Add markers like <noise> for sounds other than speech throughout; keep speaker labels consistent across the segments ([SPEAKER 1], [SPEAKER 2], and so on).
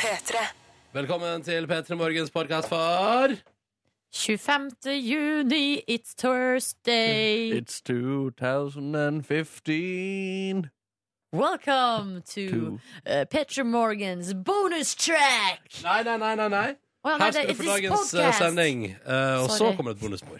[SPEAKER 1] P3.
[SPEAKER 2] Velkommen til P3 Morgens podkast for
[SPEAKER 3] 25. juni, it's
[SPEAKER 2] Mm,
[SPEAKER 3] Thursday.
[SPEAKER 4] It's 2015
[SPEAKER 3] Welcome to
[SPEAKER 4] to
[SPEAKER 3] uh, Petra Morgens bonus track!
[SPEAKER 2] Nei, nei, nei. nei, nei.
[SPEAKER 3] Å ja, nei,
[SPEAKER 2] Her skal
[SPEAKER 3] det-
[SPEAKER 2] du få
[SPEAKER 3] this
[SPEAKER 2] dagens eh,
[SPEAKER 3] podcast.
[SPEAKER 2] sending, eh, og så
[SPEAKER 3] Sorry.
[SPEAKER 2] kommer et bonusspor.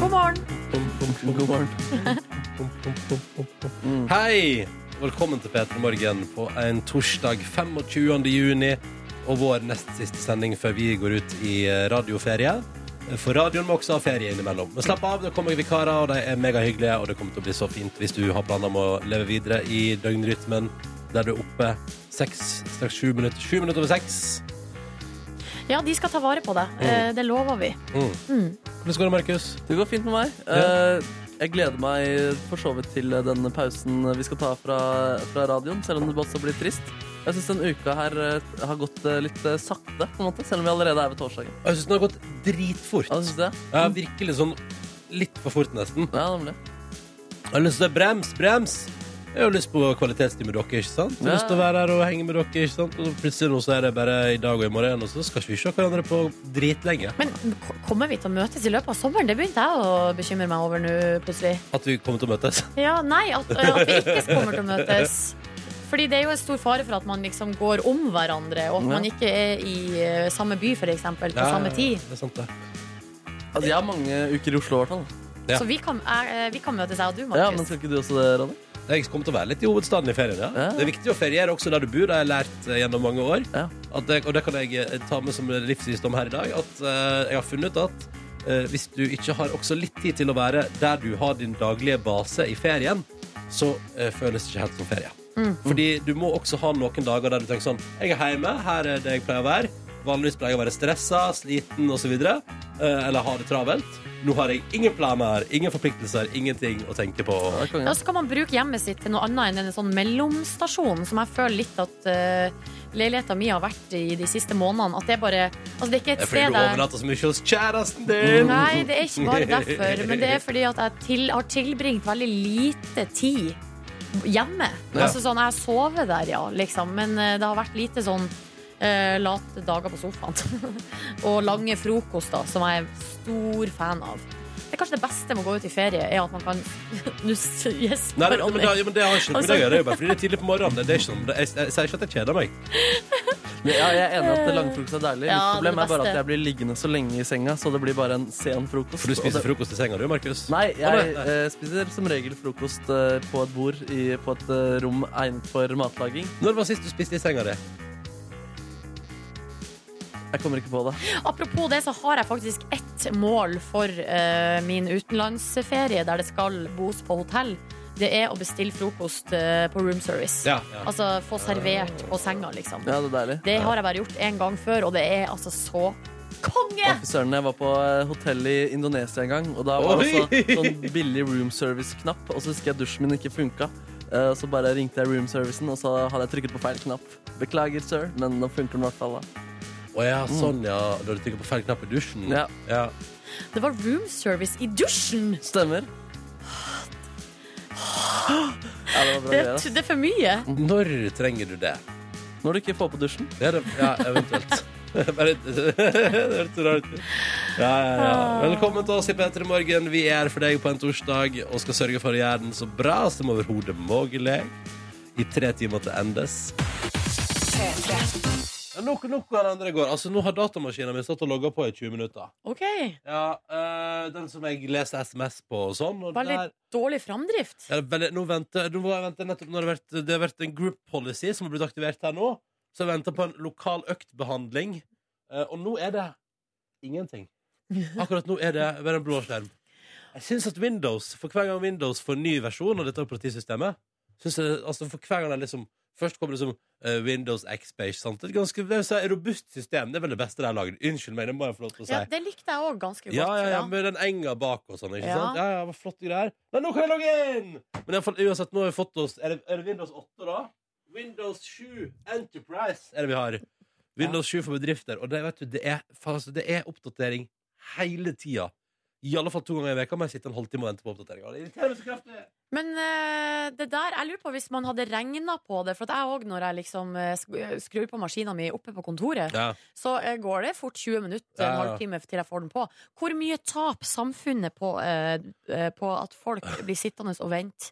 [SPEAKER 3] God morgen!
[SPEAKER 4] God morgen.
[SPEAKER 2] Hei! Velkommen til P3 Morgen på en torsdag 25. juni og vår nest siste sending før vi går ut i eh, radioferie. Eh, For radioen må også ha ferie innimellom. Men slapp av, det kommer vikarer, og de er megahyggelige, og det kommer til å bli så fint hvis du har planer om å leve videre i døgnrytmen der du er oppe seks, straks sju minutter, sju minutter over seks.
[SPEAKER 3] <laughs> Ja, de skal ta vare på deg. Eh, Det lover vi.
[SPEAKER 2] Mm.
[SPEAKER 3] Mm.
[SPEAKER 2] Hvordan går det, Markus?
[SPEAKER 4] Det går fint med meg.
[SPEAKER 2] Ja.
[SPEAKER 4] Eh, Jeg gleder meg for så vidt til denne pausen vi skal ta fra, fra radioen, selv om det også blir trist. Jeg syns denne uka her eh, har gått eh, litt eh, sakte, på en måte, selv om vi allerede er ved torsdagen.
[SPEAKER 2] Jeg syns den har gått dritfort.
[SPEAKER 4] Ja, du synes det?
[SPEAKER 2] Ja, virkelig sånn litt for fort, nesten.
[SPEAKER 4] Ja, nemlig.
[SPEAKER 2] Jeg har lyst til å brems, brems. Jeg har jo lyst på kvalitetstid med dere, ikke sant? Jeg har
[SPEAKER 4] Ja.
[SPEAKER 2] lyst til å være her og henge med dere, ikke sant? Og så plutselig nå så er det bare i dag og i morgen, og så skal ikke vi se hverandre på dritlenge.
[SPEAKER 3] Men k- kommer vi til å møtes i løpet av sommeren? Det begynte jeg å bekymre meg over nå, plutselig.
[SPEAKER 2] At vi kommer til å møtes.
[SPEAKER 3] Ja, nei, at, at vi ikke kommer til å møtes. Fordi det er jo en stor fare for at man liksom går om hverandre, og at man ikke er i eh, samme by, for eksempel, på
[SPEAKER 2] Ja,
[SPEAKER 3] samme tid.
[SPEAKER 2] Det er sant, det.
[SPEAKER 4] Altså, jeg har mange uker i Oslo, i hvert fall.
[SPEAKER 2] Ja.
[SPEAKER 3] Så vi kan, jeg- eh, vi kan møtes, jeg og du,
[SPEAKER 4] Ja, men
[SPEAKER 3] Markus.
[SPEAKER 4] skal ikke du også det, Ronny?
[SPEAKER 2] Jeg kommer til å være litt i hovedstaden i ferien, ja.
[SPEAKER 4] Ja.
[SPEAKER 2] Det er viktig å feriere også der du bor, det har jeg lært eh, gjennom mange år.
[SPEAKER 4] Ja.
[SPEAKER 2] At det, og det kan jeg eh, ta med som livsvisdom her i dag, at eh, jeg har funnet ut at eh, hvis du ikke har også litt tid til å være der du har din daglige base i ferien, så eh, føles det ikke helt som ferie.
[SPEAKER 5] Mm.
[SPEAKER 2] Fordi du må også ha noen dager der du tenker sånn Jeg er hjemme, her er det jeg pleier å være. Vanligvis pleier jeg å være stressa, sliten osv. eh, Eller ha det travelt. Nå har jeg ingen planer, ingen forpliktelser, ingenting å tenke på.
[SPEAKER 4] Ja, konge.
[SPEAKER 3] Ja, så kan man bruke hjemmet sitt til noe annet enn en sånn mellomstasjon, som jeg føler litt at uh, leiligheta mi har vært i de siste månedene. At det er bare Altså, det er ikke
[SPEAKER 2] Det
[SPEAKER 3] et
[SPEAKER 2] er fordi
[SPEAKER 3] sted
[SPEAKER 2] du
[SPEAKER 3] der
[SPEAKER 2] overnatter så mye hos kjæresten din.
[SPEAKER 3] Nei, det er ikke bare derfor. Men det er fordi at jeg til, har tilbringt veldig lite tid hjemme.
[SPEAKER 2] Ja.
[SPEAKER 3] Altså sånn, Jeg har sovet der, ja, liksom, men eh, det har vært lite sånn eh, late dager på sofaen. <laughs> og lange frokoster, som jeg er stor fan av. Det er kanskje det beste med å gå ut i ferie, er at man kan <laughs> Nå s-
[SPEAKER 2] Nei,
[SPEAKER 3] gjesper
[SPEAKER 2] men, men,
[SPEAKER 3] Ronny.
[SPEAKER 2] det, ja, men det har ikke men det gjør jeg jo bare fordi det er tidlig på morgenen. Det er ikke sånn, det, jeg, jeg sier ikke at jeg kjeder meg.
[SPEAKER 4] Men ja, jeg er enig at langfrokost er deilig.
[SPEAKER 3] Ja,
[SPEAKER 4] Mitt problem
[SPEAKER 3] det
[SPEAKER 4] er bare
[SPEAKER 3] beste.
[SPEAKER 4] at jeg blir liggende så lenge i senga, så det blir bare en sen frokost.
[SPEAKER 2] For du
[SPEAKER 4] Og
[SPEAKER 2] spiser
[SPEAKER 4] det-
[SPEAKER 2] frokost i senga, du, Markus?
[SPEAKER 4] Nei, jeg
[SPEAKER 2] Å, nei, nei.
[SPEAKER 4] eh, spiser som regel frokost eh, på et bord i, på et eh, rom egnet for matlaging.
[SPEAKER 2] Når var sist du spiste i senga di?
[SPEAKER 4] Jeg kommer ikke på det.
[SPEAKER 3] Apropos det, så har jeg faktisk ett mål for eh, min utenlandsferie, der det skal bos på hotell. Det er å bestille frokost eh, på room service.
[SPEAKER 2] Ja, ja.
[SPEAKER 3] Altså få servert på senga, liksom.
[SPEAKER 4] Ja, det er deilig.
[SPEAKER 3] Det har jeg bare gjort én gang før, og det er altså så konge!
[SPEAKER 4] Å, fy søren, jeg var på eh, hotell i Indonesia en gang, og da var det
[SPEAKER 2] Oi!
[SPEAKER 4] også sånn billig room service-knapp, og så husker jeg dusjen min ikke funka. Eh, Så bare ringte jeg room servicen, og så hadde jeg trykket på feil knapp. Beklager, sir, men nå funker den i hvert fall. da.
[SPEAKER 2] Å ja, sånn, ja. Da du trykker på feil knapp i dusjen?
[SPEAKER 4] mm. Ja.
[SPEAKER 2] ja.
[SPEAKER 3] Det var room service i dusjen!
[SPEAKER 4] Stemmer. Ja, det var bra
[SPEAKER 3] Det,
[SPEAKER 4] greier. ass.
[SPEAKER 3] det er for mye.
[SPEAKER 2] Når trenger du det?
[SPEAKER 4] Når du ikke får på dusjen.
[SPEAKER 2] Det er det, ja,
[SPEAKER 4] <laughs>
[SPEAKER 2] eventuelt. Bare, <laughs> det hørtes så rart ut. Ja, ja, ja.
[SPEAKER 4] Ah.
[SPEAKER 2] Velkommen til oss i P3 Morgen. Vi er her for deg på en torsdag og skal sørge for å gjøre den så bra som overhodet mulig. I tre timer til endes. Ja, nok nok av det andre går. Altså, nå har datamaskinen min stått og logga på i 20 minutter.
[SPEAKER 3] OK.
[SPEAKER 2] Ja, øh, Den som jeg leser SMS på og sånn. Og
[SPEAKER 3] Veldig
[SPEAKER 2] der,
[SPEAKER 3] dårlig framdrift.
[SPEAKER 2] ja, veldig- nå venter, nå må jeg vente nettopp, nå har det, vært, det har vært en group policy som har blitt aktivert her nå. Så jeg venter på en lokal øktbehandling. Eh, og nå er det ingenting. Akkurat nå er det bare en blå skjerm. Jeg syns at Windows, for hver gang Windows får ny versjon av dette operativsystemet synes jeg, altså for hver gang det liksom Først kommer det som eh, Windows XP. ikke sant? Et ganske det vil si, robust system. Det er vel det beste de har lagd. Unnskyld meg, det må jeg få lov til å si.
[SPEAKER 3] Ja, det likte jeg òg ganske godt.
[SPEAKER 2] Ja, ja, ja,
[SPEAKER 3] ja.
[SPEAKER 2] med den enga bak og sånn. Ikke
[SPEAKER 3] Ja.
[SPEAKER 2] sant? Ja, ja, hva flotte greier. Men nå kan jeg logge inn! Men i hvert fall, uansett, nå har vi fått oss Er det, er det Windows 8, da? Windows 7 Enterprise er det vi har. Windows 7 for bedrifter. Og det, vet du, det, er, faen, altså, det er oppdatering hele tida. I alle fall to ganger i veka må jeg sitte en halvtime og vente på oppdatering. Og Det irriterer meg så kraftig.
[SPEAKER 3] Men eh, det der, jeg lurer på hvis man hadde regna på det. For at jeg òg, når jeg liksom eh, sk- skrur på maskina mi oppe på kontoret,
[SPEAKER 2] Ja.
[SPEAKER 3] så eh, går det fort 20 minutter, en
[SPEAKER 2] Ja.
[SPEAKER 3] halvtime, til jeg får den på. Hvor mye taper samfunnet på, eh, eh, på at folk blir sittende og vente?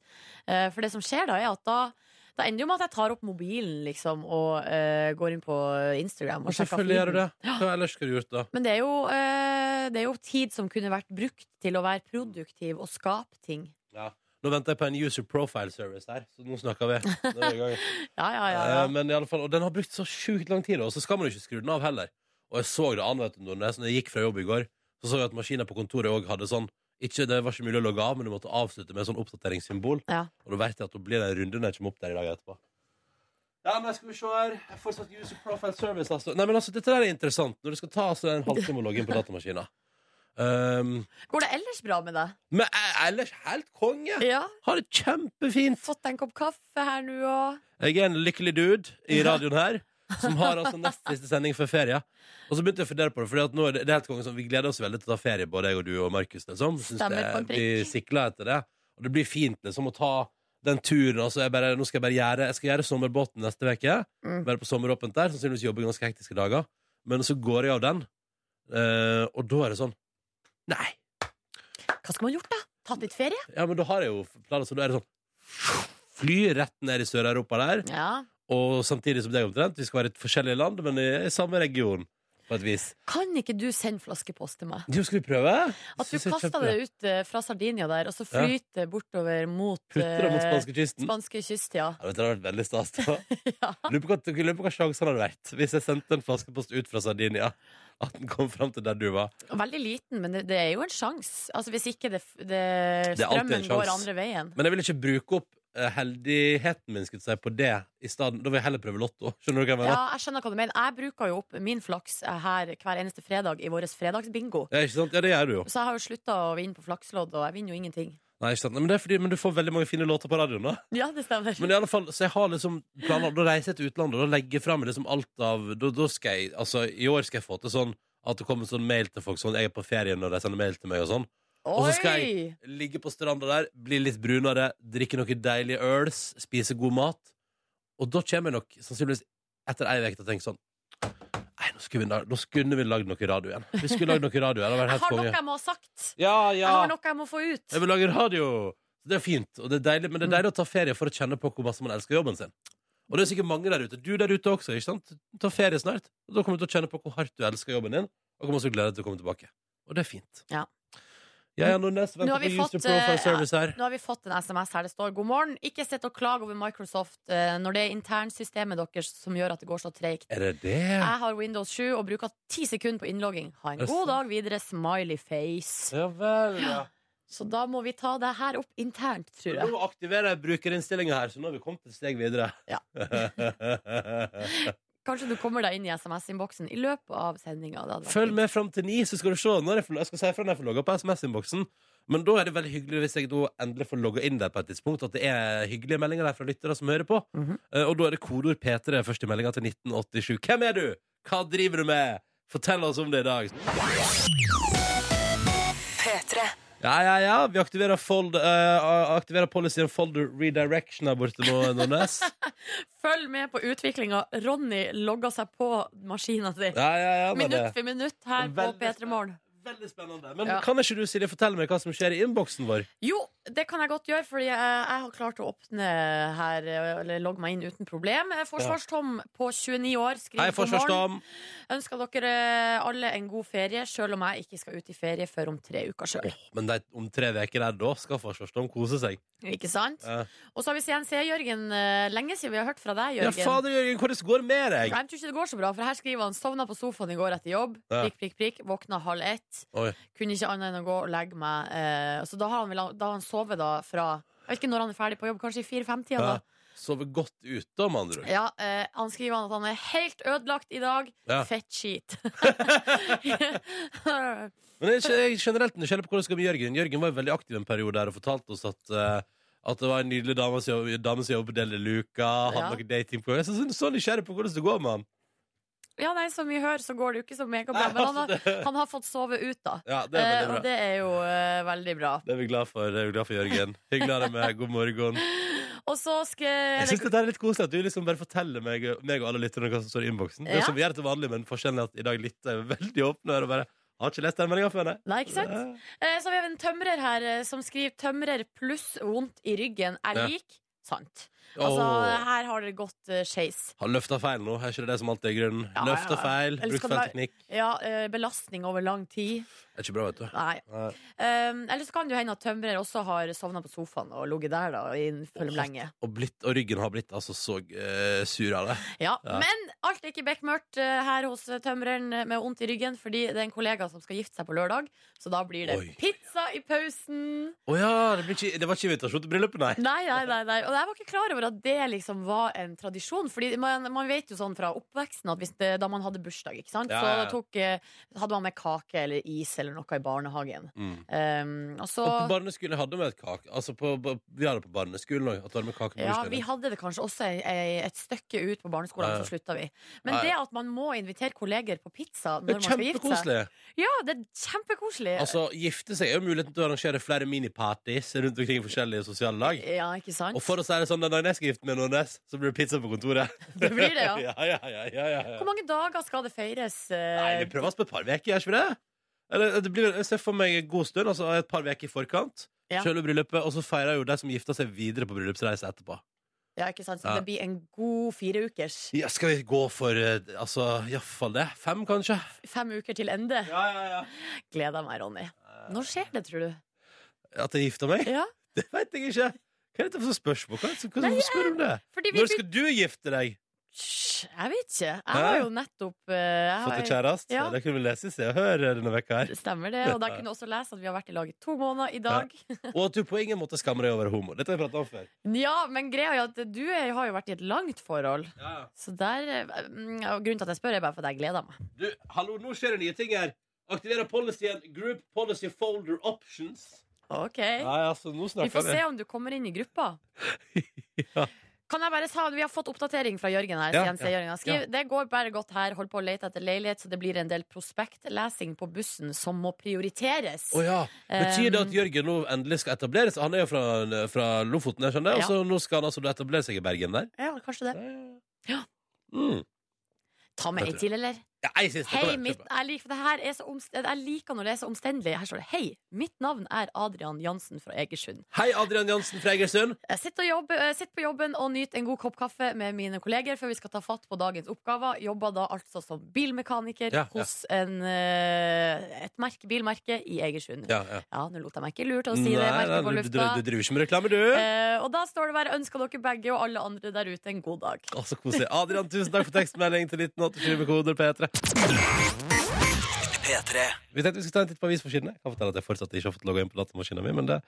[SPEAKER 3] Eh, for det som skjer da, er at da da ender det jo med at jeg tar opp mobilen liksom, og eh, går inn på Instagram. Og
[SPEAKER 2] Og
[SPEAKER 3] sjekker
[SPEAKER 2] selvfølgelig gjør du
[SPEAKER 3] feeden.
[SPEAKER 2] det. Hva ellers skulle du gjort da?
[SPEAKER 3] Men det er, jo, eh, det er jo tid som kunne vært brukt til å være produktiv og skape ting.
[SPEAKER 2] Nå venter jeg på en user profile service der, så nå snakker
[SPEAKER 3] <laughs>
[SPEAKER 2] vi. Nå er vi i gang.
[SPEAKER 3] Ja, ja, ja, ja.
[SPEAKER 2] Eh, Men i alle fall, og den har brukt så sjukt lang tid, og så skal man jo ikke skru den av heller. Og jeg så det an, vet du, Nordnes, når jeg gikk fra jobb i går, så så jeg at maskinen på kontoret òg hadde sånn ikke, Det var ikke mulig å logge av, men du måtte avslutte med sånn oppdateringssymbol.
[SPEAKER 3] Ja.
[SPEAKER 2] Og da vet jeg at det blir en runde når jeg kommer opp der i dag etterpå. Ja, nei, skal vi se her. Jeg har Fortsatt user profile service, altså. Nei, men altså, dette der er interessant. Når det skal ta altså, en halvtime å logge
[SPEAKER 3] <laughs>
[SPEAKER 2] inn på datamaskinen. Um,
[SPEAKER 3] Går det ellers bra med deg?
[SPEAKER 2] men e- ellers helt konge.
[SPEAKER 3] Ja.
[SPEAKER 2] Har det kjempefint.
[SPEAKER 3] Fått deg en kopp kaffe her nå og
[SPEAKER 2] Jeg er en lykkelig dude i radioen her som har altså nest siste sending før ferie. Og så begynte jeg å fundere på det, for nå er det, det er helt konge sånn, vi gleder oss veldig til å ta ferie, både jeg og du og Markus. Liksom. Syns
[SPEAKER 3] Stemmer
[SPEAKER 2] det
[SPEAKER 3] på en prikk.
[SPEAKER 2] blir sikla etter det. Og det blir fint liksom, å ta den turen. Altså, jeg bare, nå skal jeg bare gjøre Jeg skal gjøre sommerbåten neste uke.
[SPEAKER 3] Mm.
[SPEAKER 2] Være på sommeråpent der. Sannsynligvis jobbe ganske hektiske dager. Men så går jeg av den, eh, og da er det sånn Nei.
[SPEAKER 3] Hva skal man gjort, da? <laughs> Tatt litt ferie?
[SPEAKER 2] Ja, men da har jeg jo planer, så da er det sånn Fly rett ned i Sør-Europa der.
[SPEAKER 3] Ja.
[SPEAKER 2] Og samtidig som deg omtrent Vi skal være i forskjellige land, men i i samme region På et vis
[SPEAKER 3] Kan ikke du sende flaskepost til meg?
[SPEAKER 2] Jo, skal vi prøve?
[SPEAKER 3] At du kaster det ut eh, fra Sardinia der, og så flyter det bortover mot
[SPEAKER 2] Putter det mot
[SPEAKER 3] eh,
[SPEAKER 2] spanskekysten ja,
[SPEAKER 3] spanske kyst, ja.
[SPEAKER 2] vet du, Det hadde vært veldig stas da.
[SPEAKER 3] <laughs> ja.
[SPEAKER 2] Lurer på hva, lurer på hva sjansen hadde vært Hvis jeg sendte en flaskepost ut fra Sardinia At den kom frem til der du var
[SPEAKER 3] Veldig liten, men det, det er jo en sjanse. Altså, hvis ikke det, f- det,
[SPEAKER 2] Det er alltid en
[SPEAKER 3] strømmen går
[SPEAKER 2] sjans.
[SPEAKER 3] andre veien.
[SPEAKER 2] Men jeg vil ikke bruke opp eh, heldigheten min Skulle jeg si på det I stedet, da vil jeg heller prøve lotto Skjønner du hva jeg mener?
[SPEAKER 3] Ja, jeg skjønner hva du mener. Jeg bruker jo opp min flaks eh, her hver eneste fredag i vår fredagsbingo.
[SPEAKER 2] Ja, ikke sant? Ja, det gjør du jo
[SPEAKER 3] Så jeg har jo slutta å vinne på flakslodd, og jeg vinner jo ingenting.
[SPEAKER 2] Nei, ikke sant? Nei, Men, det er fordi, men du får veldig mange fine låter på radioen da
[SPEAKER 3] <laughs> Ja, det stemmer.
[SPEAKER 2] Men i alle fall, så jeg har liksom planer Da reiser jeg til utlandet, og da legger jeg frem liksom alt av da, da skal jeg, altså i år skal jeg få til sånn At det kommer sånn mail til folk Sånn, jeg er på ferie når de sender mail til meg og sånn og så skal
[SPEAKER 3] Oi!
[SPEAKER 2] Ligge på stranda der, bli litt brunere Drikke noen deilige øls, spise god mat Og da kommer jeg nok Sannsynligvis etter ei vek til å tenke sånn Nei, nå skulle vi, la- nå skulle vi lagd noe radio igjen Vi skulle lagd noe radio, det hadde vært
[SPEAKER 3] Jeg
[SPEAKER 2] helt
[SPEAKER 3] har noe
[SPEAKER 2] konge
[SPEAKER 3] jeg må ha sagt.
[SPEAKER 2] Ja, ja
[SPEAKER 3] Jeg har noe jeg må få ut.
[SPEAKER 2] jeg vil lage radio. Så det er fint, og det er deilig, men det er deilig å ta ferie for å kjenne på hvor masse man elsker jobben sin. Og det er sikkert mange der ute. Du der ute også. ikke sant? Ta ferie snart. og Da kommer du til å kjenne på hvor hardt du elsker jobben din, og hvor masse du gleder deg til å komme tilbake. Og det er fint.
[SPEAKER 3] Ja.
[SPEAKER 2] Jeg er Nordnes,
[SPEAKER 3] Nå har
[SPEAKER 2] venter
[SPEAKER 3] vi
[SPEAKER 2] på
[SPEAKER 3] fått,
[SPEAKER 2] User Profile
[SPEAKER 3] eh,
[SPEAKER 2] Service her.
[SPEAKER 3] Nå har vi fått en SMS her det står God morgen, ikke sitt og klag over Microsoft eh, når det er internsystemet deres som gjør at det går så treigt.
[SPEAKER 2] Er det det?
[SPEAKER 3] Jeg har Windows 7 og bruker ti sekunder på innlogging. Ha en
[SPEAKER 2] Er det sant?
[SPEAKER 3] god dag videre, smiley face.
[SPEAKER 2] Ja vel, ja.
[SPEAKER 3] Så da må vi ta det her opp internt, tror jeg.
[SPEAKER 2] Nå aktiverer jeg brukerinnstillinga her, så nå har vi kommet et steg videre. <laughs>
[SPEAKER 3] Ja. Kanskje du kommer deg inn i SMS-innboksen i løpet av sendinga.
[SPEAKER 2] Følg med fram til ni, så skal du se når jeg, får, jeg skal si fra når jeg får logga på SMS-innboksen. Men da er det veldig hyggelig hvis jeg da endelig får logga inn der på et tidspunkt, at det er hyggelige meldinger der fra lyttere som hører på.
[SPEAKER 3] Mhm.
[SPEAKER 2] Eh, Og da er det kodeord P3 først i meldinga til 1987. Hvem er du? Hva driver du med? Fortell oss om det i dag. Ja, ja, ja. Vi aktiverer, fold, eh, aktiverer policyen folder redirection her borte nå, Nordnes.
[SPEAKER 3] <laughs> Følg med på utviklinga. Ronny logger seg på maskina si.
[SPEAKER 2] Ja, ja, ja. men
[SPEAKER 3] Minutt
[SPEAKER 2] det-
[SPEAKER 3] for minutt her på
[SPEAKER 2] Veldig
[SPEAKER 3] P3 Morgen.
[SPEAKER 2] Veldig spennende. Men
[SPEAKER 3] Ja.
[SPEAKER 2] kan ikke du, Silje, fortelle meg hva som skjer i innboksen vår?
[SPEAKER 3] Jo, det kan jeg godt gjøre, fordi jeg, jeg har klart å åpne her, eller logge meg inn uten problem. Eh, Forsvarstom på 29 år
[SPEAKER 2] Hei,
[SPEAKER 3] skriver god morgen.
[SPEAKER 2] forsvarsdam.
[SPEAKER 3] Ønsker dere alle en god ferie, sjøl om jeg ikke skal ut i ferie før om tre uker sjøl.
[SPEAKER 2] Åh, men de, om tre uker der, da skal forsvarsdom kose seg.
[SPEAKER 3] Ikke sant?
[SPEAKER 2] Eh,
[SPEAKER 3] Og så har vi CNC, Jørgen. eh, Lenge siden vi har hørt fra deg,
[SPEAKER 2] ja,
[SPEAKER 3] Jørgen.
[SPEAKER 2] fader, Jørgen, hvordan går det med deg?
[SPEAKER 3] Jeg tror ikke det går så bra, for her skriver han Sovna på sofaen i går etter jobb.
[SPEAKER 2] Ja.
[SPEAKER 3] Prikk, prikk, prikk. Våkna halv ett.
[SPEAKER 2] Oi.
[SPEAKER 3] Kunne ikke annet enn å gå og legge meg. Eh, så da har han, vel- da har han sovet da fra Jeg vet ikke når han er ferdig på jobb, kanskje i fire-fem-tida. da
[SPEAKER 2] Ja. Sover godt ute, da, med andre ord.
[SPEAKER 3] Ja, eh, han skriver at han er helt ødelagt i dag.
[SPEAKER 2] Ja.
[SPEAKER 3] Fett
[SPEAKER 2] <laughs>
[SPEAKER 3] skit. <laughs>
[SPEAKER 2] Men jeg er ikke- jeg er generelt nysgjerrig på hvordan det skal med Jørgen. Jørgen var jo veldig aktiv en periode der og fortalte oss at, eh, At det var en nydelig dame som jobb- dame som jobber på Deli Luca. Hadde
[SPEAKER 3] Ja.
[SPEAKER 2] noe dating på Jeg er så- så nysgjerrig på hvordan det går med han.
[SPEAKER 3] Ja, nei, som vi hører, så går det jo ikke så megabra.
[SPEAKER 2] Nei,
[SPEAKER 3] Men han har,
[SPEAKER 2] altså, det-
[SPEAKER 3] han har fått sove ut, da.
[SPEAKER 2] Ja, det er
[SPEAKER 3] Eh,
[SPEAKER 2] veldig
[SPEAKER 3] og
[SPEAKER 2] bra.
[SPEAKER 3] det er jo eh, veldig bra.
[SPEAKER 2] Det er vi glad for, det er vi glad for Jørgen. Hyggelig å ha deg med. God morgen.
[SPEAKER 3] Og så skal
[SPEAKER 2] Jeg syns det er litt koselig at du liksom bare forteller meg, meg og alle lytterne hva som står i innboksen. Det er
[SPEAKER 3] Ja.
[SPEAKER 2] som vi gjør til vanlig, men forskjellen er at i dag lytter jeg veldig åpne ører og bare Har ikke lest den meldinga før, nei.
[SPEAKER 3] Nei, ikke sant? Eh, Så vi har en tømrer her eh, som skriver 'tømrer pluss vondt i ryggen er
[SPEAKER 2] Ja.
[SPEAKER 3] lik'. Sant. Altså,
[SPEAKER 2] Åh,
[SPEAKER 3] her har det gått eh, skeis.
[SPEAKER 2] Har løfta feil nå, er ikke det det som alltid er grunnen?
[SPEAKER 3] Ja, ja, ja.
[SPEAKER 2] Løfta feil,
[SPEAKER 3] Eller
[SPEAKER 2] brukt
[SPEAKER 3] skal
[SPEAKER 2] feil
[SPEAKER 3] det
[SPEAKER 2] teknikk.
[SPEAKER 3] Ja, eh, belastning over lang tid.
[SPEAKER 2] Det er ikke bra, vet du.
[SPEAKER 3] Nei.
[SPEAKER 2] Nei.
[SPEAKER 3] Um, eller så kan det jo hende at tømrer også har sovna på sofaen og ligget der da, i en full lenge.
[SPEAKER 2] Og, blitt, og ryggen har blitt altså så eh, sur av det.
[SPEAKER 3] Ja.
[SPEAKER 2] Ja.
[SPEAKER 3] Men alt er ikke bekmørkt eh, her hos tømreren med vondt i ryggen, fordi det er en kollega som skal gifte seg på lørdag, så da blir det
[SPEAKER 2] Oi.
[SPEAKER 3] pizza i pausen.
[SPEAKER 2] Å ja, det, blir ikke, det var ikke invitasjon til bryllupet, nei.
[SPEAKER 3] Nei, nei, nei, nei. Og jeg var ikke klar over at det liksom var en tradisjon. Fordi man, man vet jo sånn fra oppveksten at hvis det, da man hadde bursdag, ikke sant?
[SPEAKER 2] Ja,
[SPEAKER 3] så
[SPEAKER 2] ja, ja.
[SPEAKER 3] tok, eh, hadde man med kake eller is eller noe i barnehagen.
[SPEAKER 2] Mm.
[SPEAKER 3] Um, og så
[SPEAKER 2] Og på barneskolen hadde vi et kake. Altså på, på- vi hadde det på barneskolen òg. At du hadde med kake på
[SPEAKER 3] ja,
[SPEAKER 2] bursdagen.
[SPEAKER 3] Vi hadde det kanskje også ei- ei- et stykke ut på barneskolen,
[SPEAKER 2] Ja, ja.
[SPEAKER 3] så slutta vi. Men
[SPEAKER 2] Ja, ja.
[SPEAKER 3] det at man må invitere kolleger på pizza
[SPEAKER 2] det
[SPEAKER 3] når
[SPEAKER 2] er
[SPEAKER 3] man skal gifte seg
[SPEAKER 2] kjempekoselig.
[SPEAKER 3] Ja, det er kjempekoselig.
[SPEAKER 2] Altså, gifte seg er jo muligheten til å arrangere flere miniparties rundt omkring i forskjellige sosiale lag.
[SPEAKER 3] ja, ikke sant?
[SPEAKER 2] Og for å si det sånn, den dagen jeg skal gifte meg med noen, så blir det pizza på kontoret.
[SPEAKER 3] Det blir det, ja.
[SPEAKER 2] <laughs> ja, ja, ja, ja, ja, ja.
[SPEAKER 3] Hvor mange dager skal det feires?
[SPEAKER 2] Nei,
[SPEAKER 3] eh,
[SPEAKER 2] det prøves på et par uker, gjør ikke vi det? Eller, det blir, jeg ser for meg en god stund, altså et par uker i forkant.
[SPEAKER 3] Ja.
[SPEAKER 2] Selve bryllupet, og så feirer jo de som gifter seg videre på bryllupsreise etterpå.
[SPEAKER 3] ja, ikke sant? Så
[SPEAKER 2] Ja.
[SPEAKER 3] det blir en god fireukers.
[SPEAKER 2] Ja, skal vi gå for eh, altså, iallfall det? Fem, kanskje?
[SPEAKER 3] Fem uker til ende.
[SPEAKER 2] Ja, ja, Eh. ja.
[SPEAKER 3] Gleder meg, Ronny. Når skjer det, tror du?
[SPEAKER 2] At jeg gifter meg?
[SPEAKER 3] Ja.
[SPEAKER 2] <laughs> Det veit jeg ikke. Hva er dette for spørsmål? Hva, hva, hvorfor spør du om det?
[SPEAKER 3] eh, Fordi vi
[SPEAKER 2] Når skal du gifte deg?
[SPEAKER 3] Hysj, Jeg vet ikke. Jeg var jo nettopp eh, jeg
[SPEAKER 2] Fått deg
[SPEAKER 3] har...
[SPEAKER 2] kjæreste?
[SPEAKER 3] Ja.
[SPEAKER 2] Det kunne vi lese i Se og Hør denne vekka her.
[SPEAKER 3] Stemmer det. Og da kunne jeg også lese at vi har vært i lag i to måneder i dag.
[SPEAKER 2] Og at du på ingen måte skammer deg over homo. Dette har jeg pratet om før.
[SPEAKER 3] Ja, men greia er jo at du er, har jo vært i et langt forhold. Så der eh, mm, og Grunnen til at jeg spør, er bare fordi jeg gleder meg.
[SPEAKER 2] Du, hallo, nå skjer det nye ting her. Aktiverer policyen Group Policy Folder Options.
[SPEAKER 3] Ok
[SPEAKER 2] Nei, altså,
[SPEAKER 3] Vi
[SPEAKER 2] nå snakker
[SPEAKER 3] får se om du kommer inn i gruppa.
[SPEAKER 2] <laughs> Ja.
[SPEAKER 3] Kan jeg bare sa, Vi har fått oppdatering fra Jørgen her.
[SPEAKER 2] Ja,
[SPEAKER 3] sier han, sier
[SPEAKER 2] ja,
[SPEAKER 3] Jørgen. Han Skriver, Det går bare godt her. Hold på å lete etter leilighet, så det blir en del prospektlesing på bussen som må prioriteres.
[SPEAKER 2] Å ja. Betyr det
[SPEAKER 3] Um,
[SPEAKER 2] at Jørgen nå endelig skal etablere seg? Han er jo fra, fra Lofoten, jeg skjønner.
[SPEAKER 3] Ja.
[SPEAKER 2] Og så nå skal han altså da etablere seg i Bergen der?
[SPEAKER 3] Eh, Ja, kanskje det. Ja.
[SPEAKER 2] Mm.
[SPEAKER 3] Ta med ei til, eller?
[SPEAKER 2] Ja, jeg synes det
[SPEAKER 3] Hei,
[SPEAKER 2] Kom igjen,
[SPEAKER 3] mitt,
[SPEAKER 2] kjør på.
[SPEAKER 3] jeg, liker, for det her er så omst- jeg liker når det er så omstendelig. Her står det Hei, mitt navn er Adrian Jansen fra Egersund.
[SPEAKER 2] Hei, Adrian Jansen fra Egersund.
[SPEAKER 3] Jeg sitter, og jobber, eh, sitter på jobben og nyter en god kopp kaffe med mine kolleger før vi skal ta fatt på dagens oppgaver. Jobber da altså som bilmekaniker
[SPEAKER 2] Ja, ja.
[SPEAKER 3] hos en, eh, et merke, bilmerke i Egersund. Ja.
[SPEAKER 2] Ja, ja.
[SPEAKER 3] nå lot jeg meg ikke lure til å si det. merket på
[SPEAKER 2] du, du, du
[SPEAKER 3] lufta.
[SPEAKER 2] driver ikke med reklame, du.
[SPEAKER 3] Eh, og da står det bare 'Ønsker dere begge og alle andre der ute en god dag'.
[SPEAKER 2] Å, så koselig. Adrian, tusen takk for tekstmelding til 1987 med koder P3. Vi tenkte vi skulle ta en titt på avisforsidene. Jeg Kan fortelle at jeg fortsatt ikke har fått logga inn på datamaskinen min, men det,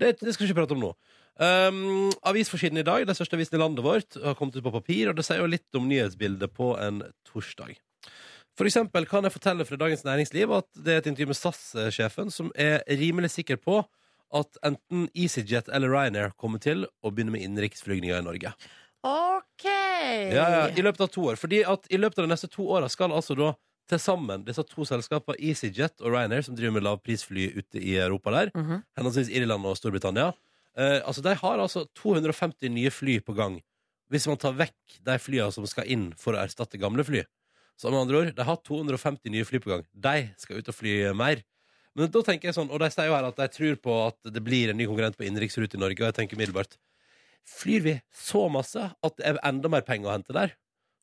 [SPEAKER 2] det, det skal vi ikke prate om nå. Um, avisforsiden i dag, den største avisen i landet vårt, har kommet ut på papir, og det sier jo litt om nyhetsbildet på en torsdag. For eksempel kan jeg fortelle fra Dagens Næringsliv at det er et intervju med SAS-sjefen som er rimelig sikker på at enten EasyJet eller Ryanair kommer til å begynne med innenriksflygninger i Norge.
[SPEAKER 3] OK!
[SPEAKER 2] Ja, ja, I løpet av to år. Fordi at i løpet av de neste to åra skal altså da til sammen disse to selskapene, EasyJet og Ryanair, som driver med lavprisfly ute i Europa der,
[SPEAKER 3] Mhm.
[SPEAKER 2] henholdsvis Irland og Storbritannia, eh, altså de har altså 250 nye fly på gang. Hvis man tar vekk de flyene som skal inn for å erstatte gamle fly. Så med andre ord, de har 250 nye fly på gang. De skal ut og fly mer. Men da tenker jeg sånn, og de sier jo her at de tror på at det blir en ny konkurrent på innenriksrute i Norge, og jeg tenker umiddelbart flyr vi så masse at det er enda mer penger å hente der.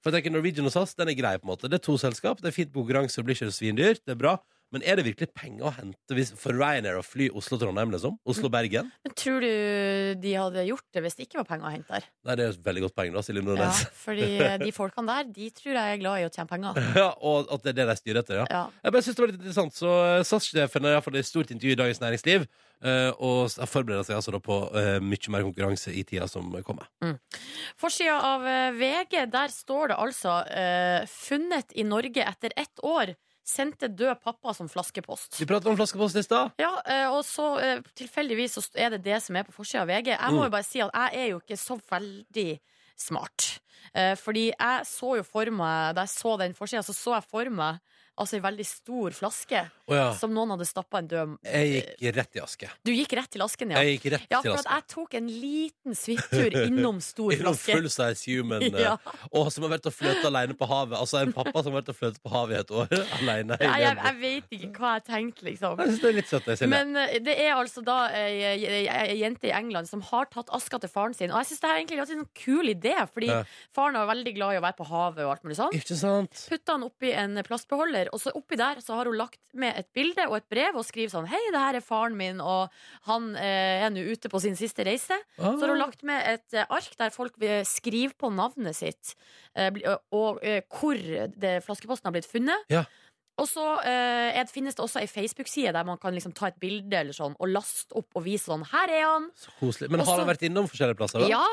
[SPEAKER 2] For jeg tenker Norwegian og SAS den er grei. på en måte Det er to selskap, det er fint på konkurranse, det blir ikke svindyrt, det er bra. Men er det virkelig penger å hente hvis, for Ryanair å fly Oslo-Trondheim, liksom? Oslo-Bergen?
[SPEAKER 3] Men tror du de hadde gjort det hvis det ikke var penger å hente der?
[SPEAKER 2] Nei, det er jo et veldig godt poeng, da, Silje
[SPEAKER 3] Ja,
[SPEAKER 2] Nordnes.
[SPEAKER 3] fordi eh, de folkene der, de tror jeg er glad i å tjene penger.
[SPEAKER 2] <laughs> Ja. og at det er det de styrer etter, ja.
[SPEAKER 3] Ja.
[SPEAKER 2] Jeg bare synes det var litt interessant Så eh, SAS-sjefen har i hvert fall et stort intervju i Dagens Næringsliv, eh, og s- forbereder seg altså da på eh, mye mer konkurranse i tida som kommer.
[SPEAKER 3] Forsida av eh, VG, der står det altså eh, 'Funnet i Norge etter ett år'. Sendte død pappa som flaskepost.
[SPEAKER 2] Vi pratet om flaskepost i stad.
[SPEAKER 3] Ja, eh, og så eh, tilfeldigvis så st- er det det som er på forsida av VG.
[SPEAKER 2] Mm.
[SPEAKER 3] Jeg må jo bare si at jeg er jo ikke så veldig smart. Eh, Fordi jeg så jo for meg, da jeg så den forsida, så så jeg for meg altså en veldig stor flaske
[SPEAKER 2] Å ja.
[SPEAKER 3] som noen hadde stappa en død
[SPEAKER 2] Jeg gikk rett i aske.
[SPEAKER 3] Du gikk rett til asken, ja.
[SPEAKER 2] Jeg gikk rett
[SPEAKER 3] Ja,
[SPEAKER 2] til
[SPEAKER 3] for at
[SPEAKER 2] aske.
[SPEAKER 3] jeg tok en liten svipptur innom stor
[SPEAKER 2] <laughs> Innom
[SPEAKER 3] flaske.
[SPEAKER 2] full size human.
[SPEAKER 3] <laughs>
[SPEAKER 2] eh,
[SPEAKER 3] Ja.
[SPEAKER 2] Og som har vært og fløtet alene på havet. Altså en pappa som har vært og fløtet på havet i et år. <laughs> Alene.
[SPEAKER 3] Nei, jeg, jeg vet ikke hva jeg tenkte, liksom.
[SPEAKER 2] Jeg synes det er litt søtt, det, Silje.
[SPEAKER 3] Men eh, det er altså da ei ei- ei jente i England som har tatt aska til faren sin. Og jeg syns det her er egentlig er en sånn kul idé, fordi
[SPEAKER 2] Ja.
[SPEAKER 3] faren er veldig glad i å være på havet og alt mulig sånn.
[SPEAKER 2] Ikke sant?
[SPEAKER 3] Putta han oppi en plastbeholder, og så oppi der så har hun lagt med et bilde og et brev og skriver sånn Hei, det her er faren min, og han eh, er nå ute på sin siste reise. Så har hun
[SPEAKER 2] Ah.
[SPEAKER 3] lagt med et eh, ark der folk vil skrive på navnet sitt eh, bli- og, og eh, hvor det flaskeposten har blitt funnet.
[SPEAKER 2] Ja.
[SPEAKER 3] Og så eh, er det- finnes det også ei Facebook-side der man kan liksom ta et bilde eller sånn, og laste opp og vise sånn Her er han!
[SPEAKER 2] Så koselig. Men har
[SPEAKER 3] Også-
[SPEAKER 2] han vært innom forskjellige plasser? da?
[SPEAKER 3] Altså- Ja,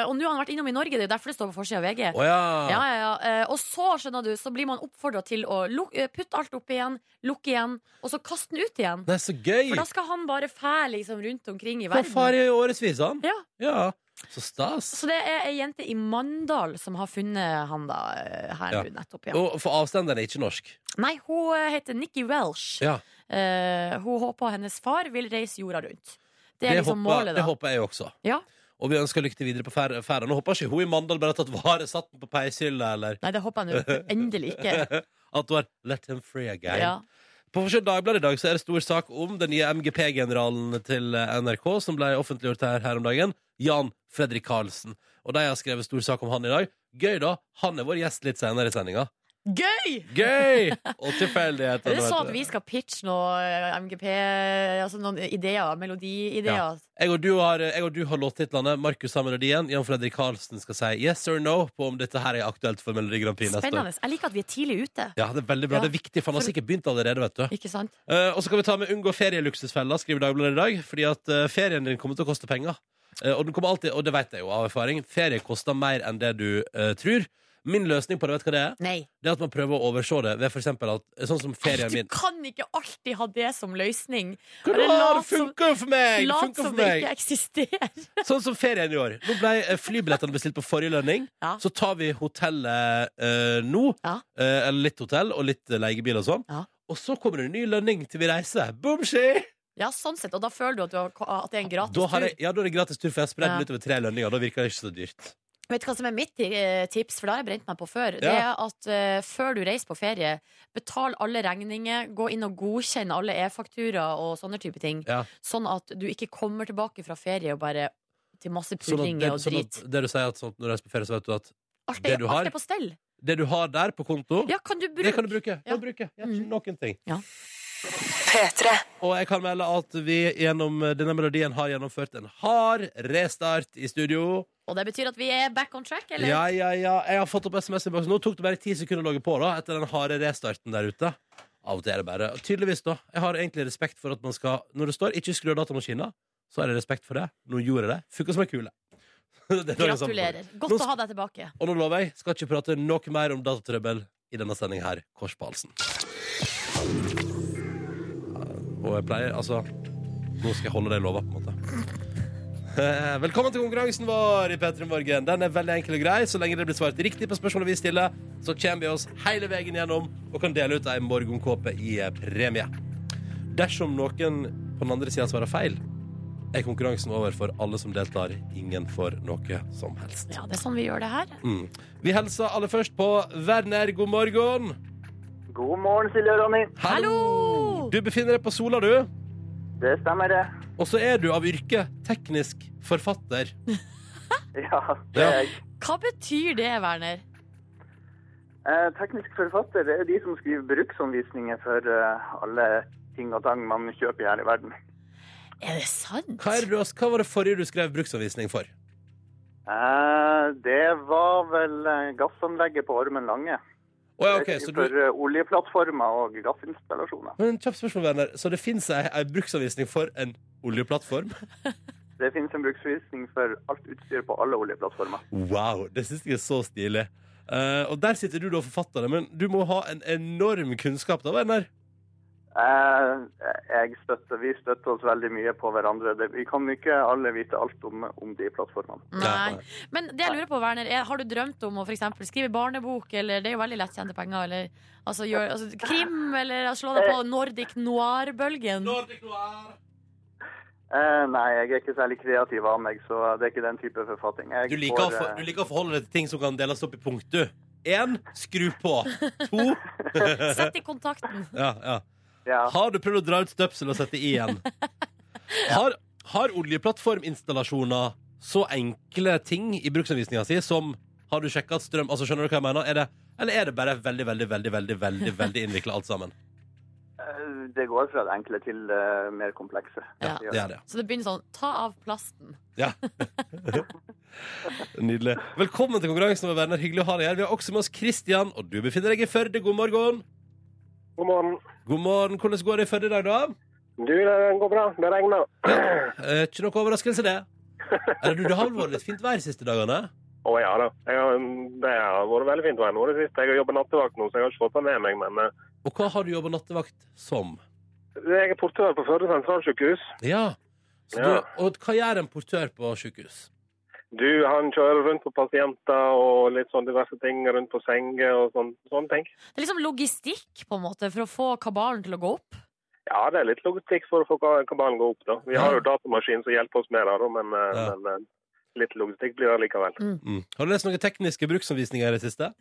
[SPEAKER 3] eh, Og nå har han vært innom i Norge, det er jo derfor det står på forsida av VG.
[SPEAKER 2] Å ja.
[SPEAKER 3] Ja, ja, ja. Eh, Og så skjønner du, så blir man oppfordra til å luk- eh, putte alt opp igjen, lukke igjen, og så kaste den ut igjen.
[SPEAKER 2] Det er så gøy!
[SPEAKER 3] For da skal han bare fære liksom rundt omkring i
[SPEAKER 2] Fra far
[SPEAKER 3] verden.
[SPEAKER 2] i årevis, han.
[SPEAKER 3] Ja.
[SPEAKER 2] Så stas.
[SPEAKER 3] Så det er ei jente i Mandal som har funnet han da eh, her
[SPEAKER 2] Ja.
[SPEAKER 3] nå nettopp. Ja.
[SPEAKER 2] Og for avstanderen er ikke norsk.
[SPEAKER 3] Nei, hun eh, heter Nikki Welsh.
[SPEAKER 2] Ja.
[SPEAKER 3] Eh, hun håper hennes far vil reise jorda rundt. Det
[SPEAKER 2] Det,
[SPEAKER 3] er liksom
[SPEAKER 2] håper,
[SPEAKER 3] målet,
[SPEAKER 2] det
[SPEAKER 3] da.
[SPEAKER 2] håper jeg også.
[SPEAKER 3] Ja.
[SPEAKER 2] Og vi ønsker lykke til videre på fer- ferda. Nå håper ikke hun i Mandal bare har tatt vare, satt den på peishylla, eller
[SPEAKER 3] Nei, det håper jeg nå endelig ikke.
[SPEAKER 2] <laughs> at hun har let him free again.
[SPEAKER 3] Ja.
[SPEAKER 2] På Forskjell Dagbladet i dag så er det stor sak om den nye MGP-generalen til eh, NRK, som ble offentliggjort her, her om dagen, Jan Fredrik Karlsen. Og de har skrevet stor sak om han i dag. Gøy, da. Han er vår gjest litt senere i sendinga.
[SPEAKER 3] Gøy! <laughs>
[SPEAKER 2] Gøy! Og tilfeldigheter.
[SPEAKER 3] Er det
[SPEAKER 2] vet
[SPEAKER 3] sånn at
[SPEAKER 2] du.
[SPEAKER 3] vi skal pitche noe eh, MGP, altså noen ideer, melodiideer?
[SPEAKER 2] Jeg og du har, eh, jeg og du har låttitlene. Markus har melodien. Jan Fredrik Karlsen skal si yes or no på om dette her er aktuelt for Melodi Grand Prix neste år.
[SPEAKER 3] Spennende. Jeg liker at vi er tidlig ute.
[SPEAKER 2] Ja, det er veldig bra.
[SPEAKER 3] Ja.
[SPEAKER 2] Det er viktig, for han har sikkert begynt allerede, vet du.
[SPEAKER 3] Ikke sant?
[SPEAKER 2] Eh, og så kan vi ta med unngå ferieluksusfella, skriver Dagbladet i dag. Fordi at eh, ferien din kommer til å koste penger. Eh, og den kommer alltid, og det vet jeg jo av erfaring, ferie koster mer enn det du eh, tror. Min løsning på det, vet du hva det er?
[SPEAKER 3] Nei.
[SPEAKER 2] Det er at man prøver å overse det ved for eksempel at Sånn som ferien
[SPEAKER 3] Du
[SPEAKER 2] min.
[SPEAKER 3] kan ikke alltid ha det som løsning.
[SPEAKER 2] Hva
[SPEAKER 3] det
[SPEAKER 2] da?
[SPEAKER 3] lat
[SPEAKER 2] Det funker jo for meg! Det
[SPEAKER 3] Lat
[SPEAKER 2] funker
[SPEAKER 3] som
[SPEAKER 2] for
[SPEAKER 3] det
[SPEAKER 2] meg!
[SPEAKER 3] ikke <laughs> eksisterer.
[SPEAKER 2] Sånn som ferien i år. Nå ble eh, flybillettene bestilt på forrige lønning.
[SPEAKER 3] Ja.
[SPEAKER 2] Så tar vi hotellet eh, nå.
[SPEAKER 3] Ja.
[SPEAKER 2] Eh, eller litt hotell og litt eh, leiebil og sånn.
[SPEAKER 3] Ja.
[SPEAKER 2] Og så kommer det en ny lønning til vi reiser. Boomshi!
[SPEAKER 3] Ja, sånn sett. Og da føler du at, du har, at det er en gratis
[SPEAKER 2] Da, har
[SPEAKER 3] tur.
[SPEAKER 2] jeg- ja, da er det gratis tur, for jeg har spredd den
[SPEAKER 3] Ja.
[SPEAKER 2] utover tre lønninger. Da virker det ikke så dyrt.
[SPEAKER 3] Vet du hva som er mitt eh, tips, for det har jeg brent meg på før? Det er
[SPEAKER 2] Ja.
[SPEAKER 3] at eh, før du reiser på ferie, betal alle regninger, gå inn og godkjenn alle e-fakturaer og sånne type ting.
[SPEAKER 2] Ja.
[SPEAKER 3] Sånn at du ikke kommer tilbake fra ferie og bare til masse
[SPEAKER 2] Sånn at,
[SPEAKER 3] purring
[SPEAKER 2] det,
[SPEAKER 3] og
[SPEAKER 2] sånn
[SPEAKER 3] drit.
[SPEAKER 2] at det du sier at sånn, når du reiser på ferie, så vet du at
[SPEAKER 3] Alt
[SPEAKER 2] det
[SPEAKER 3] er,
[SPEAKER 2] du har-
[SPEAKER 3] alt er på stell.
[SPEAKER 2] det du har der på konto,
[SPEAKER 3] Ja, kan du bruke
[SPEAKER 2] det kan du bruke.
[SPEAKER 3] Ja.
[SPEAKER 2] Da bruker jeg
[SPEAKER 3] Mm.
[SPEAKER 2] noen ting.
[SPEAKER 3] Ja.
[SPEAKER 2] Og jeg kan melde at vi gjennom denne melodien har gjennomført en hard restart i studio.
[SPEAKER 3] Og det betyr at vi er back on track, eller?
[SPEAKER 2] Ja, ja, ja. Jeg har fått opp SMS-innboksen. Nå tok det bare ti sekunder å logge på da, etter den harde restarten der ute. Av og til er det bare Tydeligvis, da. Jeg har egentlig respekt for at man skal Når det står 'ikke skru av datamaskinen', så har jeg respekt for det. Nå gjorde jeg det. Funka som ei kule. <laughs> Det er da jeg sammen på det.
[SPEAKER 3] Gratulerer. Godt
[SPEAKER 2] Nå
[SPEAKER 3] å ha deg tilbake.
[SPEAKER 2] Og nå lover jeg, skal ikke prate noe mer om datatrøbbel i denne sendingen her. Kors på halsen. Og jeg pleier Altså, nå skal jeg holde det jeg lover, på en måte. Eh, Velkommen til konkurransen vår i P3 Morgen. Den er veldig enkel og grei. Så lenge det blir svart riktig på spørsmålet vi stiller, så kommer vi oss hele veien gjennom og kan dele ut ei morgenkåpe i eh, premie. Dersom noen på den andre sida svarer feil, er konkurransen over for alle som deltar. Ingen får noe som helst.
[SPEAKER 3] Ja, det er sånn vi gjør det her.
[SPEAKER 2] Mm. Vi hilser aller først på Werner. God morgen.
[SPEAKER 1] God morgen, Silje og Ronny.
[SPEAKER 3] Hallo!
[SPEAKER 2] Du befinner deg på Sola, du.
[SPEAKER 1] Det stemmer, det.
[SPEAKER 2] Og så er du av yrke teknisk forfatter.
[SPEAKER 1] <laughs> Ja, det er jeg.
[SPEAKER 3] Hva betyr det, Werner?
[SPEAKER 1] Eh, teknisk forfatter det er de som skriver bruksanvisninger for eh, alle ting og tang man kjøper her i verden.
[SPEAKER 3] Er det sant?
[SPEAKER 2] Hva, er det, du- hva var det forrige du skrev bruksanvisning for?
[SPEAKER 1] Eh, det var vel eh, gassanlegget på Ormen Lange.
[SPEAKER 2] Å ja, ok, så du...
[SPEAKER 1] For eh, oljeplattformer og gassinstallasjoner.
[SPEAKER 2] Men kjapt spørsmål, Werner. Så det fins ei, ei bruksanvisning for en oljeplattform?
[SPEAKER 1] Det finnes en bruksvisning for alt utstyr på alle oljeplattformer.
[SPEAKER 2] Wow, det syns jeg er så stilig. Eh, Eh, og der sitter du da og forfatter det, men du må ha en enorm kunnskap da, Werner.
[SPEAKER 1] Eh, jeg støtter, vi støtter oss veldig mye på hverandre. Det, vi kan ikke alle vite alt om, om de plattformene.
[SPEAKER 3] Nei. Men det jeg lurer på, Werner, er, har du drømt om å for eksempel skrive barnebok, eller det er jo veldig lettkjente penger, eller altså, gjør, altså, krim, eller slå deg
[SPEAKER 6] Eh.
[SPEAKER 3] på Nordic noir-bølgen?
[SPEAKER 1] Eh, nei, jeg er ikke særlig kreativ av meg, så det er ikke den type forfatning. Jeg
[SPEAKER 2] Du liker, å,
[SPEAKER 1] får,
[SPEAKER 2] for-
[SPEAKER 1] eh,
[SPEAKER 2] du liker å forholde deg til ting som kan deles opp i punkt, du. Én skru på. To
[SPEAKER 3] <laughs> Sett i kontakten.
[SPEAKER 2] <laughs> ja, ja.
[SPEAKER 1] ja.
[SPEAKER 2] Har du prøvd å dra ut støpsel og sette i
[SPEAKER 1] <laughs>
[SPEAKER 2] igjen? Har, har oljeplattforminstallasjoner så enkle ting i bruksanvisninga si som har du sjekka at strøm Altså, skjønner du hva jeg mener? Er det, eller er det bare veldig, veldig, veldig, veldig, veldig, veldig innvikla alt sammen?
[SPEAKER 1] Eh, Det går fra det enkle til det mer komplekse.
[SPEAKER 3] Ja.
[SPEAKER 1] Det gjør
[SPEAKER 2] Det er det.
[SPEAKER 3] Så det begynner sånn, ta av plasten.
[SPEAKER 2] Ja. Nydelig. Velkommen til konkurransen med Werner. Hyggelig å ha deg her. Vi har også med oss Kristian, og du befinner deg i Førde. God morgen.
[SPEAKER 7] God morgen.
[SPEAKER 2] God morgen. Hvordan går det i Førde i dag, da?
[SPEAKER 7] Du, det går bra. Det regner.
[SPEAKER 2] Eh, Ikke noe overraskelse, det. Eller du, det har vel vært litt fint vær de siste dagene?
[SPEAKER 7] <clears throat> Å ja da. Jeg har, mm, det har vært veldig fint vær nå i det siste. Jeg har jobba nattevakt nå, så jeg har ikke fått det med meg. Men eh,
[SPEAKER 2] Og hva har du jobba nattevakt som?
[SPEAKER 7] jeg er portør på Førde sentralsykehus.
[SPEAKER 2] Ja. Så
[SPEAKER 7] Ja.
[SPEAKER 2] Du, og hva gjør en portør på sykehus?
[SPEAKER 7] Du, han kjører rundt på pasienter og litt sånn diverse ting rundt på senger og sånn, sånne ting.
[SPEAKER 3] Det er liksom logistikk, på en måte, for å få kabalen til å gå opp.
[SPEAKER 7] Ja, det er litt logistikk for å få ka- kabalen gå opp, da. Vi har jo datamaskin som hjelper oss med det, da, men, eh,
[SPEAKER 2] Ja.
[SPEAKER 7] men eh, litt logistikk blir det likevel.
[SPEAKER 2] Mm. Har du lest noen tekniske bruksanvisninger i det siste?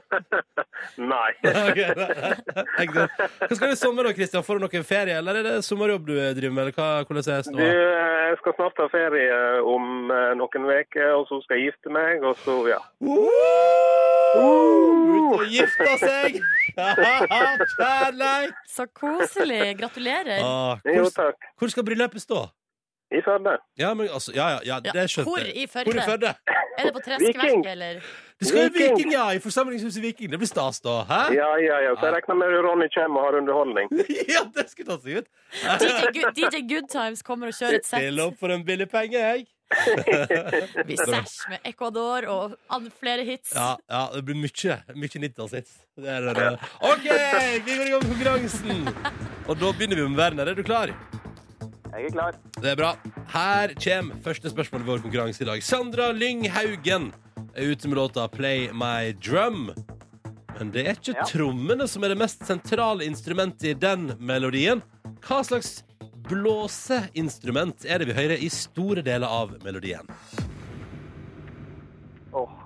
[SPEAKER 7] <laughs> Nei.
[SPEAKER 2] Ok, nei, nei, nei, greit. Hva skal du i sommer, da, Kristian? Får du noen ferie, eller er det sommerjobb du driver med? Eller hva, hvordan er
[SPEAKER 7] Du,
[SPEAKER 2] ståa?
[SPEAKER 7] eh, jeg skal snart ha ferie eh, om eh, noen uker, og så skal jeg gifte meg, og så, ja.
[SPEAKER 2] Ute og gifta
[SPEAKER 1] <laughs>
[SPEAKER 2] seg! Kjærleik!
[SPEAKER 3] Så koselig. Gratulerer.
[SPEAKER 2] Ah,
[SPEAKER 7] Jo,
[SPEAKER 2] hvor,
[SPEAKER 7] takk.
[SPEAKER 2] hvor skal bryllupet stå?
[SPEAKER 7] I Førde.
[SPEAKER 2] Ja, men altså, ja, ja, ja,
[SPEAKER 3] Ja,
[SPEAKER 2] det skjønte
[SPEAKER 3] hvor
[SPEAKER 2] jeg.
[SPEAKER 3] i Førde?
[SPEAKER 2] Hvor i Førde?
[SPEAKER 3] Er det på
[SPEAKER 7] Viking.
[SPEAKER 3] Treskverket, eller?
[SPEAKER 2] Det skal jo i
[SPEAKER 7] Viking.
[SPEAKER 2] Viking, ja! I forsamlingshuset Viking. Det blir stas, da. Hæ?
[SPEAKER 7] Ja, ja, ja. Så jeg regner med at Ronny kommer og har
[SPEAKER 1] <laughs>
[SPEAKER 7] underholdning.
[SPEAKER 2] Ja, det skulle tatt seg ut.
[SPEAKER 3] DJ, Good- DJ Goodtimes kommer og kjører et sett.
[SPEAKER 2] Stille opp for en billig
[SPEAKER 3] <laughs>
[SPEAKER 2] penge, jeg.
[SPEAKER 3] Vi sæsj med Ecuador og an- flere hits.
[SPEAKER 2] Ja, ja det blir mye, mye 90-tallshits. Det er det. OK, vi går i gang med konkurransen. Og da begynner vi med Werner. Er du klar?
[SPEAKER 1] Jeg er klar.
[SPEAKER 2] Det er bra. Her kommer første spørsmål i vår konkurranse i dag. Sandra Lyng Haugen er ute med låta 'Play My Drum'. Men det er ikke
[SPEAKER 1] Ja.
[SPEAKER 2] trommene som er det mest sentrale instrumentet i den melodien. Hva slags blåseinstrument er det vi hører i store deler av melodien?
[SPEAKER 1] Åh.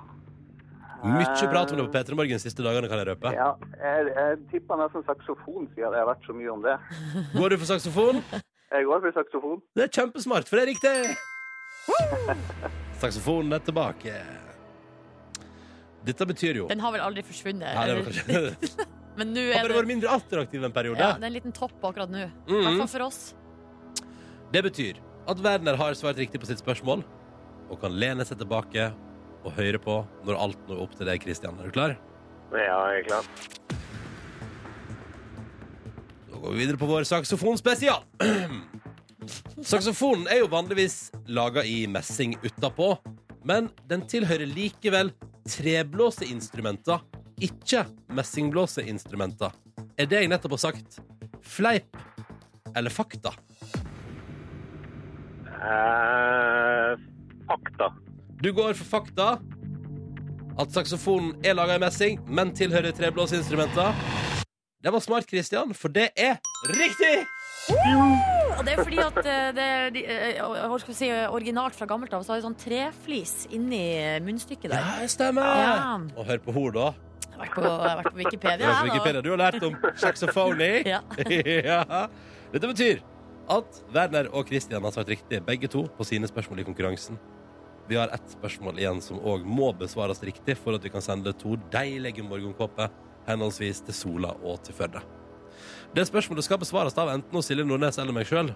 [SPEAKER 2] Mye prat om det
[SPEAKER 1] Eh,
[SPEAKER 2] på P3 Morgen de siste dagene, kan jeg røpe.
[SPEAKER 1] Ja, jeg, jeg tipper nesten saksofon, siden det har vært så mye om det.
[SPEAKER 2] <laughs> Går du for saksofon?
[SPEAKER 1] Jeg går for saksofon.
[SPEAKER 2] Det er kjempesmart, for det er riktig! Woo! Saksofonen er tilbake. Dette betyr jo
[SPEAKER 3] Den har vel aldri forsvunnet.
[SPEAKER 2] Nei, det var
[SPEAKER 3] eller?
[SPEAKER 2] kanskje
[SPEAKER 3] <laughs>
[SPEAKER 2] <laughs>
[SPEAKER 3] Men nå
[SPEAKER 2] Har
[SPEAKER 3] er
[SPEAKER 2] bare
[SPEAKER 3] det,
[SPEAKER 2] vært mindre attraktiv en periode.
[SPEAKER 3] ja, det er en liten topp akkurat nå. I hvert
[SPEAKER 2] Mm-hmm.
[SPEAKER 3] fall for oss.
[SPEAKER 2] Det betyr at Werner har svart riktig på sitt spørsmål og kan lene seg tilbake og høre på når alt når opp til deg, Kristian. Er du klar?
[SPEAKER 7] Ja, jeg er klar.
[SPEAKER 2] Da går vi videre på vår saksofonspesial. Saksofonen er jo vanligvis laga i messing utapå, men den tilhører likevel treblåseinstrumenter, ikke messingblåseinstrumenter. Er det jeg nettopp har sagt, fleip eller fakta?
[SPEAKER 7] Eh, fakta.
[SPEAKER 2] Du går for fakta. At saksofonen er laga i messing, men tilhører treblåseinstrumenter. Det var smart, Christian, for det er riktig!
[SPEAKER 3] Og det er fordi at eh, det er de- eh, hva skal vi si, originalt fra gammelt av, så har vi sånn treflis inni munnstykket der.
[SPEAKER 2] Ja, stemmer.
[SPEAKER 3] Ja.
[SPEAKER 2] Og hør på henne, da.
[SPEAKER 3] Jeg har vært på, jeg har vært på Wikipedia.
[SPEAKER 2] Det er på
[SPEAKER 3] jeg, da.
[SPEAKER 2] Wikipedia. Du har lært om saxophony.
[SPEAKER 3] <laughs> Ja.
[SPEAKER 2] <laughs> ja. Dette betyr at Werner og Christian har svart riktig, begge to, på sine spørsmål i konkurransen. Vi har ett spørsmål igjen som òg må besvares riktig for at vi kan sende to deilige morgenkåper henholdsvis til Sola og til Førde. Det spørsmålet skal besvares av enten hos Silje Nordnes eller meg sjøl.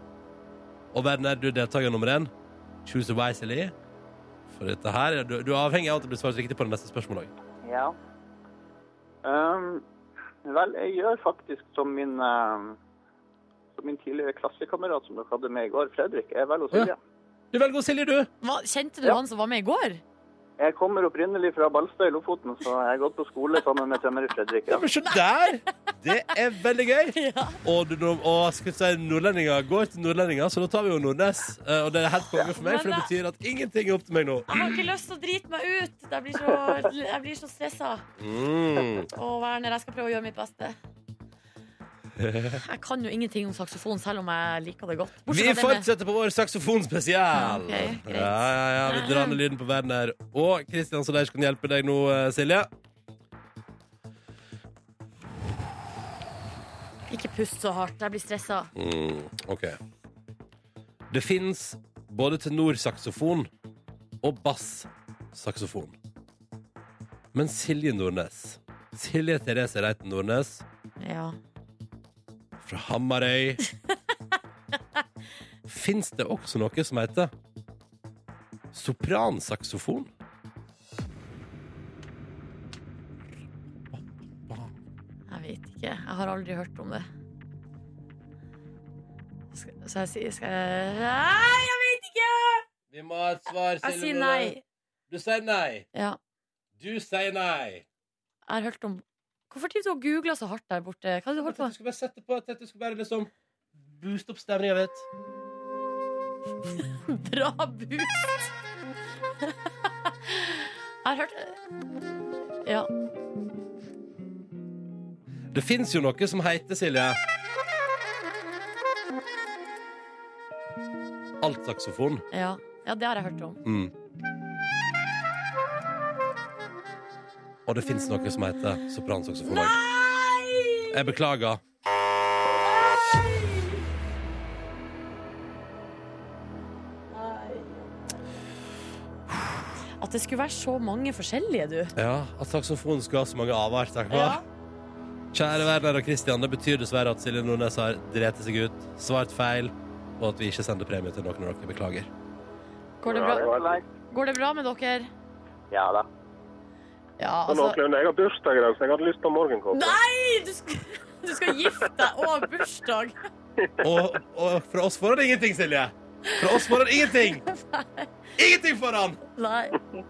[SPEAKER 2] Og Werner, du er deltaker nummer én. Choose wisely. For dette her, er- du, du er avhengig av at det blir svart riktig på det neste spørsmålet òg.
[SPEAKER 1] Ja. Ehm, vel, jeg gjør faktisk som min, ehm, som min tidligere klassekamerat som dere hadde med i går, Fredrik. Jeg velger å si
[SPEAKER 2] Ja. Du velger hos Silje, du.
[SPEAKER 3] Hva, kjente du
[SPEAKER 1] Ja.
[SPEAKER 3] han som var med i går?
[SPEAKER 1] Jeg kommer opprinnelig fra Balstad i Lofoten, så jeg har gått på skole sammen med tømrer Fredrik.
[SPEAKER 2] Ja,
[SPEAKER 1] Ja.
[SPEAKER 2] men se der! Det er veldig gøy.
[SPEAKER 3] <laughs> Ja.
[SPEAKER 2] Og, du, og skal vi si nordlendinger går til nordlendinger, så da tar vi jo Nordnes. Eh, Og det er helt konge for meg, for det betyr at ingenting er opp til meg nå.
[SPEAKER 3] Jeg har ikke lyst til å drite meg ut. Jeg blir så, jeg blir så stressa.
[SPEAKER 2] Mm.
[SPEAKER 3] Å, Werner, jeg skal prøve å gjøre mitt beste. Jeg kan jo ingenting om saksofon, selv om jeg liker det godt.
[SPEAKER 2] Vi
[SPEAKER 3] Bortsett fra det med-
[SPEAKER 2] fortsetter på vår saksofonspesial.
[SPEAKER 3] Ja, ok, greit.
[SPEAKER 2] ja, ja, ja, vi drar ned lyden på Werner. Og Kristian Soleis kan hjelpe deg nå, eh, Silje.
[SPEAKER 3] Ikke pust så hardt, jeg blir stressa.
[SPEAKER 2] Mm, ok. Det fins både tenorsaksofon og bassaksofon. Men Silje Nordnes Silje Therese Reiten Nordnes
[SPEAKER 3] Ja.
[SPEAKER 2] fra
[SPEAKER 3] <laughs>
[SPEAKER 2] Hamarøy Fins det også noe som heter sopransaksofon?
[SPEAKER 3] Jeg vet ikke. Jeg har aldri hørt om det. Skal, så jeg sier skal jeg... Nei, jeg vet ikke!
[SPEAKER 2] Vi må ha et svar,
[SPEAKER 3] Jeg sier nei.
[SPEAKER 2] Du sier nei.
[SPEAKER 3] Ja,
[SPEAKER 2] Du sier nei.
[SPEAKER 3] jeg har hørt om Hvorfor driver du og googler så hardt der borte? Hva har du holdt på
[SPEAKER 2] Jeg tenkte
[SPEAKER 3] med?
[SPEAKER 2] du skulle bare sette på jeg tenkte du skulle bare liksom booste opp stemninga litt.
[SPEAKER 3] <laughs> Bra boost! <laughs> Jeg har hørt Ja.
[SPEAKER 2] Det fins jo noe som heter, Silje Altsaksofon.
[SPEAKER 3] Ja, ja det har jeg hørt om.
[SPEAKER 2] Mm. Og det fins noe som heter sopransaksofon òg. Jeg beklager.
[SPEAKER 3] At det skulle være så mange forskjellige, du.
[SPEAKER 2] Ja, At saksofon skal ha så mange avarter. Kjære Werner og Christian, det betyr dessverre at Silje Nordnes har dreti seg ut, svart feil, og at vi ikke sender premie til noen av dere. Beklager.
[SPEAKER 3] Går, det
[SPEAKER 7] Ja, det
[SPEAKER 3] bra?
[SPEAKER 7] var-
[SPEAKER 3] Går det bra med dere?
[SPEAKER 1] Ja da.
[SPEAKER 3] Ja,
[SPEAKER 7] Sånn
[SPEAKER 3] altså
[SPEAKER 7] noenlunde. Jeg har bursdag i dag, så jeg hadde lyst på morgenkåpe.
[SPEAKER 3] Nei! Du skal, <laughs> du skal gifte deg og ha bursdag.
[SPEAKER 2] Og, og fra oss får han ingenting, Silje. Fra oss får han ingenting. Ingenting får han!
[SPEAKER 3] Nei.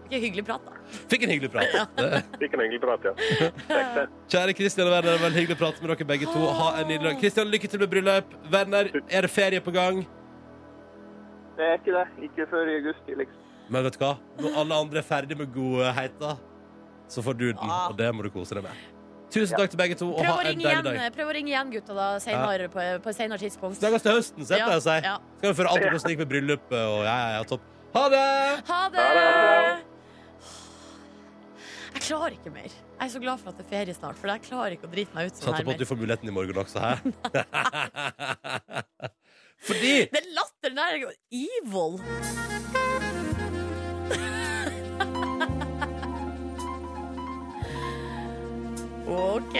[SPEAKER 3] Ikke hyggelig prat, da.
[SPEAKER 2] Fikk en hyggelig prat. Det-
[SPEAKER 7] Fikk en hyggelig prat, ja.
[SPEAKER 2] Kjære Kristian og Werner, veldig hyggelig å prate med dere begge to. Ha en nydelig dag. Kristian, lykke til med bryllup. Werner, er det ferie på gang?
[SPEAKER 1] Det er ikke det. Ikke før i august, liksom.
[SPEAKER 2] Men vet du hva? Når alle andre er ferdig med godheita, så får du den,
[SPEAKER 3] Ja.
[SPEAKER 2] og det må du kose deg med. Tusen takk til begge to, og
[SPEAKER 3] Prøv
[SPEAKER 2] ha
[SPEAKER 3] å
[SPEAKER 2] en
[SPEAKER 3] ringe eh,
[SPEAKER 2] deilig
[SPEAKER 3] igjen,
[SPEAKER 2] dag.
[SPEAKER 3] prøv å ringe igjen gutta, da, senere, på, på et senere tidspunkt.
[SPEAKER 2] Snakkes til høsten, så jeg
[SPEAKER 3] Ja,
[SPEAKER 2] pleier å si.
[SPEAKER 3] ja.
[SPEAKER 2] Skal vi føre alt om hvordan det gikk med bryllupet, og ja, ja, ja, topp. Ha det!
[SPEAKER 3] Ha det! Jeg klarer ikke mer. Jeg er så glad for at det er ferie snart, for jeg klarer ikke å drite meg ut sånn
[SPEAKER 2] Satser
[SPEAKER 3] her
[SPEAKER 2] på at
[SPEAKER 3] mer.
[SPEAKER 2] du får muligheten i morgen også, hæ? Fordi
[SPEAKER 3] Den latteren der er evil! OK.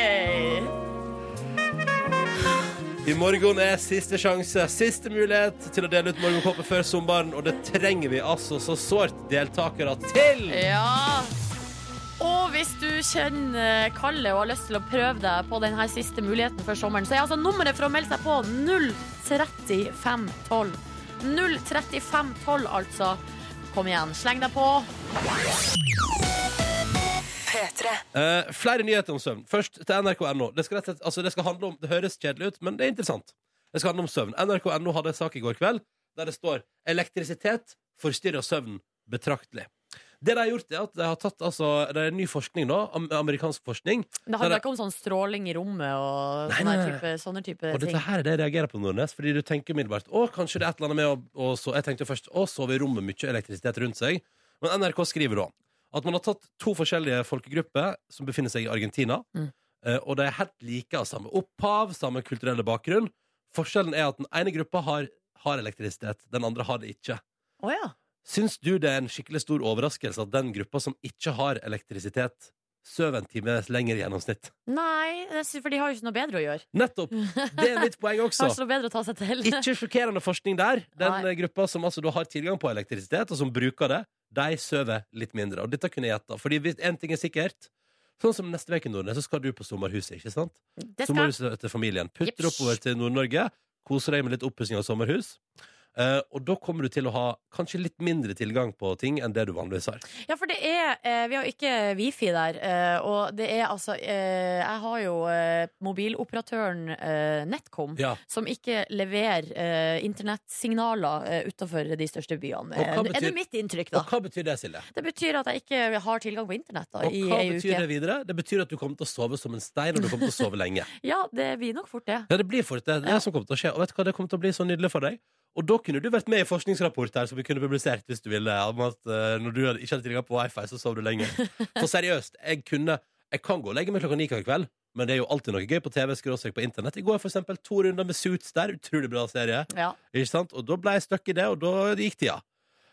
[SPEAKER 2] I morgen er siste sjanse, siste mulighet til å dele ut morgenkåpe før sommeren, og det trenger vi altså så sårt deltakere til!
[SPEAKER 3] Ja. Og hvis du kjenner kallet og har lyst til å prøve deg på denne siste muligheten før sommeren, så er altså nummeret for å melde seg på 03512. 03512, altså. Kom igjen, sleng deg på.
[SPEAKER 2] Eh, flere nyheter om søvn. Først til nrk.no. Det, skal rett og slett- altså, det skal handle om Det høres kjedelig ut, men det er interessant. Det skal handle om søvn. nrk.no hadde en sak i går kveld der det står 'Elektrisitet forstyrrer søvnen betraktelig'. Det de har gjort, er at de har tatt altså, Det er ny forskning nå, am- amerikansk forskning,
[SPEAKER 3] Det
[SPEAKER 2] Nei,
[SPEAKER 3] handler
[SPEAKER 2] nei.
[SPEAKER 3] ikke om sånn stråling i rommet og
[SPEAKER 2] Nei,
[SPEAKER 3] sånne
[SPEAKER 2] nei, nei.
[SPEAKER 3] type, sånne type
[SPEAKER 2] og
[SPEAKER 3] ting.
[SPEAKER 2] dette her er det jeg reagerer på, Nordnes, fordi du tenker umiddelbart 'Å, kanskje det er et eller annet med å, å so-» Jeg tenkte først 'Å, sover i rommet mye elektrisitet rundt seg?' Men NRK skriver da at man har tatt to forskjellige folkegrupper som befinner seg i Argentina.
[SPEAKER 3] Mm.
[SPEAKER 2] Eh, og de er helt like av samme opphav, samme kulturelle bakgrunn. Forskjellen er at den ene gruppa har, har elektrisitet, den andre har det ikke.
[SPEAKER 3] Å ja.
[SPEAKER 2] Syns du det er en skikkelig stor overraskelse at den gruppa som ikke har elektrisitet, sover en time lenger i gjennomsnitt?
[SPEAKER 3] Nei, det er- for de har jo ikke noe bedre å gjøre.
[SPEAKER 2] Nettopp!
[SPEAKER 3] Mm.
[SPEAKER 2] Det er mitt
[SPEAKER 3] <laughs>
[SPEAKER 2] poeng
[SPEAKER 3] Har
[SPEAKER 2] også.
[SPEAKER 3] ikke noe bedre å ta seg til.
[SPEAKER 2] Ikke sjokkerende forskning der. Den
[SPEAKER 3] Nei.
[SPEAKER 2] eh, gruppa som altså da har tilgang på elektrisitet, og som bruker det, de sover litt mindre. Og dette kunne jeg gjette. Fordi hvis én ting er sikkert Sånn som neste uke, Nordnes, så skal du på sommerhuset, ikke sant?
[SPEAKER 3] Det skal
[SPEAKER 2] Sommerhuset til familien. Putter
[SPEAKER 3] Jeps.
[SPEAKER 2] oppover til Nord-Norge, koser deg med litt oppussing av sommerhus. Eh, og da kommer du til å ha kanskje litt mindre tilgang på ting enn det du vanligvis har.
[SPEAKER 3] Ja, for det er eh, Vi har jo ikke wifi der. Eh, og det er altså eh, Jeg har jo eh, mobiloperatøren eh, NetCom,
[SPEAKER 2] Ja.
[SPEAKER 3] som ikke leverer eh, internettsignaler eh, utenfor de største byene.
[SPEAKER 2] Og hva
[SPEAKER 3] Eh, Er
[SPEAKER 2] betyr-
[SPEAKER 3] det mitt inntrykk, da?
[SPEAKER 2] Og hva betyr det, Silje?
[SPEAKER 3] Det betyr at jeg ikke har tilgang på internett da,
[SPEAKER 2] Og
[SPEAKER 3] i
[SPEAKER 2] hva
[SPEAKER 3] ei
[SPEAKER 2] betyr
[SPEAKER 3] uke.
[SPEAKER 2] det videre? Det betyr at du kommer til å sove som en stein, og du kommer til å
[SPEAKER 3] <laughs>
[SPEAKER 2] sove lenge.
[SPEAKER 3] Ja, det blir nok fort det.
[SPEAKER 2] Ja, det blir fort det. Det er det som kommer til å skje. Og vet du hva, det kommer til å bli så nydelig for deg. Og da kunne du vært med i forskningsrapport her, som vi kunne publisert hvis du ville, om at eh, når du hadde- ikke hadde tilgang på wifi, så sov du lenge. For seriøst, jeg kunne Jeg kan gå og legge meg klokka ni i kveld, men det er jo alltid noe gøy på TV, skråstrek på internett. I går, for eksempel, to runder med Suits der. Utrolig bra serie.
[SPEAKER 3] Ja.
[SPEAKER 2] Ikke sant? Og da ble jeg stuck i det, og da gikk tida.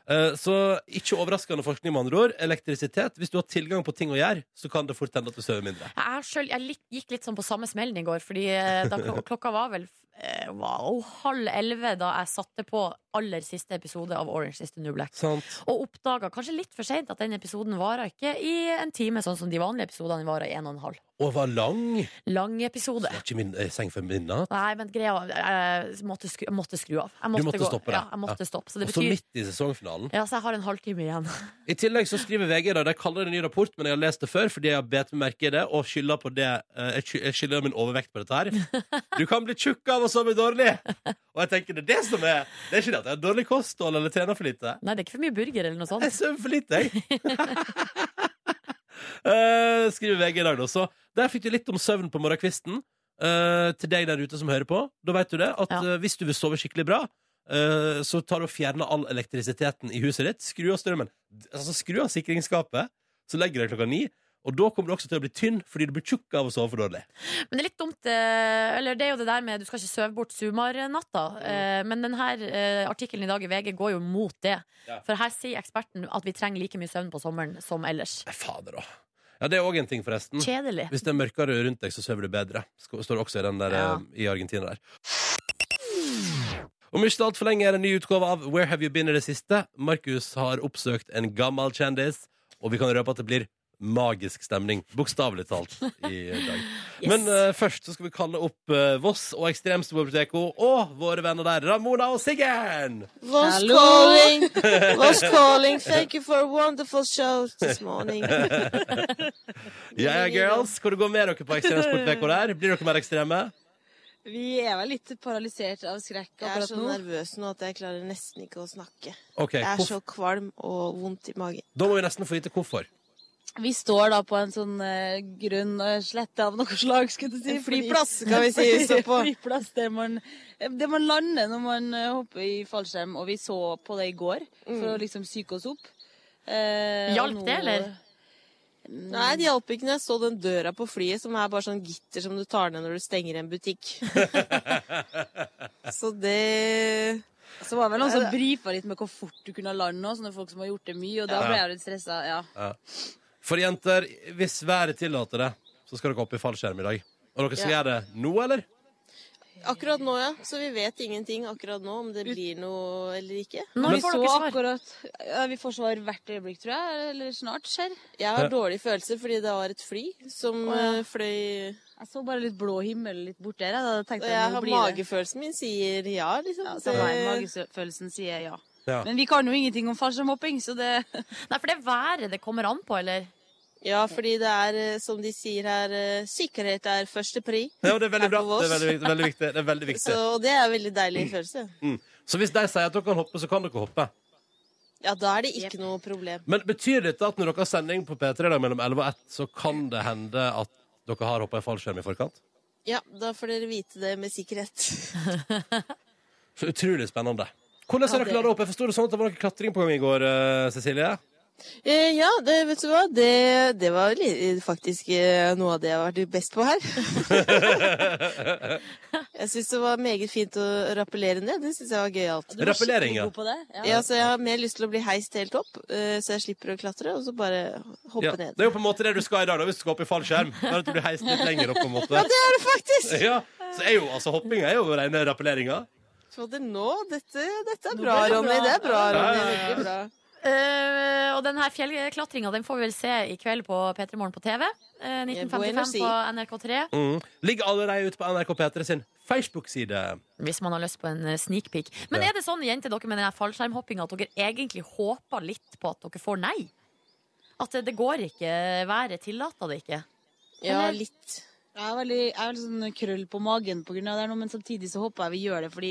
[SPEAKER 2] Eh, Så ikke overraskende forskning, med andre ord. Elektrisitet. Hvis du har tilgang på ting å gjøre, så kan det fort hende at du sover mindre.
[SPEAKER 3] Jeg, er selv, jeg litt, gikk litt sånn på samme smellen i går, fordi eh, da,
[SPEAKER 2] <laughs>
[SPEAKER 3] klo- klokka var vel eh, wow, halv elleve da jeg satte på aller siste episode av Orange is the New Black.
[SPEAKER 2] Sant?
[SPEAKER 3] Og oppdaga kanskje litt for seint at den episoden varer ikke i en time, sånn som de vanlige episodene varer i en og en halv.
[SPEAKER 2] Og var lang.
[SPEAKER 3] Lang episode.
[SPEAKER 2] Så var ikke min eh, seng før midnatt.
[SPEAKER 3] Nei, men greia Jeg måtte skru, jeg måtte skru av. Jeg
[SPEAKER 2] Du måtte stoppe det.
[SPEAKER 3] Ja, jeg måtte stoppe. Så det
[SPEAKER 2] Og så
[SPEAKER 3] betyr
[SPEAKER 2] midt i sesongfinalen.
[SPEAKER 3] ja, så jeg har en halvtime igjen. <laughs>
[SPEAKER 2] I tillegg så skriver VG i dag, de kaller det en ny rapport, men jeg har lest det før fordi jeg har bet meg merke i det, og skylder på det eh, Jeg sky- jeg skylder min overvekt på
[SPEAKER 3] <laughs>
[SPEAKER 2] dette her. Du kan bli tjukk av å sove dårlig! Og jeg tenker det er det som er Det er ikke det at jeg har dårlig kosthold eller trener for lite.
[SPEAKER 3] Nei, det er ikke for mye burger eller noe
[SPEAKER 2] Jeg
[SPEAKER 3] sånt.
[SPEAKER 2] sover for lite, jeg. Eh, skriver VG i dag, da. Så der fikk du litt om søvn på morgenkvisten. Eh, til deg der ute som hører på. Da vet du det, at
[SPEAKER 3] Ja.
[SPEAKER 2] eh, hvis du vil sove skikkelig bra, eh, så tar du og fjerner all elektrisiteten i huset ditt. Skru av strømmen. D- Altså, skru av sikringsskapet, så legger du deg klokka ni. Og da kommer du også til å bli tynn fordi du blir tjukk av å sove for dårlig.
[SPEAKER 3] <laughs> Men det er litt dumt eh, Eller det er jo det der med du skal ikke sove bort sumarnatta. Eh, Men denne artikkelen i dag i VG går jo mot det.
[SPEAKER 2] Ja.
[SPEAKER 3] For her sier eksperten at vi trenger like mye søvn på sommeren som ellers.
[SPEAKER 2] Nei, fader òg. Ja, det er òg en ting, forresten.
[SPEAKER 3] Kjedelig.
[SPEAKER 2] Hvis det er mørkere rundt deg, så sover du bedre. Sk- Står det også i, den der,
[SPEAKER 3] Ja.
[SPEAKER 2] eh, i Argentina der. Om ikke altfor lenge er det en ny utgave av Where Have You Been i det siste. Markus har oppsøkt en gammel kjendis, og vi kan røpe at det blir magisk stemning. Bokstavelig talt i dag.
[SPEAKER 3] <laughs> Yes.
[SPEAKER 2] Men eh, først så skal vi kalle opp eh, Voss og Ekstremsportbiblioteko og våre venner der, Ramona og Siggen!
[SPEAKER 8] Was
[SPEAKER 6] Hello.
[SPEAKER 8] calling.
[SPEAKER 2] <laughs>
[SPEAKER 8] Was calling. Thank you for a wonderful show this
[SPEAKER 3] <laughs>
[SPEAKER 8] morning.
[SPEAKER 2] Ja, ja, girls. Hvor det går med dere på Ekstremsportveka der? Blir dere mer ekstreme?
[SPEAKER 6] Vi er vel litt paralysert av skrekk
[SPEAKER 8] Jeg er
[SPEAKER 6] akkurat
[SPEAKER 8] så
[SPEAKER 6] nå.
[SPEAKER 8] nervøs nå at jeg klarer nesten ikke å snakke.
[SPEAKER 2] Ok,
[SPEAKER 8] Jeg er
[SPEAKER 2] hvorf-
[SPEAKER 8] så kvalm og vondt i magen.
[SPEAKER 2] Da må vi nesten få vite hvorfor.
[SPEAKER 6] Vi står da på en sånn eh, grunn eh, slette av noe slag, skulle du si.
[SPEAKER 8] En flyplass,
[SPEAKER 6] <laughs>
[SPEAKER 8] kan vi si vi står på.
[SPEAKER 6] flyplass der man, eh, der man lander når man eh, hopper i fallskjerm, og vi så på det i går
[SPEAKER 8] Mm.
[SPEAKER 6] for å liksom psyke oss opp. Eh,
[SPEAKER 3] Hjalp
[SPEAKER 6] og nå-
[SPEAKER 3] det, eller?
[SPEAKER 8] Nei, det hjalp ikke når jeg så den døra på flyet som er bare sånn gitter som du tar ned når du stenger en butikk. Så det
[SPEAKER 6] Så var det vel noen
[SPEAKER 8] Ja,
[SPEAKER 6] som
[SPEAKER 8] det-
[SPEAKER 6] brifa litt med hvor fort du kunne lande og sånne folk som har gjort det mye, og da
[SPEAKER 2] Ja.
[SPEAKER 6] ble jeg litt stressa. Ja.
[SPEAKER 2] For jenter, hvis været tillater det, så skal dere opp i fallskjerm i dag. Og dere skal
[SPEAKER 8] Ja.
[SPEAKER 2] gjøre det nå, eller?
[SPEAKER 8] Akkurat nå, ja. Så vi vet ingenting akkurat nå om det blir noe eller ikke.
[SPEAKER 3] Når
[SPEAKER 6] vi
[SPEAKER 3] får
[SPEAKER 6] så
[SPEAKER 3] dere svar?
[SPEAKER 6] akkurat ja, Vi får svar hvert øyeblikk, tror jeg. Eller snart skjer.
[SPEAKER 8] Jeg har dårlige følelser fordi det var et fly som
[SPEAKER 6] ja.
[SPEAKER 8] eh, fløy
[SPEAKER 6] Jeg så bare litt blå himmel litt bort der. jeg, Da
[SPEAKER 8] Og
[SPEAKER 6] tenkte jeg,
[SPEAKER 8] jeg
[SPEAKER 6] nå
[SPEAKER 8] har
[SPEAKER 6] blir det-
[SPEAKER 8] magefølelsen min sier ja, liksom.
[SPEAKER 6] Ja,
[SPEAKER 8] Det-
[SPEAKER 6] samme her, magefølelsen sier ja.
[SPEAKER 2] Ja.
[SPEAKER 6] Men vi kan jo ingenting om fallskjermhopping, så det <laughs>
[SPEAKER 3] Nei, for det er været det kommer an på, eller?
[SPEAKER 8] ja, fordi det er, eh, som de sier her, eh, sikkerhet er første pri.
[SPEAKER 2] Ja, det er veldig
[SPEAKER 8] Her
[SPEAKER 2] bra.
[SPEAKER 8] på Voss.
[SPEAKER 2] Det er veldig, viktig- veldig viktig. Det er veldig
[SPEAKER 8] <laughs>
[SPEAKER 2] viktig.
[SPEAKER 8] Så
[SPEAKER 2] Så...
[SPEAKER 8] og det er en veldig deilig følelse.
[SPEAKER 2] hvis de sier at dere kan hoppe, så kan dere hoppe.
[SPEAKER 8] Ja, da er det ikke noe problem.
[SPEAKER 2] Men betyr dette at når dere har sending på P3 i dag mellom 11 og 1, så kan det hende at dere har hoppa i fallskjerm i forkant?
[SPEAKER 8] Ja, da får dere vite det med sikkerhet.
[SPEAKER 2] Så utrolig spennende. Hvordan har
[SPEAKER 6] Ja,
[SPEAKER 2] dere
[SPEAKER 6] det-
[SPEAKER 2] klart opp? Jeg forsto det sånn at det var noe klatring på gang i går, eh, Cecilie.
[SPEAKER 8] <laughs> Eh, ja, det, vet du hva, det, det var li- faktisk eh, noe av det jeg har vært best på her. <laughs> jeg syns det var meget fint å rappellere ned. Det syns jeg var gøyalt.
[SPEAKER 6] du var
[SPEAKER 2] Rappellering,
[SPEAKER 6] skikkelig
[SPEAKER 2] ja.
[SPEAKER 6] god på det. Ja.
[SPEAKER 8] Ja, så jeg har mer lyst til å bli heist helt opp, eh, så jeg slipper å klatre, og så bare hoppe
[SPEAKER 2] Ja,
[SPEAKER 8] ned.
[SPEAKER 2] det er jo på en måte det du skal i dag, da, hvis du skal opp i fallskjerm. Bare at du blir heist litt lenger opp, på en
[SPEAKER 8] <laughs>
[SPEAKER 2] måte.
[SPEAKER 8] Det er det faktisk!
[SPEAKER 2] <laughs> Ja, så er jo, altså, hopping er jo rene rappelleringa.
[SPEAKER 8] Så det nå, dette, dette er
[SPEAKER 6] Nå
[SPEAKER 8] bra,
[SPEAKER 6] ble det
[SPEAKER 8] Ronny.
[SPEAKER 6] bra.
[SPEAKER 8] Det er bra,
[SPEAKER 2] Ja,
[SPEAKER 8] Ronny.
[SPEAKER 2] ja, ja.
[SPEAKER 8] Veldig bra.
[SPEAKER 3] Eh, og den her fjellklatringa den får vi vel se i kveld på P3 Morgen på TV. Eh,
[SPEAKER 8] Buenos
[SPEAKER 3] 1955 på NRK3.
[SPEAKER 2] Mm. Ligger allerede ute på NRK P3 sin Facebook-side.
[SPEAKER 3] Hvis man har lyst på en eh, sneak peek. Men
[SPEAKER 2] Ja.
[SPEAKER 3] er det sånn, jenter, dere med den her fallskjermhoppinga, at dere egentlig håper litt på at dere får nei? At det, det går ikke, været tillater det ikke?
[SPEAKER 8] Ja,
[SPEAKER 3] Eller-
[SPEAKER 8] litt.
[SPEAKER 6] Jeg er veldig, jeg er veldig sånn krøll på magen på grunn av det, her nå, men samtidig så håper jeg vi gjør det, fordi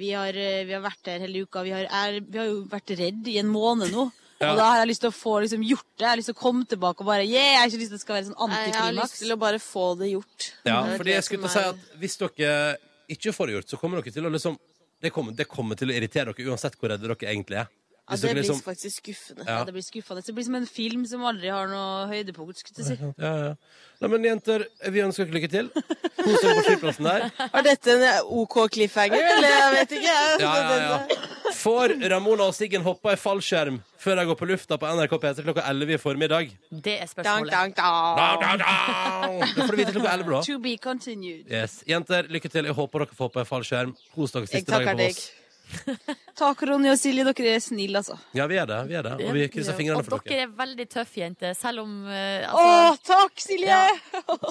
[SPEAKER 6] vi har, eh, vi har vært der hele uka. Vi har, er, vi har jo vært redd i en måned nå.
[SPEAKER 2] Ja.
[SPEAKER 6] Og da har jeg lyst til å få liksom, gjort det. Jeg har lyst til å komme tilbake og bare Yeah! Jeg har ikke lyst til at det skal være sånn
[SPEAKER 8] Nei, Jeg har lyst
[SPEAKER 6] antiklimaks.
[SPEAKER 8] til å bare få det gjort.
[SPEAKER 2] Ja,
[SPEAKER 8] Det er
[SPEAKER 2] fordi
[SPEAKER 8] det
[SPEAKER 2] jeg skulle til å
[SPEAKER 8] som
[SPEAKER 2] si
[SPEAKER 8] er-
[SPEAKER 2] at hvis dere ikke får det gjort, så kommer dere til å liksom det kommer, det kommer til å irritere dere uansett hvor redde dere egentlig er.
[SPEAKER 8] ja,
[SPEAKER 2] Hvis
[SPEAKER 8] Det
[SPEAKER 2] dere
[SPEAKER 8] blir
[SPEAKER 2] liksom
[SPEAKER 8] faktisk skuffende.
[SPEAKER 2] Ja.
[SPEAKER 6] Ja, det blir skuffende. Det blir som en film som aldri har noe høydepunkt. skulle
[SPEAKER 8] <laughs>
[SPEAKER 6] jeg si.
[SPEAKER 2] ja, ja. Nei, men jenter, vi ønsker dere lykke til. Kos dere på flyplassen der.
[SPEAKER 8] Er dette en eh, OK cliffhanger, eller? Jeg vet ikke. jeg.
[SPEAKER 2] Ja,
[SPEAKER 6] <laughs>
[SPEAKER 2] ja,
[SPEAKER 8] <laughs>
[SPEAKER 2] ja. Får Ramona og Siggen hoppa i fallskjerm før de går på lufta på NRK P3 klokka 11 i formiddag?
[SPEAKER 3] Det er
[SPEAKER 8] Dang,
[SPEAKER 3] spørsmålet.
[SPEAKER 8] dang, dang.
[SPEAKER 2] Da, da, da! Det får du vite klokka 11, da.
[SPEAKER 6] To be continued.
[SPEAKER 2] Yes. Jenter, lykke til. Jeg håper dere får hoppa i fallskjerm. Kos dere
[SPEAKER 8] Jeg
[SPEAKER 2] siste
[SPEAKER 8] takker
[SPEAKER 2] dagen på
[SPEAKER 8] deg.
[SPEAKER 2] Voss.
[SPEAKER 8] <laughs>
[SPEAKER 6] Takk, Ronny og Silje. Dere er snille, altså.
[SPEAKER 2] Ja, vi er det. vi er det. Og vi krysser fingrene
[SPEAKER 3] Og
[SPEAKER 2] for dere.
[SPEAKER 3] dere er veldig tøffe, jenter. Selv om eh,
[SPEAKER 6] Å,
[SPEAKER 3] altså,
[SPEAKER 6] takk, Silje! <laughs>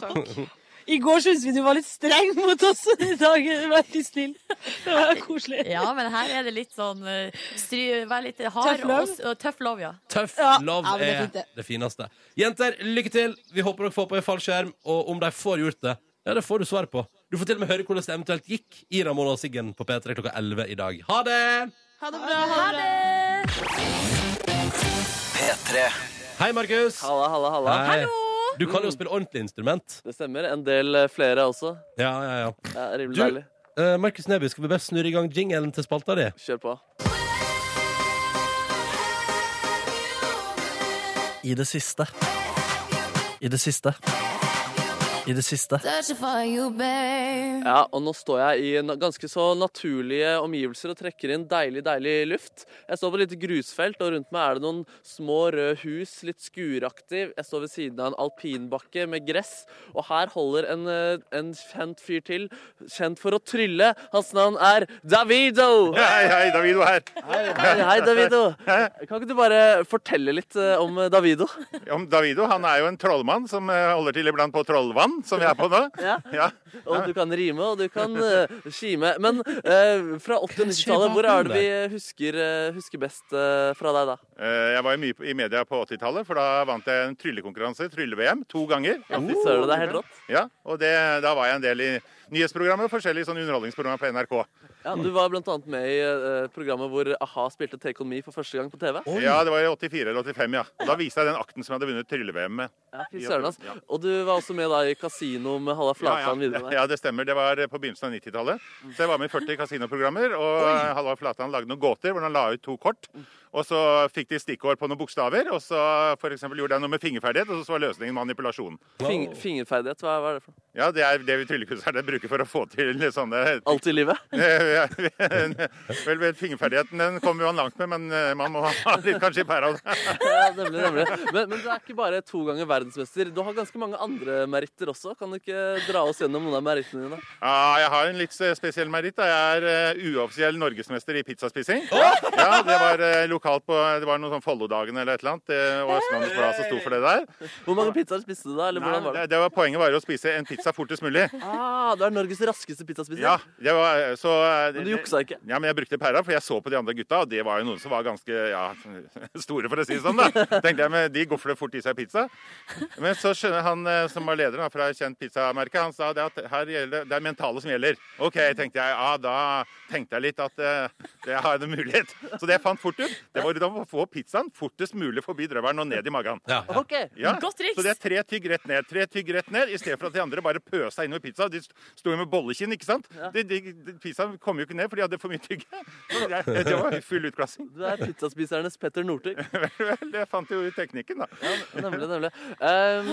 [SPEAKER 6] I går syntes vi du var litt streng mot oss. <laughs> I dag er du veldig snill. Det var koselig.
[SPEAKER 3] Ja, men her er det litt sånn eh, stry, Vær litt hard.
[SPEAKER 6] Tøff love.
[SPEAKER 3] og- og Tøff love, ja.
[SPEAKER 2] Tøff
[SPEAKER 6] Ja,
[SPEAKER 2] love
[SPEAKER 6] ja, men det er
[SPEAKER 2] er
[SPEAKER 6] fint, det.
[SPEAKER 2] det fineste. Jenter, lykke til. Vi håper dere får på en fallskjerm. Og om de får gjort det, ja, det får du svar på. Du får til og med høre hvordan det eventuelt gikk i Ramona og Siggen på P3 klokka 11 i dag. Ha det!
[SPEAKER 8] Ha det bra.
[SPEAKER 3] Ha det!
[SPEAKER 2] Hei, Markus.
[SPEAKER 4] Halla, halla, halla.
[SPEAKER 2] Hei. Du kan jo spille ordentlig instrument.
[SPEAKER 4] Det stemmer. En del eh, flere også.
[SPEAKER 2] Ja, ja, ja.
[SPEAKER 4] Det er rimelig
[SPEAKER 2] Du-
[SPEAKER 4] deilig.
[SPEAKER 2] Eh, Markus Neby, skal vi bare snurre i gang jingelen til spalta di?
[SPEAKER 4] Kjør på. I det siste. I det siste. I det siste. Ja, og nå står jeg i na- ganske så naturlige omgivelser og trekker inn deilig, deilig luft. Jeg står på et lite grusfelt, og rundt meg er det noen små røde hus, litt skuraktig. Jeg står ved siden av en alpinbakke med gress, og her holder en, eh, en kjent fyr til, kjent for å trylle. Hans navn er Davido!
[SPEAKER 9] Hei, hei, Davido her.
[SPEAKER 4] Hei, hei, Davido. Kan ikke du bare fortelle litt eh, om eh, Davido?
[SPEAKER 9] Om Davido han er jo en trollmann som eh, holder til iblant på Trollvann, som vi er på nå.
[SPEAKER 4] <laughs> Ja.
[SPEAKER 9] Ja.
[SPEAKER 4] Og du kan rime, og du kan
[SPEAKER 9] <laughs>
[SPEAKER 4] eh, kime. Men eh, fra 80- og 90-tallet, hvor er det vi husker, eh, husker best eh, fra deg da?
[SPEAKER 9] Eh, Jeg var jo mye på- i media på 80-tallet, for da vant jeg en tryllekonkurranse, trylle-VM, to ganger.
[SPEAKER 4] Ja, Fy søren, det er helt rått.
[SPEAKER 9] Ja, og det, da var jeg en del i nyhetsprogrammet og forskjellige sånne underholdningsprogrammer på NRK.
[SPEAKER 4] Ja, du var blant annet med i eh, programmet hvor A-ha spilte Take On Me for første gang på TV.
[SPEAKER 9] Ja, det var i 84 eller 85, ja. Og Da viste jeg den akten som jeg hadde vunnet trylle-VM med.
[SPEAKER 4] Ja, fy søren, ass.
[SPEAKER 9] Ja.
[SPEAKER 4] Og du var også med da i Casino med Halla Flatland
[SPEAKER 9] ja,
[SPEAKER 4] videre.
[SPEAKER 9] ja.
[SPEAKER 4] der.
[SPEAKER 9] ja, det stemmer. Det var på begynnelsen av 90-tallet. Så jeg var med i 40 kasinoprogrammer, og Halvard Flatan lagde noen gåter hvor han la ut to kort. Og så fikk de stikkord på noen bokstaver, og så for eksempel gjorde jeg noe med fingerferdighet, og så var løsningen manipulasjon.
[SPEAKER 4] Fing, fingerferdighet, hva, hva er det for noe?
[SPEAKER 9] Ja, det er det vi tryllekunstnere bruker for å få til sånne
[SPEAKER 4] Alt i
[SPEAKER 9] <laughs>
[SPEAKER 4] livet?
[SPEAKER 9] Vel, vel, fingerferdigheten den kommer jo han langt med, men eh, man må ha litt kanskje i pæra.
[SPEAKER 4] Ja, nemlig, nemlig. Men, men du er ikke bare to ganger verdensmester. Du har ganske mange andre meritter også. Kan du ikke dra oss gjennom noen av merittene dine?
[SPEAKER 9] Ja, jeg har en litt spesiell meritt. da. Jeg er eh, uoffisiell norgesmester i pizzaspising. Ja, Det var eh, lokalt på det var noen sånn Follo-dagene eller et eller annet. eh, Og Østlandets Blad som sto for det der.
[SPEAKER 4] Hvor mange pizzaer spiste du da? Eller hvordan
[SPEAKER 9] Nei,
[SPEAKER 4] var det?
[SPEAKER 9] det, det var Poenget var jo å spise en pizza fortest mulig.
[SPEAKER 4] Ah, du er Norges raskeste pizzaspiser.
[SPEAKER 9] Ja, det var, så, eh,
[SPEAKER 4] Men du juksa ikke.
[SPEAKER 9] Ja, men jeg brukte pæra, for jeg så på de andre gutta, og det var jo noen som var ganske ja, <laughs> store, for å si det sånn. da. Tenkte jeg, men De gofler fort i seg pizza. Men så skjønner han eh, som var lederen da, fra et kjent pizzamerke, han sa det at her gjelder, det er mentale som gjelder. OK, tenkte jeg. Ja, da tenkte jeg litt at eh, det har jeg en mulighet. Så det jeg fant fort ut, det var å få pizzaen fortest mulig forbi drøvelen og ned i magen.
[SPEAKER 2] Ja, ja.
[SPEAKER 4] OK.
[SPEAKER 9] Ja.
[SPEAKER 3] Godt triks.
[SPEAKER 9] Så det er tre tygg rett ned. Tre tygg rett ned, I stedet for at de andre bare pøsa innover pizza. De sto jo med bollekinn, ikke sant? De, de, de, pizzaen kom jo ikke ned, for de hadde for mye tygg. <laughs> Så Det, det var full utklassing.
[SPEAKER 4] Du er pizzaspisernes Petter Northug.
[SPEAKER 9] <laughs> Vel, jeg fant jo ut teknikken, da.
[SPEAKER 4] Nemlig, nemlig. Ehm,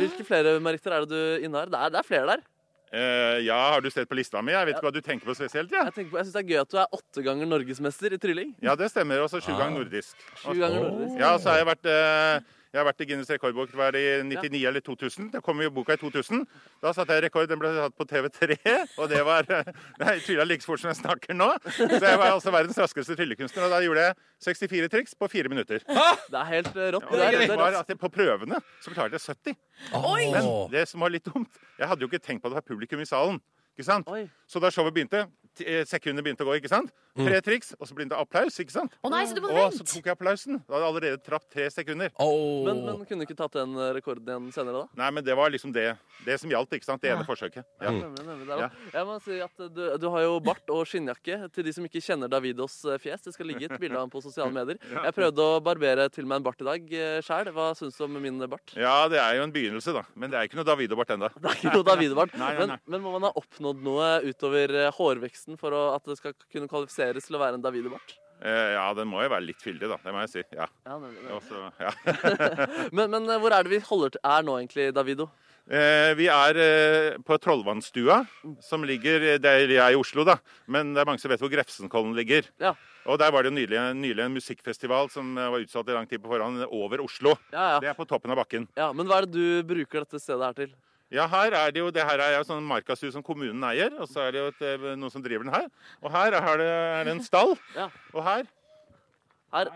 [SPEAKER 4] hvilke flere meritter er det du innehar? Det er, det er flere der.
[SPEAKER 9] Eh, ja, har du sett på lista mi? Jeg vet ikke hva du tenker på spesielt, ja.
[SPEAKER 4] Jeg, tenker på, jeg syns det er gøy at du er åtte ganger norgesmester i trylling.
[SPEAKER 9] Ja, det stemmer. Også sju ganger nordisk.
[SPEAKER 4] Sju ganger nordisk.
[SPEAKER 9] Ja, så har jeg vært eh, Jeg har vært i Guinness rekordbok hver i 99 eller 2000. Det kom jo boka i 2000. Da satte jeg rekord. Den ble satt på TV3, og det var <laughs> Jeg trylla like fort som jeg snakker nå. Så jeg var altså verdens raskeste tryllekunstner, og da gjorde jeg 64 triks på fire minutter.
[SPEAKER 4] Det er helt eh, rått.
[SPEAKER 9] Og
[SPEAKER 4] det er- det
[SPEAKER 9] det
[SPEAKER 4] er
[SPEAKER 9] var
[SPEAKER 4] rått.
[SPEAKER 9] at jeg, på prøvene så klarte jeg 70.
[SPEAKER 3] Oi!
[SPEAKER 9] Men det som var litt dumt Jeg hadde jo ikke tenkt på at det var publikum i salen. Ikke sant? Så da showet begynte, t- eh, sekundene begynte å gå, ikke sant? tre triks, og så begynte det applaus. ikke sant?
[SPEAKER 3] Å nei, så du må
[SPEAKER 9] og så
[SPEAKER 3] vente.
[SPEAKER 9] tok jeg applausen. Da hadde jeg allerede trappet tre sekunder.
[SPEAKER 4] Men, men kunne du ikke tatt den eh, rekorden igjen senere, da?
[SPEAKER 9] Nei, men det var liksom det, det som gjaldt. ikke sant? Det ene forsøket. Ja.
[SPEAKER 4] Nemlig, nemlig, det er
[SPEAKER 9] Ja.
[SPEAKER 4] det. Jeg må si at du, du har jo bart og skinnjakke. Til de som ikke kjenner Davidos eh, fjes, det skal ligge et bilde av ham på sosiale
[SPEAKER 9] <laughs>
[SPEAKER 4] medier. Jeg prøvde å barbere til meg en bart i dag sjæl. Hva syns du om min bart?
[SPEAKER 9] ja, det er jo en begynnelse, da. Men det er ikke noe David og Bart ennå.
[SPEAKER 4] Det er ikke noe Davido-bart.
[SPEAKER 9] Nei, nei,
[SPEAKER 4] Men,
[SPEAKER 9] nei.
[SPEAKER 4] men må man ha oppnådd noe utover eh, hårveksten for å, at det skal kunne kvalifiseres til å være en Davido-bart?
[SPEAKER 9] Eh, ja, den må jo være litt fyldig, da. Det må jeg si. Ja.
[SPEAKER 4] Ja, nemlig,
[SPEAKER 9] Og
[SPEAKER 4] nemlig.
[SPEAKER 9] så- ja.
[SPEAKER 4] <laughs> men, men eh, hvor er det vi holder til er nå, egentlig, Davido?
[SPEAKER 9] Eh, vi er eh, på Trollvannstua,
[SPEAKER 4] Mm.
[SPEAKER 9] som ligger eh, der jeg er i Oslo, da. Men det er mange som vet hvor Grefsenkollen ligger.
[SPEAKER 4] Ja.
[SPEAKER 9] Og der var det jo nylig, nylig en musikkfestival som eh, var utsatt i lang tid på forhånd, over Oslo.
[SPEAKER 4] Ja, ja.
[SPEAKER 9] Det er på toppen av bakken.
[SPEAKER 4] ja, Men hva er det du bruker dette stedet her til?
[SPEAKER 9] Ja, her er det jo, det her er jo sånn markashus som kommunen eier, og så er det jo et, eh, noen som driver den her. Og her er det, er det en stall.
[SPEAKER 4] <laughs> Ja.
[SPEAKER 9] Og her,
[SPEAKER 4] Her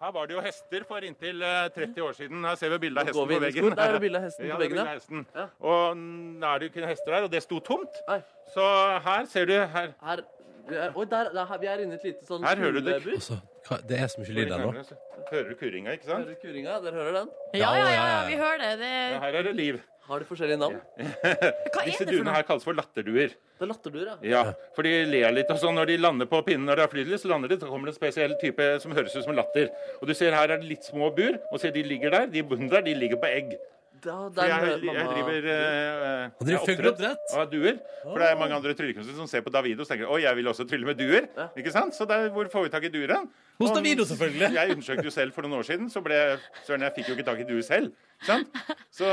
[SPEAKER 9] her var det jo hester for inntil eh, 30 år siden. Her ser vi bildet av
[SPEAKER 4] går
[SPEAKER 9] hesten
[SPEAKER 4] vi
[SPEAKER 9] på
[SPEAKER 4] inn i
[SPEAKER 9] veggen.
[SPEAKER 4] skolen. <laughs> Der er det bilde av hesten
[SPEAKER 9] Ja,
[SPEAKER 4] på
[SPEAKER 9] det
[SPEAKER 4] veggen.
[SPEAKER 9] blir
[SPEAKER 4] ja.
[SPEAKER 9] hesten.
[SPEAKER 4] Ja.
[SPEAKER 9] Og mm, er det jo ikke hester her, og det sto tomt.
[SPEAKER 4] Nei.
[SPEAKER 9] Så her ser du her.
[SPEAKER 4] Her, vi er- oi, der, der, vi er inne i et lite sånn
[SPEAKER 9] Her hører du det.
[SPEAKER 4] fuglebur.
[SPEAKER 2] Altså, hva- det er så mye lyd der nå.
[SPEAKER 9] Hører du kurringa, ikke sant?
[SPEAKER 4] Hører du kuringa? Dere hører den?
[SPEAKER 3] Ja, ja, ja,
[SPEAKER 2] ja, ja.
[SPEAKER 3] vi hører det. det
[SPEAKER 9] Ja, her er det liv.
[SPEAKER 4] Har de forskjellige
[SPEAKER 9] <laughs>
[SPEAKER 4] navn?
[SPEAKER 3] hva er det
[SPEAKER 9] Disse
[SPEAKER 3] for
[SPEAKER 9] duene
[SPEAKER 3] noe?
[SPEAKER 9] her kalles for latterduer.
[SPEAKER 4] Det er latterduer, ja.
[SPEAKER 9] Ja, for de ler litt og sånn. Når de lander på pinnen når de har flydd litt, så lander de, så kommer det en spesiell type som høres ut som latter. Og du ser her er det litt små bur, og se de ligger der. De bunnen der, de ligger på egg.
[SPEAKER 4] Da,
[SPEAKER 9] For
[SPEAKER 4] der,
[SPEAKER 9] jeg,
[SPEAKER 4] hører
[SPEAKER 9] jeg
[SPEAKER 4] mamma-
[SPEAKER 9] driver eh,
[SPEAKER 2] Han driver
[SPEAKER 9] jeg er
[SPEAKER 2] fugleoppdrett?
[SPEAKER 9] Av duer. For det er mange andre tryllekunstnere som ser på Davido og tenker å, jeg vil også trylle med duer. Ikke sant? Så der, hvor får vi tak i duer? hen?
[SPEAKER 2] Hos
[SPEAKER 9] Og-
[SPEAKER 2] Davido, selvfølgelig.
[SPEAKER 9] <laughs> Jeg undersøkte jo selv for noen år siden, så ble Søren, jeg fikk jo ikke tak i duer selv. Ikke sant? Så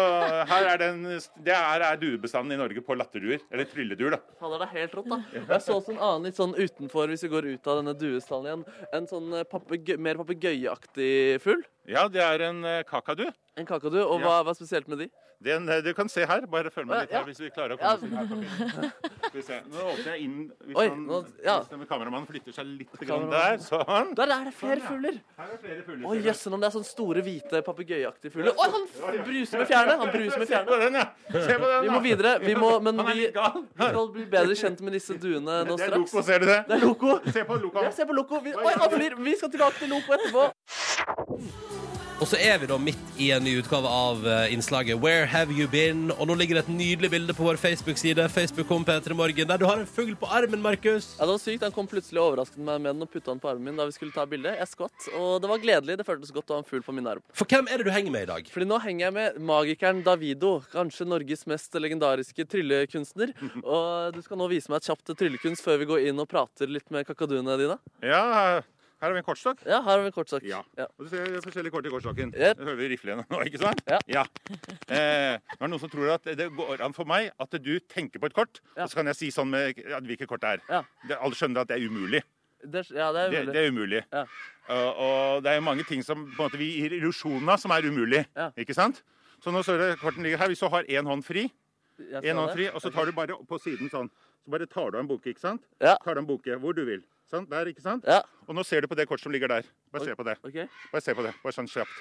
[SPEAKER 9] her er den, det her er duebestanden i Norge på latterduer. Eller trylleduer, da.
[SPEAKER 4] Fader, det er helt rått, da. Jeg så også en annen litt sånn utenfor, hvis vi går ut av denne duestallen igjen, en sånn eh, papegø- mer papegøyeaktig fugl.
[SPEAKER 9] Ja, det er en eh, kakadu.
[SPEAKER 4] En kakadu. Og hva, hva er spesielt med de?
[SPEAKER 9] Den, eh, du kan se her. Bare følg med litt
[SPEAKER 4] Ja.
[SPEAKER 9] her, hvis vi klarer å
[SPEAKER 4] Ja.
[SPEAKER 9] komme oss inn her. på bildet. Skal vi se. Nå åpner jeg inn hvis,
[SPEAKER 4] Oi,
[SPEAKER 9] han,
[SPEAKER 4] nå- ja.
[SPEAKER 9] hvis den kameramannen flytter seg litt grann der. Sånn.
[SPEAKER 4] Der er det flere fugler!
[SPEAKER 9] Her er flere fugler.
[SPEAKER 4] Å, jøsse navn, det er sånne store, hvite papegøyeaktige fugler. Oi, han f- bruser med fjærene! Han bruser med
[SPEAKER 9] Se på
[SPEAKER 4] fjærene.
[SPEAKER 9] den, ja! Se på den,
[SPEAKER 4] Vi
[SPEAKER 9] da.
[SPEAKER 4] må videre. Vi må, men
[SPEAKER 9] Han er
[SPEAKER 4] vi,
[SPEAKER 9] litt gal.
[SPEAKER 4] vi skal bli bedre kjent med disse duene nå
[SPEAKER 9] Det er
[SPEAKER 4] straks.
[SPEAKER 9] Loco, ser du det?
[SPEAKER 4] Det er Loco.
[SPEAKER 9] Se på Loco.
[SPEAKER 4] Jeg ser på Loco. Vi, oi, han flyr! Vi skal tilbake til Loco etterpå.
[SPEAKER 2] Og så er vi da midt i en ny utgave av eh, innslaget Where have you been? Og nå ligger det et nydelig bilde på vår Facebook-side, Facebook.com P3 Morgen, der du har en fugl på armen, Markus.
[SPEAKER 4] Ja, det var sykt. Han kom plutselig og overrasket meg med den og putta den på armen min da vi skulle ta bilde. Jeg skvatt, og det var gledelig. Det føltes godt å ha en fugl på min arm.
[SPEAKER 2] For hvem er det du henger med i dag?
[SPEAKER 4] Fordi nå henger jeg med magikeren Davido, kanskje Norges mest legendariske
[SPEAKER 2] <laughs>
[SPEAKER 4] tryllekunstner. Og du skal nå vise meg et kjapt tryllekunst før vi går inn og prater litt med kakaduene dine.
[SPEAKER 9] Ja, her har vi en kortstokk.
[SPEAKER 4] Ja, her har vi en kortsak.
[SPEAKER 9] Ja.
[SPEAKER 4] Ja.
[SPEAKER 9] Og du ser det er forskjellige kort i kortstokken.
[SPEAKER 4] Yep.
[SPEAKER 9] Det Hører vi riflene nå, ikke sant?
[SPEAKER 4] Ja.
[SPEAKER 9] Eh, det er noen som tror at det går an for meg at du tenker på et kort,
[SPEAKER 4] Ja.
[SPEAKER 9] og så kan jeg si sånn med ja, hvilket kort det er.
[SPEAKER 4] Ja.
[SPEAKER 9] Det, alle skjønner at det er umulig.
[SPEAKER 4] Det, er- ja, det er
[SPEAKER 9] Det,
[SPEAKER 4] mulig.
[SPEAKER 9] det er umulig.
[SPEAKER 4] Ja.
[SPEAKER 9] Og, og det er jo mange ting som på en måte, vi gir illusjonen av som er umulig.
[SPEAKER 4] Ja.
[SPEAKER 9] Ikke sant? Så nå ser du korten ligger her. Hvis du har én hånd fri,
[SPEAKER 4] Jeg skal
[SPEAKER 9] en hånd
[SPEAKER 4] det.
[SPEAKER 9] fri, og så tar du bare på siden sånn. Så bare tar du av en bunke, ikke sant?
[SPEAKER 4] Ja.
[SPEAKER 9] Tar du av en bunke hvor du vil. Sant? Der, ikke sant?
[SPEAKER 4] Ja,
[SPEAKER 9] Og nå ser du på det kortet som ligger der. Bare se på det.
[SPEAKER 4] ok.
[SPEAKER 9] Bare se på det. Bare sånn kjapt.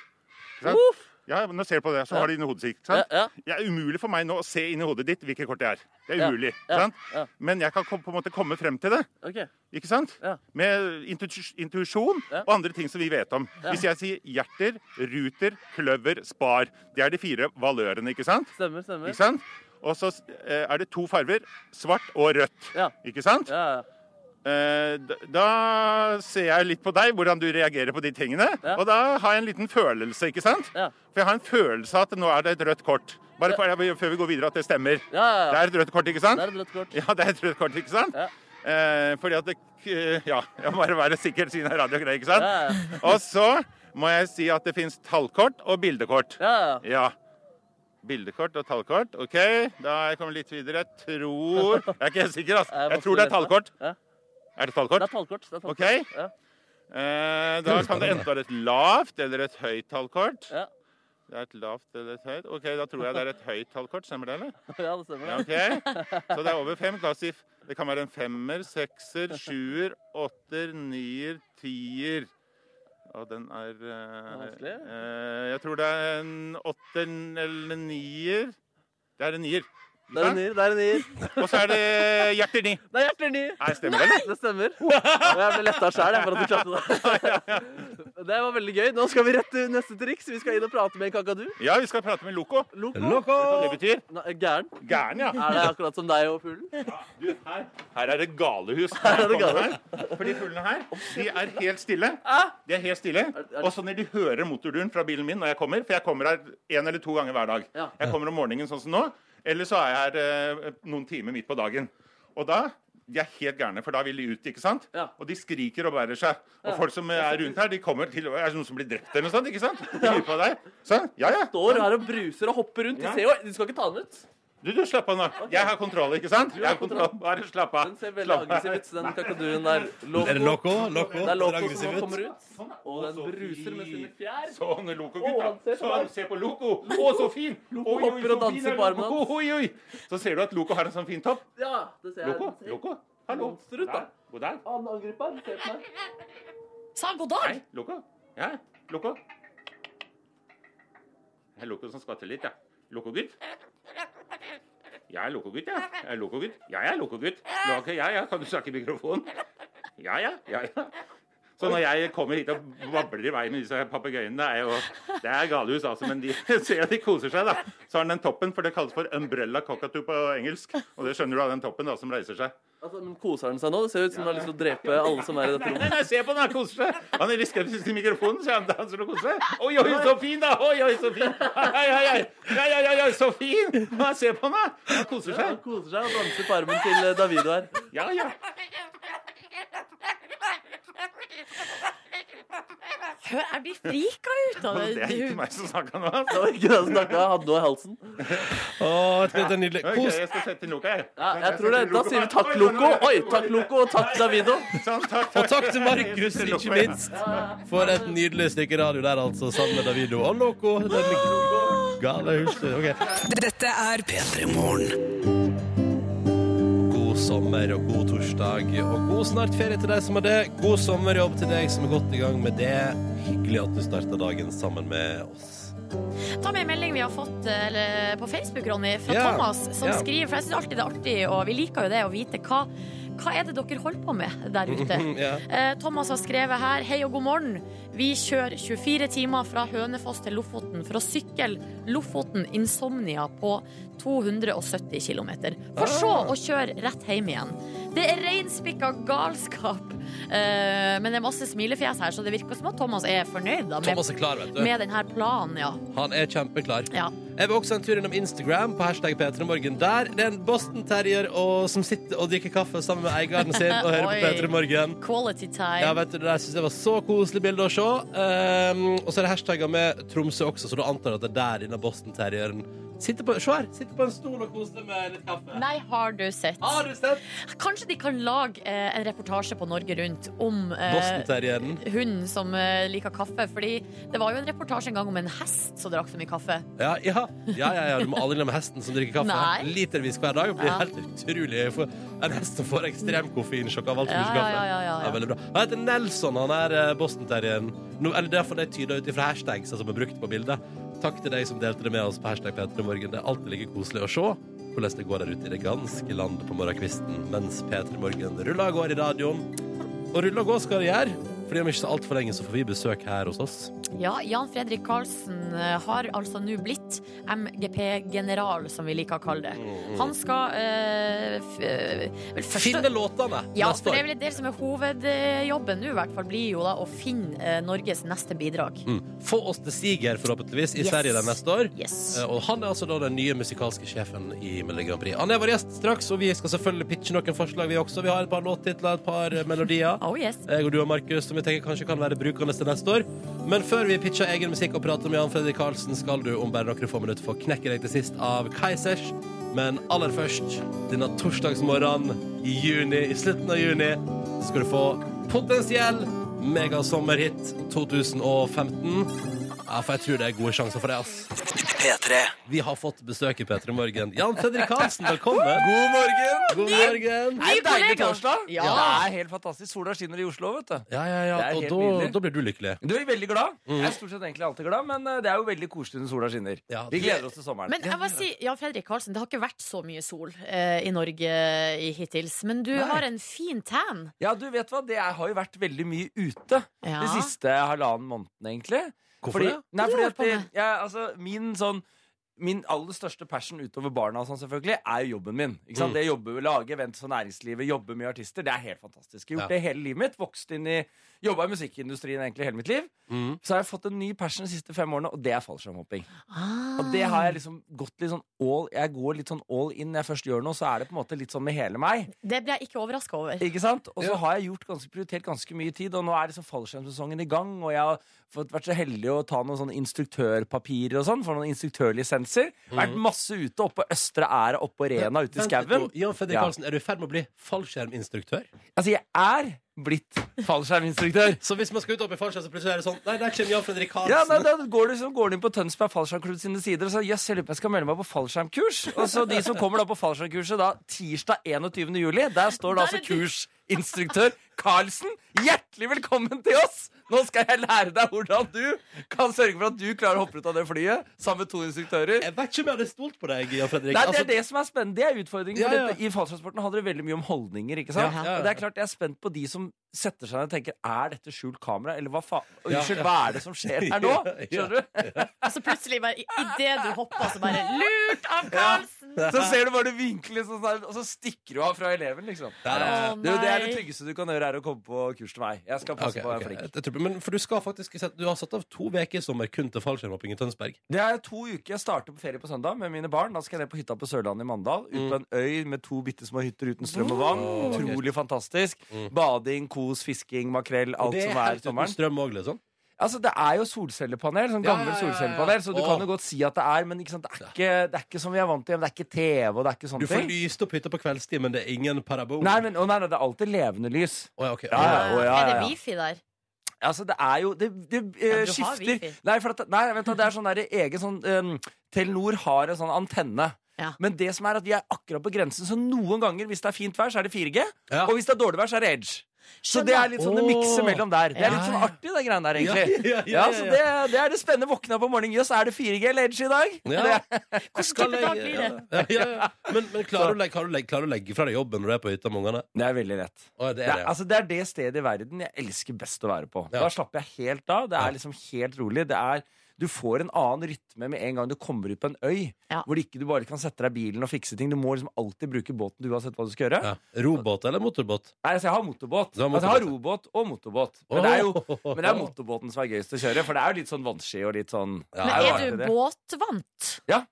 [SPEAKER 9] Ikke sant?
[SPEAKER 4] Uff.
[SPEAKER 9] Ja, men nå ser du på det, så har du det inni hodet sitt. ikke
[SPEAKER 4] Ja,
[SPEAKER 9] sant?
[SPEAKER 4] ja.
[SPEAKER 9] Det er umulig for meg nå å se inni hodet ditt hvilket kort det er. Det er
[SPEAKER 4] Ja,
[SPEAKER 9] umulig,
[SPEAKER 4] ja,
[SPEAKER 9] ikke sant?
[SPEAKER 4] ja.
[SPEAKER 9] Men jeg kan kom- på en måte komme frem til det,
[SPEAKER 4] Ok.
[SPEAKER 9] ikke sant?
[SPEAKER 4] Ja.
[SPEAKER 9] Med intu- intuisjon
[SPEAKER 4] Ja.
[SPEAKER 9] og andre ting som vi vet om. Hvis jeg sier hjerter, ruter, kløver, spar. Det er de fire valørene, ikke sant?
[SPEAKER 4] Stemmer, stemmer.
[SPEAKER 9] Ikke sant? Og så eh, er det to farver, svart og rødt,
[SPEAKER 4] Ja.
[SPEAKER 9] ikke sant?
[SPEAKER 4] Ja, ja.
[SPEAKER 9] Eh, d- Da ser jeg litt på deg, hvordan du reagerer på de tingene.
[SPEAKER 4] Ja.
[SPEAKER 9] Og da har jeg en liten følelse, ikke sant?
[SPEAKER 4] Ja.
[SPEAKER 9] For jeg har en følelse av at nå er det et rødt kort. Bare for, før vi går videre, at det stemmer.
[SPEAKER 4] Ja, ja, ja.
[SPEAKER 9] Det er et rødt kort, ikke sant?
[SPEAKER 4] Det er et rødt kort.
[SPEAKER 9] <laughs> Ja, det er et rødt kort, ikke sant?
[SPEAKER 4] Ja.
[SPEAKER 9] Eh, fordi at det eh, Ja, jeg må bare være sikker siden det er radio og greier, ikke sant?
[SPEAKER 4] Ja, ja.
[SPEAKER 9] <laughs> Og så må jeg si at det fins tallkort og bildekort.
[SPEAKER 4] Ja, ja.
[SPEAKER 9] Ja. Bildekort og tallkort. OK, da er jeg kommet litt videre. Jeg
[SPEAKER 4] <laughs>
[SPEAKER 9] tror Jeg er ikke helt sikker, altså.
[SPEAKER 4] Jeg
[SPEAKER 9] Jeg tror det er
[SPEAKER 4] måtte lese.
[SPEAKER 9] tallkort.
[SPEAKER 4] Ja.
[SPEAKER 9] Er det
[SPEAKER 4] Det
[SPEAKER 9] tallkort?
[SPEAKER 4] er tallkort. Det er tallkort.
[SPEAKER 9] OK.
[SPEAKER 4] Ja.
[SPEAKER 9] Eh, da kan det enten være et lavt eller et høyt tallkort.
[SPEAKER 4] Ja.
[SPEAKER 9] Det er et lavt eller et høyt. Ok, da tror jeg det er et høyt tallkort. Stemmer det, eller?
[SPEAKER 4] <laughs> Ja, det stemmer. det.
[SPEAKER 9] Ja, ok. Så det er over fem. La oss si det kan være en femmer, sekser, sjuer, åtter, nier, tier. Og den er eh,
[SPEAKER 4] Vanskelig.
[SPEAKER 9] eh, Jeg tror det er en åtter eller nier. Det er en nier.
[SPEAKER 4] Det er en nier. Det er en nier.
[SPEAKER 9] Og så er det hjerter ni.
[SPEAKER 4] Det er hjerter ni.
[SPEAKER 9] Nei, stemmer det, eller?
[SPEAKER 4] Det stemmer. Og jeg ble letta sjæl for at du
[SPEAKER 9] <laughs>
[SPEAKER 4] klarte det. Det var veldig gøy. Nå skal vi rett til neste triks. Vi skal inn og prate med en kakadu.
[SPEAKER 9] Ja, vi skal prate med Loco.
[SPEAKER 4] Loco.
[SPEAKER 2] Loco!
[SPEAKER 9] Det betyr
[SPEAKER 4] Nei, Gæren.
[SPEAKER 9] gæren, ja.
[SPEAKER 4] Er det akkurat som deg og fuglen?
[SPEAKER 9] Du, her, her er det galehus.
[SPEAKER 4] Her er det gale.
[SPEAKER 9] For de fuglene her, de er helt stille. De er helt stille.
[SPEAKER 4] Ah! er-
[SPEAKER 9] Og så når de hører motorduren fra bilen min når jeg kommer, for jeg kommer her en eller to ganger hver dag.
[SPEAKER 4] Ja.
[SPEAKER 9] Jeg kommer om morgenen sånn som nå, eller så er jeg her eh, noen timer midt på dagen. Og da de er helt gærne, for da vil de ut. ikke sant?
[SPEAKER 4] Ja.
[SPEAKER 9] Og de skriker og bærer seg. Og folk som er rundt her, de kommer til Er det noen som blir drept eller noe sånt? ikke sant? De lurer på deg. Sånn. Ja, ja.
[SPEAKER 4] Står her og bruser og hopper rundt. De,
[SPEAKER 9] Ja.
[SPEAKER 4] ser jo, de skal ikke ta den ut.
[SPEAKER 9] Du, du, slapp av nå. Jeg har kontroll, ikke sant?
[SPEAKER 4] har
[SPEAKER 9] Jeg har kontroll. Bare slapp av.
[SPEAKER 4] Den ser veldig
[SPEAKER 9] Slapp av.
[SPEAKER 4] aggressiv ut, den kakaduen der. Loco.
[SPEAKER 2] Er det Loco? Loco?
[SPEAKER 4] Det er Loco
[SPEAKER 2] Aggressiv
[SPEAKER 4] som nå
[SPEAKER 2] ut.
[SPEAKER 4] kommer ut. Og den bruser med sine fjær.
[SPEAKER 9] Sånn,
[SPEAKER 4] Å, han
[SPEAKER 9] Loco-gutta.
[SPEAKER 4] ser på
[SPEAKER 9] Sånn,
[SPEAKER 4] deg.
[SPEAKER 9] se på Loco. Å, så fin! Oi, oi,
[SPEAKER 4] hopper
[SPEAKER 9] så
[SPEAKER 4] og danser
[SPEAKER 9] fin er
[SPEAKER 4] på armen
[SPEAKER 9] Loco.
[SPEAKER 4] hans.
[SPEAKER 9] Oi, oi. Så ser du at Loco har en sånn fin topp.
[SPEAKER 4] Ja, det ser jeg.
[SPEAKER 9] Loco, Loco. Hallo.
[SPEAKER 4] Monster ut, da.
[SPEAKER 9] Der. God dag.
[SPEAKER 4] Han angriper. Se på meg.
[SPEAKER 3] Sa han god dag?
[SPEAKER 9] Hei, Loco. Ja, Loco. Det er Loco som skvatter litt, ja. Loco-gutt. Jeg er Loco-gutt, ja. Jeg er Loco-gutt. Jeg er Loco-gutt. Loco, ja, ja. Kan du snakke i mikrofonen? Ja, ja. Ja, ja. Så når jeg kommer hit og babler i vei med disse papegøyene, det er jo Det er galehus, altså, men de <laughs> ser at de koser seg, da. Så har den den toppen, for det kalles for umbrella cockatoo på engelsk. Og det skjønner du av den toppen da, som reiser seg.
[SPEAKER 4] Altså, men Koser han seg nå? Det ser ut som han har lyst til å drepe alle som er i dette
[SPEAKER 9] Nei,
[SPEAKER 4] rommet.
[SPEAKER 9] nei, nei, se på den, han koser seg. Han er litt skeptisk til mikrofonen, så han danser og koser seg. Oi, oi, så fin, da! Oi, oi, så fin! Oi, oi, oi, oi, oi, oi, oi så fin! Ja, se på han, da! Han koser
[SPEAKER 4] Ja, han
[SPEAKER 9] seg.
[SPEAKER 4] koser seg og danser på armen til eh, Davido her.
[SPEAKER 9] Ja, ja.
[SPEAKER 3] Hør, jeg blir frika ut av
[SPEAKER 9] Det
[SPEAKER 3] det.
[SPEAKER 9] er ikke
[SPEAKER 3] Du,
[SPEAKER 9] meg som snakka nå, altså.
[SPEAKER 4] Det var ikke det han snakka om. Hadde noe i halsen.
[SPEAKER 2] Åh, det er nydelig.
[SPEAKER 9] Ok,
[SPEAKER 2] Kos.
[SPEAKER 9] jeg skal sette inn Loco, jeg.
[SPEAKER 4] Ja, jeg tror det. Da sier vi takk, Loco. Oi, takk, Loco, og takk, Davido.
[SPEAKER 9] Sånn, takk,
[SPEAKER 2] Og takk til Markus,
[SPEAKER 9] Jeg
[SPEAKER 2] ikke
[SPEAKER 9] setter Loco, jeg.
[SPEAKER 2] minst, for et nydelig stykke radio der, altså. Sammen med Davido og Loco. Det er gale huset. Ok.
[SPEAKER 10] Dette er P3 Morgen.
[SPEAKER 2] God sommer og god torsdag, og god snart ferie til deg som har det. God sommerjobb til deg som er godt i gang med det. Hyggelig at du starta dagen sammen med oss.
[SPEAKER 3] ta med en melding vi har fått eh, eller, på Facebook, Ronny, fra
[SPEAKER 2] Ja.
[SPEAKER 3] Thomas, som
[SPEAKER 2] Ja.
[SPEAKER 3] skriver For jeg syns alltid det er artig, og vi liker jo det, å vite hva, hva er det dere holder på med der ute.
[SPEAKER 2] <laughs> Ja.
[SPEAKER 3] Eh, Thomas har skrevet her Hei og god morgen Vi kjører 24 timer fra Hønefoss til Lofoten For å sykle Lofoten Insomnia på 270 kilometer For så
[SPEAKER 2] Ah.
[SPEAKER 3] å kjøre rett hjem igjen Det er regnspikka galskap eh, Men det er masse smilefjes her Så det virker som at Thomas er fornøyd da, med,
[SPEAKER 2] Thomas er klar, vet du.
[SPEAKER 3] med denne planen ja.
[SPEAKER 2] Han er kjempeklar.
[SPEAKER 3] Ja.
[SPEAKER 2] Jeg vil også en tur innom Instagram på hashtag P3morgen. Der det er en Boston Terrier og, som sitter og drikker kaffe sammen med eieren sin og hører på
[SPEAKER 3] Oi.
[SPEAKER 2] P3morgen.
[SPEAKER 3] Quality
[SPEAKER 2] Ja,
[SPEAKER 3] time
[SPEAKER 2] vet du, Det der synes jeg var så koselig bilde å se. Ehm, og så er det hashtagger med Tromsø også, så du antar jeg at det er der denne Boston Terrieren sitter på, se her, sitter på en stol og koser seg med litt kaffe.
[SPEAKER 3] Nei, har du sett
[SPEAKER 2] Har du sett?
[SPEAKER 3] Kanskje de kan lage eh, en reportasje på Norge rundt Om eh,
[SPEAKER 2] Boston Terrieren.
[SPEAKER 3] hunden som eh, liker kaffe. Fordi det var jo en reportasje en gang om en hest som drakk så mye kaffe.
[SPEAKER 2] Ja, ja, ja, ja, ja, du må aldri glemme hesten som drikker kaffe.
[SPEAKER 3] Nei.
[SPEAKER 2] Litervis hver dag. Det blir
[SPEAKER 3] Ja.
[SPEAKER 2] helt utrolig. Jeg får- En hest som får ekstrem koffeinsjokk av alt for
[SPEAKER 3] Ja,
[SPEAKER 2] mye
[SPEAKER 3] ja,
[SPEAKER 2] kaffe.
[SPEAKER 3] ja, ja, ja.
[SPEAKER 2] Det er veldig bra. Han heter Nelson, han er eh, Boston-terrieren. No, eller derfor det tyder ut ifra hashtags altså, som er brukt på bildet. Takk til deg som delte det med oss på hashtag P3morgen. Det er alltid like koselig å se hvordan det går der ute i det ganske land på morgenkvisten mens P3morgen ruller og går i radioen. Og ruller og går skal det gjøre, Fordi om ikke så altfor lenge så får vi besøk her hos oss.
[SPEAKER 3] Ja, Jan Fredrik Karlsen eh, har altså nå blitt MGP-general, som vi liker å kalle
[SPEAKER 2] Mm,
[SPEAKER 3] det. Han skal eh, f, eh, vel, første-
[SPEAKER 2] Finne låtene
[SPEAKER 3] ja,
[SPEAKER 2] neste
[SPEAKER 3] for det er
[SPEAKER 2] år.
[SPEAKER 3] vel det som er hovedjobben nå, i hvert fall, blir jo da å finne eh, Norges neste bidrag.
[SPEAKER 2] Mm. Få oss til siger, forhåpentligvis, i
[SPEAKER 3] Yes.
[SPEAKER 2] Sverige den neste år.
[SPEAKER 3] Yes.
[SPEAKER 2] Eh, Og han er altså da den nye musikalske sjefen i Melodi Grand Prix. Han er vår gjest straks, og vi skal selvfølgelig pitche noen forslag, vi også. Vi har et par låttitler, et par eh, melodier.
[SPEAKER 3] Oh yes.
[SPEAKER 2] Jeg og du og Markus, som vi tenker kanskje kan være brukende til neste år. Men før vi pitcher egen musikk og prater med Jan Fredrik Karlsen, skal du om bare noen få minutter få knekke deg til sist av Kaizers. Men aller først, denne torsdagsmorgenen i juni, i slutten av juni, skal du få potensiell megasommerhit 2015. Ja, Ja, for jeg tror det er gode sjanser for det, ass.
[SPEAKER 10] P3.
[SPEAKER 2] Vi har fått besøk i P3 Morgen. Jan Fredrik Hansen, velkommen.
[SPEAKER 11] God morgen!
[SPEAKER 2] God morgen.
[SPEAKER 11] Det er en deilig torsdag.
[SPEAKER 2] Ja.
[SPEAKER 11] Det er helt fantastisk. Sola skinner i Oslo, vet du.
[SPEAKER 2] Ja, ja, ja.
[SPEAKER 11] Det er
[SPEAKER 2] Og
[SPEAKER 11] helt
[SPEAKER 2] da,
[SPEAKER 11] nydelig.
[SPEAKER 2] da blir du lykkelig.
[SPEAKER 11] Du er veldig glad.
[SPEAKER 2] Mm.
[SPEAKER 11] Jeg er stort sett egentlig alltid glad, men eh, det er jo veldig koselig når sola skinner. Vi gleder oss til sommeren.
[SPEAKER 3] Men jeg må si, Jan Fredrik Karlsen, det har ikke vært så mye sol eh, i Norge i hittils. Men du
[SPEAKER 11] Nei.
[SPEAKER 3] har en fin tan.
[SPEAKER 11] Ja, du vet hva, det er, har jo vært veldig mye ute
[SPEAKER 3] Ja.
[SPEAKER 11] de siste halvannen måneden, egentlig.
[SPEAKER 2] Hvorfor
[SPEAKER 11] fordi,
[SPEAKER 2] det?
[SPEAKER 11] Nei,
[SPEAKER 2] Hva
[SPEAKER 11] fordi
[SPEAKER 2] lurer
[SPEAKER 11] at det- jeg, altså, min sånn Min aller største passion utover barna og sånn selvfølgelig er jo jobben min. Ikke sant?
[SPEAKER 2] Mm.
[SPEAKER 11] Det å jobbe, Lage events for næringslivet, jobbe med artister. Det er helt fantastisk. Jeg har gjort
[SPEAKER 2] Ja.
[SPEAKER 11] det hele livet mitt. Vokst inn i Jobba i musikkindustrien egentlig hele mitt liv.
[SPEAKER 2] Mm.
[SPEAKER 11] Så har jeg fått en ny passion de siste fem årene, og det er fallskjermhopping.
[SPEAKER 3] Ah.
[SPEAKER 11] Og det har jeg liksom gått litt sånn all Jeg går litt sånn all in når jeg først gjør noe, så er det på en måte litt sånn med hele meg.
[SPEAKER 3] Det ble jeg ikke overraska over.
[SPEAKER 11] Ikke sant? Og så har jeg gjort ganske, prioritert ganske mye tid, og nå er liksom fallskjermsesongen i gang. Og jeg har fått, vært så heldig å ta noen sånne instruktørpapirer og sånn, for noen instruktørlisenser. Vært masse ute oppe på Østre Æra, oppe på Rena, ute i
[SPEAKER 2] Mm. Vent litt
[SPEAKER 11] skauen.
[SPEAKER 2] nå. Jan Fredrik
[SPEAKER 11] Ja.
[SPEAKER 2] Karlsen, er du i ferd med å bli fallskjerminstruktør?
[SPEAKER 11] Altså, jeg er blitt fallskjerminstruktør.
[SPEAKER 2] Så hvis man skal ut opp i fallskjerm, så plutselig er det sånn Nei, der kommer Jan Fredrik Karlsen.
[SPEAKER 11] Ja, nei, da går du, så går du inn på Tønsberg Fallskjermklubb sine sider og sier jøss, jeg lurer på om jeg skal melde meg på fallskjermkurs. Og så de som kommer da på fallskjermkurset da tirsdag 21. juli, der står det altså kursinstruktør Karlsen. Hjertelig velkommen til oss! Nå skal jeg lære deg hvordan du kan sørge for at du klarer å hoppe ut av det flyet sammen med to instruktører.
[SPEAKER 2] Jeg vet ikke om jeg hadde stolt på deg, Jan Fredrik.
[SPEAKER 11] Nei, det
[SPEAKER 2] Altså,
[SPEAKER 11] er det som er spennende. Det er utfordringen.
[SPEAKER 2] Ja,
[SPEAKER 11] for
[SPEAKER 2] ja.
[SPEAKER 11] dette- I fallskjermsporten handler det veldig mye om holdninger. ikke sant?
[SPEAKER 2] Ja, ja, ja.
[SPEAKER 11] Og det er klart, Jeg er spent på de som setter seg ned og tenker er dette skjult kamera, eller hva faen
[SPEAKER 2] Ja,
[SPEAKER 11] Unnskyld,
[SPEAKER 2] ja.
[SPEAKER 11] hva er det som skjer her nå?
[SPEAKER 2] <laughs> Ja,
[SPEAKER 11] Skjønner du?
[SPEAKER 3] <laughs> Altså plutselig, bare idet du hoppa, så bare Lurt av Karlsen!
[SPEAKER 11] Så ser du bare du vinker litt sånn, sånn, og så stikker du av fra eleven, liksom.
[SPEAKER 2] Der,
[SPEAKER 3] Å,
[SPEAKER 11] Det, det er det
[SPEAKER 3] nei.
[SPEAKER 11] tryggeste du kan gjøre, er å komme på kurs til meg. Jeg skal passe
[SPEAKER 2] Ok,
[SPEAKER 11] på å
[SPEAKER 2] ok.
[SPEAKER 11] være flink.
[SPEAKER 2] Jeg tror- Men for du skal faktisk sette- Du har satt av to uker i sommer kun til fallskjermhopping i Tønsberg.
[SPEAKER 11] Det er to uker. Jeg starter på ferie på søndag med mine barn. Da skal jeg ned på hytta på Sørlandet i Mandal.
[SPEAKER 2] Mm.
[SPEAKER 11] Ut på en øy med to bitte små hytter uten strøm og vann. Utrolig fantastisk. Bading, kos, fisking, makrell,
[SPEAKER 2] Mm. Og
[SPEAKER 11] alt
[SPEAKER 2] det er
[SPEAKER 11] som er
[SPEAKER 2] helt uten
[SPEAKER 11] sommeren.
[SPEAKER 2] strøm òg, liksom.
[SPEAKER 11] Altså, Det er jo solcellepanel, sånn
[SPEAKER 2] Ja,
[SPEAKER 11] gammel
[SPEAKER 2] ja, ja, ja.
[SPEAKER 11] solcellepanel, så du
[SPEAKER 2] Åh.
[SPEAKER 11] kan jo godt si at det er, men ikke sant, det, er ikke, det er ikke som vi er vant til. Det er ikke TV, og det er ikke
[SPEAKER 2] Du
[SPEAKER 11] sånne
[SPEAKER 2] får
[SPEAKER 11] ting.
[SPEAKER 2] lyst opp hytta på kveldstid, men det er ingen parabol.
[SPEAKER 11] Nei, men, å, nei, nei, det er alltid levende lys.
[SPEAKER 2] Å, ja, ok.
[SPEAKER 11] Ja, ja. å,
[SPEAKER 3] Er det
[SPEAKER 11] ja.
[SPEAKER 3] wifi der?
[SPEAKER 11] Altså, det er jo Det, det eh,
[SPEAKER 3] Ja, du har
[SPEAKER 11] skifter
[SPEAKER 3] wifi.
[SPEAKER 11] Nei, for at, nei, vent da, det er sånn der egen sånn em, Telenor har en sånn antenne.
[SPEAKER 3] Ja.
[SPEAKER 11] Men det som er at vi er akkurat på grensen, så noen ganger hvis det er fint vær, så er det 4G.
[SPEAKER 2] Ja.
[SPEAKER 11] Og hvis det er dårlig vær, så er det Edge. Så det er litt sånn det
[SPEAKER 2] Åh.
[SPEAKER 11] mikser mellom der. Det er litt
[SPEAKER 2] Ja,
[SPEAKER 11] sånn
[SPEAKER 2] ja.
[SPEAKER 11] artig, det greiene der,
[SPEAKER 2] Ja,
[SPEAKER 11] egentlig.
[SPEAKER 2] ja, ja, ja,
[SPEAKER 11] så
[SPEAKER 2] ja.
[SPEAKER 11] det, det er det spennende. Våkna på morgenen, jøss, er det 4G eller Edge i dag?
[SPEAKER 2] Ja. Hvordan
[SPEAKER 3] type dag blir det?
[SPEAKER 2] Ja, ja, ja. Men, men
[SPEAKER 11] <laughs>
[SPEAKER 2] klarer, du, å legge- klarer, du, å legge- klarer du å legge fra deg jobben når du er på hytta med ungene?
[SPEAKER 11] Det er veldig lett.
[SPEAKER 2] Å, det
[SPEAKER 11] Det
[SPEAKER 2] er
[SPEAKER 11] er,
[SPEAKER 2] det, ja.
[SPEAKER 11] altså, det er det stedet i verden jeg elsker best å være på.
[SPEAKER 2] Ja.
[SPEAKER 11] Da slapper jeg helt av. Det
[SPEAKER 2] Ja.
[SPEAKER 11] er liksom helt rolig. Det er, du får en annen rytme med en gang du kommer ut på en øy.
[SPEAKER 3] Ja.
[SPEAKER 11] Hvor ikke du bare kan sette deg i bilen og fikse ting. Du må liksom alltid bruke båten du uansett hva du skal gjøre.
[SPEAKER 2] Ja. Robåt eller motorbåt?
[SPEAKER 11] Nei, altså, jeg har motorbåt.
[SPEAKER 2] Du har
[SPEAKER 11] Altså, jeg har
[SPEAKER 2] motorbåt,
[SPEAKER 11] robåt og motorbåt. Men det er jo men det er motorbåten som er gøyest å kjøre, for det er jo litt sånn vannski og litt sånn
[SPEAKER 2] Ja,
[SPEAKER 11] det
[SPEAKER 3] Men er
[SPEAKER 11] jo
[SPEAKER 3] du
[SPEAKER 11] artig, det.
[SPEAKER 3] båtvant?
[SPEAKER 11] Det er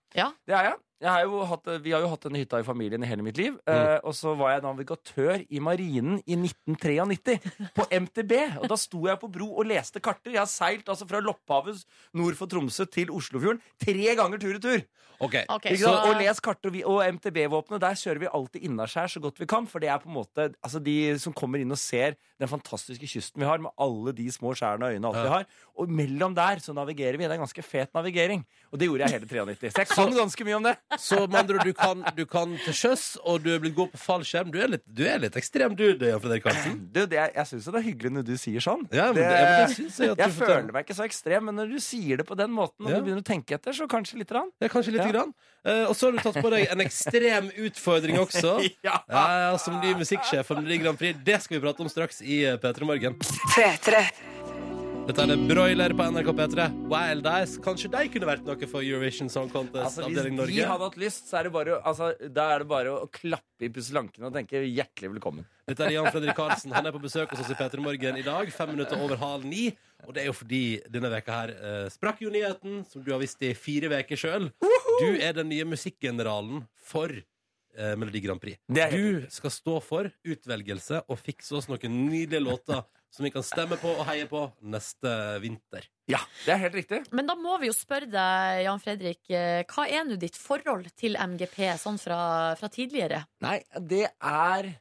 [SPEAKER 11] jeg. jeg har jo hatt, vi har jo hatt denne hytta i familien i hele mitt liv. eh, og så var jeg navigatør i marinen i 1993, på MTB. Og da sto jeg på bro og leste karter. Jeg har seilt altså fra Lopphavet nord for Tromsø til Oslofjorden tre ganger tur i tur.
[SPEAKER 2] Ok.
[SPEAKER 3] Ok,
[SPEAKER 11] Ikke
[SPEAKER 3] så,
[SPEAKER 11] sant? Og les karter. og vi- Og MTB-våpenet, der kjører vi alltid innaskjærs så godt vi kan. For det er på en måte altså de som kommer inn og ser den fantastiske kysten vi har, med alle de små skjærene og øyene og alt vi har. Og mellom der så navigerer vi. Det er ganske fet navigering. Og det gjorde jeg hele 93. Så jeg
[SPEAKER 2] Sånn
[SPEAKER 11] kan ganske mye om det.
[SPEAKER 2] Så med andre ord, du kan, du kan til sjøs, og du er blitt god på fallskjerm. Du er litt, du er litt ekstrem, du, Jan Fredrik Karlsen.
[SPEAKER 11] <clears throat> Du, det er, jeg syns jo det er hyggelig når du sier sånn.
[SPEAKER 2] Ja, men det,
[SPEAKER 11] Det-
[SPEAKER 2] men det synes jeg at
[SPEAKER 11] jeg
[SPEAKER 2] du fortjener.
[SPEAKER 11] føler meg ikke så ekstrem, men når du sier det på den måten, og
[SPEAKER 2] Ja.
[SPEAKER 11] du begynner å tenke etter, så kanskje lite grann.
[SPEAKER 2] Ja, kanskje lite
[SPEAKER 11] Ja.
[SPEAKER 2] grann. Eh, og så har du tatt på deg en ekstrem utfordring også.
[SPEAKER 11] <laughs> Ja.
[SPEAKER 2] Ja, ja, Som ny musikksjef for Melodi Grand Prix. Det skal vi prate om straks i eh, P3 Morgen.
[SPEAKER 10] P3.
[SPEAKER 2] Dette er det Broiler på NRK P3. Wild Eyes. Kanskje de kunne vært noe for Eurovision Song Contest
[SPEAKER 11] Altså, hvis
[SPEAKER 2] Avdeling Norge?
[SPEAKER 11] de hadde hatt lyst, så er det bare, å- altså, da er det bare å klappe i pusselankene og tenke hjertelig velkommen.
[SPEAKER 2] Dette er Jan
[SPEAKER 11] <laughs>
[SPEAKER 2] Fredrik Karlsen. Han er på besøk hos oss i P3 Morgen i dag, fem minutter over halv ni. Og det er jo fordi denne veka her eh, sprakk jo nyheten, som du har visst i fire veker sjøl. Du er den nye musikkgeneralen for eh, Melodi Grand Prix.
[SPEAKER 11] Det er helt
[SPEAKER 2] Du skal stå for utvelgelse og fikse oss noen nydelige låter som vi kan stemme på og heie på neste vinter.
[SPEAKER 11] Ja, det er helt riktig.
[SPEAKER 3] Men da må vi jo spørre deg, Jan Fredrik, eh, hva er nå ditt forhold til MGP sånn fra, fra tidligere?
[SPEAKER 11] Nei, det er